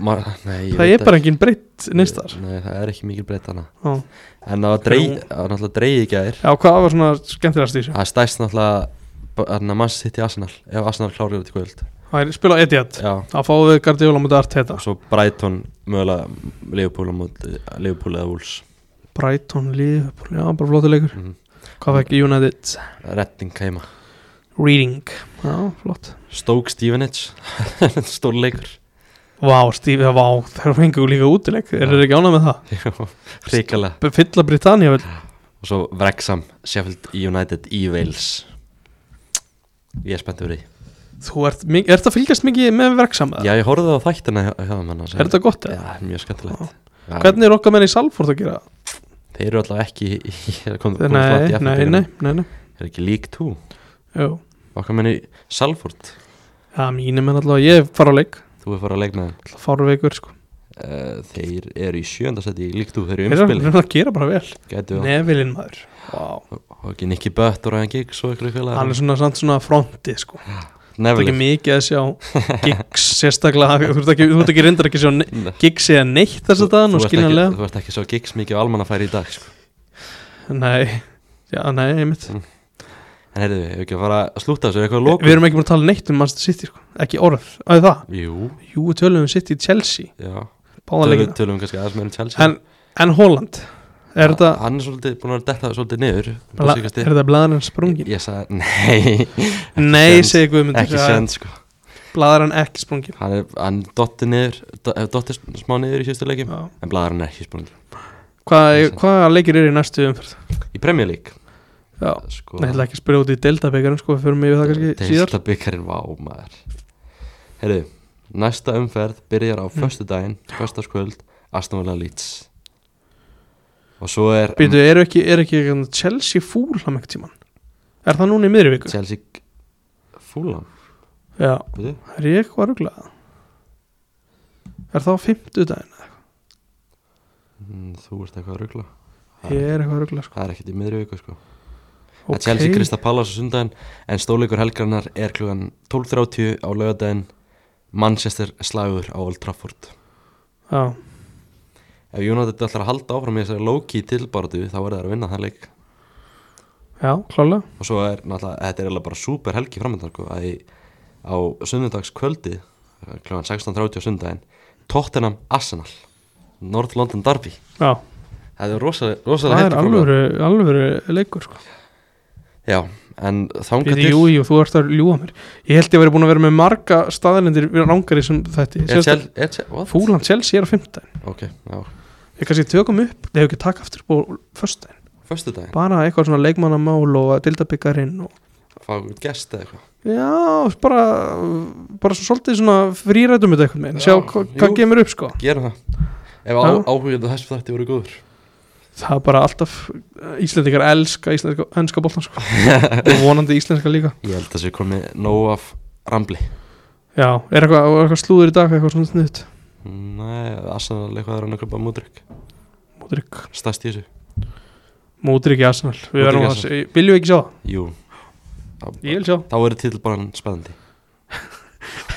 [SPEAKER 1] ma, nei, ég
[SPEAKER 2] það
[SPEAKER 1] veit
[SPEAKER 2] er bara engin breytt neistar
[SPEAKER 1] Nei, það er ekki mikil breytana
[SPEAKER 2] já,
[SPEAKER 1] En það var dreig- það var náttúrulega dreig í gær
[SPEAKER 2] Já, hvað var svona skemmtilegast í þessu
[SPEAKER 1] Það er stæst náttúrulega Þannig að mann sitt í Arsenal Ef Arsenal klárir þetta í kvöld
[SPEAKER 2] það er spila á Etihad
[SPEAKER 1] Já
[SPEAKER 2] þá fáum við Guardiola mútið Arteta
[SPEAKER 1] Og svo Brighton Mögulega Liverpool á móti Liverpool eða Wolves
[SPEAKER 2] Brighton, Liverpool, já, bara flottu leikur
[SPEAKER 1] Mhm.
[SPEAKER 2] hvað fekk United
[SPEAKER 1] Redding heima
[SPEAKER 2] Reading, já, flott
[SPEAKER 1] Stoke Stevenage <laughs> Stórleikur
[SPEAKER 2] Vá, Stífi, vá, þeir fengu líka útileik Er þeir ekki ánað með það?
[SPEAKER 1] Ríkala
[SPEAKER 2] B- Fylla Britannia vel
[SPEAKER 1] Og svo Wrexham Sheffield United í Wales Ég er spennt fyrir því
[SPEAKER 2] Þú ert, mik- ert að fylgjast mikið með verksamma
[SPEAKER 1] Já, ég horfði á þættina hjá, hjá manna
[SPEAKER 2] Er þetta gott?
[SPEAKER 1] Já,
[SPEAKER 2] Ja.
[SPEAKER 1] mjög skemmtilegt Já,
[SPEAKER 2] Hvernig er okkar menn í Salford að gera?
[SPEAKER 1] Þeir eru alltaf ekki í- í- <laughs> hérna. kom- komast langt
[SPEAKER 2] Nei,
[SPEAKER 1] í
[SPEAKER 2] nei,
[SPEAKER 1] FA
[SPEAKER 2] nei,
[SPEAKER 1] -byggarnum.
[SPEAKER 2] nei, nei, nei.
[SPEAKER 1] Er ekki lík tú?
[SPEAKER 2] Jú.
[SPEAKER 1] Okkar menni Salford
[SPEAKER 2] Já, mínir menn allavega, ég fara á leik
[SPEAKER 1] Þú er farið að leikna þeim
[SPEAKER 2] Fáru veikur, sko
[SPEAKER 1] Eh, þeir eru í sjöndasæti í líktú, þeir eru
[SPEAKER 2] Þeir eru
[SPEAKER 1] umspili
[SPEAKER 2] þeir eru að gera bara vel
[SPEAKER 1] gætu að,
[SPEAKER 2] Nevilinn maður Vá.
[SPEAKER 1] og ekki Nicky Butt og Ryan Giggs og ykkur félag
[SPEAKER 2] Hann er svona samt svona fronti, sko Það er ekki
[SPEAKER 1] Neville
[SPEAKER 2] mikið að
[SPEAKER 1] <laughs>
[SPEAKER 2] sjá Giggs sérstaklega Þú ert ekki, þú ert ekki reyndar ekki að sjá ne- Giggs eða neitt þess að
[SPEAKER 1] Þú
[SPEAKER 2] dagann og
[SPEAKER 1] ert ekki,
[SPEAKER 2] skiljanlega
[SPEAKER 1] þú ert ekki svo Giggs mikið á almannafæri í dag sko.
[SPEAKER 2] Nei, já, nei, einmitt
[SPEAKER 1] en heyrðu, hefur ekki að fara að slúta þessu eitthvað að
[SPEAKER 2] Við
[SPEAKER 1] lóku
[SPEAKER 2] erum ekki búin að tala neitt um Manchester City sko. ekki orð, að það
[SPEAKER 1] Jú,
[SPEAKER 2] Jú, við tölum um City Chelsea
[SPEAKER 1] já,
[SPEAKER 2] báða
[SPEAKER 1] tölum,
[SPEAKER 2] leikina
[SPEAKER 1] tölum kannski aðeins meira um Chelsea Ah,
[SPEAKER 2] en, en Holland, er þetta
[SPEAKER 1] Hann er svolítið búin að detta svolítið niður
[SPEAKER 2] bla- er þetta blaðarann sprungin?
[SPEAKER 1] Ég, ég sagði, nei,
[SPEAKER 2] Nei,
[SPEAKER 1] séns.
[SPEAKER 2] segi Guðmundur
[SPEAKER 1] ekki send sko
[SPEAKER 2] blaðarann ekki sprungin
[SPEAKER 1] Hann er, hann dotti niður, do- eh, dotti smá niður í síðustu leikim
[SPEAKER 2] Já.
[SPEAKER 1] En blæðar hann ekki spúin
[SPEAKER 2] Hvað
[SPEAKER 1] Ég sé.
[SPEAKER 2] hvaða leikir eru í næstu umferð?
[SPEAKER 1] Í Premier League
[SPEAKER 2] Já,
[SPEAKER 1] sko,
[SPEAKER 2] Nei, ég ætla ekki að spyrja út í Delta-byggarinn sko, við förum yfir það kannski síðar
[SPEAKER 1] Delta byggarinn vá maður Herru, næsta umferð byrjar á mm. föstu daginn, föstaskvöld Aston Villa Leeds Og svo er
[SPEAKER 2] Býtu, eru ekki, er ekki hérna, Chelsea fúlam ekkert tíman? Er það núna í miðri viku?
[SPEAKER 1] Chelsea Fulham
[SPEAKER 2] Já,
[SPEAKER 1] byrju.
[SPEAKER 2] er ég eitthvað ruglað? Er það á fimmtudaginn?
[SPEAKER 1] Mm, Þú ert eitthvað að ruggla
[SPEAKER 2] Ég er eitthvað ruglað sko
[SPEAKER 1] Það er ekkert í miðri viku sko
[SPEAKER 2] Ok.
[SPEAKER 1] okay. Chelsea Krista Pallas á sundaginn En stóleikur helgarinnar er klugan 12.30 á laugardaginn Manchester slagur á Old Trafford
[SPEAKER 2] Já,
[SPEAKER 1] Ef United ætlar að halda áfram í þessari low-key tilbaratu þá verður það að vinna það leik
[SPEAKER 2] já, klálega
[SPEAKER 1] og svo er náttúrulega, þetta er eiginlega bara super helgi framöndan sko, að í, á sunnudagskvöldi eh, kl. 16.30 á sundaginn Tottenham Arsenal North London Derby
[SPEAKER 2] Já,
[SPEAKER 1] það er rosalega, rosalega
[SPEAKER 2] það er
[SPEAKER 1] heitur kóla.
[SPEAKER 2] alvöru, alvöru leikur sko.
[SPEAKER 1] já, en þangað
[SPEAKER 2] Býti,
[SPEAKER 1] til
[SPEAKER 2] jú, jú, þú ert að ljúa mér Ég held ég verið búin að vera með marga staðalendir við rangar í sem
[SPEAKER 1] er
[SPEAKER 2] þetta
[SPEAKER 1] Chel- er Chel- what?
[SPEAKER 2] Fúlan Chelsea er á fimmtudaginn
[SPEAKER 1] ok, já,
[SPEAKER 2] Ég kannski tökum upp, það hefur ekki taka aftur på föstudaginn
[SPEAKER 1] föstudaginn
[SPEAKER 2] Bara eitthvað svona leikmannamál og dildabikkarinn og
[SPEAKER 1] fá einhvern gest eða eitthvað
[SPEAKER 2] Já, bara, bara svo svolítið svona frírætum þetta eitthvað með
[SPEAKER 1] Já,
[SPEAKER 2] Sjá hva,
[SPEAKER 1] jú.
[SPEAKER 2] hvað gemur upp sko
[SPEAKER 1] gerum það ef
[SPEAKER 2] Já. <laughs>
[SPEAKER 1] áhugjönd að þessu þætti voru góður
[SPEAKER 2] það er bara alltaf Íslandingar elska íslenska, enska boltan sko. og vonandi íslenska líka
[SPEAKER 1] Ég held að sé komið nóg af rambli
[SPEAKER 2] já, er eitthvað, er eitthvað slúður í dag eitthvað svona sniðt
[SPEAKER 1] Nei, Arsenal eitthvað er hann að köpa Mudrik
[SPEAKER 2] Módrik,
[SPEAKER 1] Stæst í þessu
[SPEAKER 2] Módrik í Arsenal við
[SPEAKER 1] Modric í
[SPEAKER 2] verðum að,
[SPEAKER 1] Arsenal.
[SPEAKER 2] viljum við ekki sjá það?
[SPEAKER 1] Jú
[SPEAKER 2] ég vil sjá,
[SPEAKER 1] Þá er titlbaran spennandi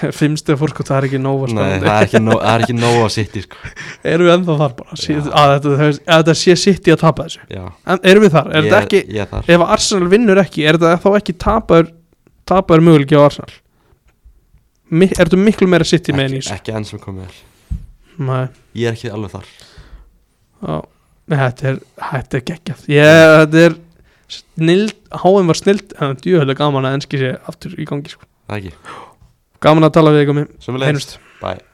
[SPEAKER 2] <laughs> fimmstu fórskot það er ekki nóg
[SPEAKER 1] Nei,
[SPEAKER 2] að spennandi.
[SPEAKER 1] það er ekki nóg, það er ekki nóg að sitt í sko
[SPEAKER 2] <laughs> erum við ennþá þar bara sí,
[SPEAKER 1] Já.
[SPEAKER 2] að, þetta, að þetta sé sitt í að tapa þessu
[SPEAKER 1] Já,
[SPEAKER 2] en, erum við þar, er
[SPEAKER 1] ég,
[SPEAKER 2] þetta ekki
[SPEAKER 1] ég er þar
[SPEAKER 2] ef Arsenal vinnur ekki, er þetta þá ekki tapaður tapaður möguleiki á Arsenal Mi, er þetta miklu meira sitt í meðin í
[SPEAKER 1] ekki,
[SPEAKER 2] þessu
[SPEAKER 1] ekki enn sem komið er
[SPEAKER 2] Nei,
[SPEAKER 1] Ég er ekki alveg þar
[SPEAKER 2] á, nei, þetta er þetta er geggjað ég, þetta er snild, háum var snild en djúhöldu gaman að enski sé aftur í gangi sko.
[SPEAKER 1] Það ekki
[SPEAKER 2] gaman að tala við ykkur mér,
[SPEAKER 1] Sem við
[SPEAKER 2] heyrjumst
[SPEAKER 1] Bye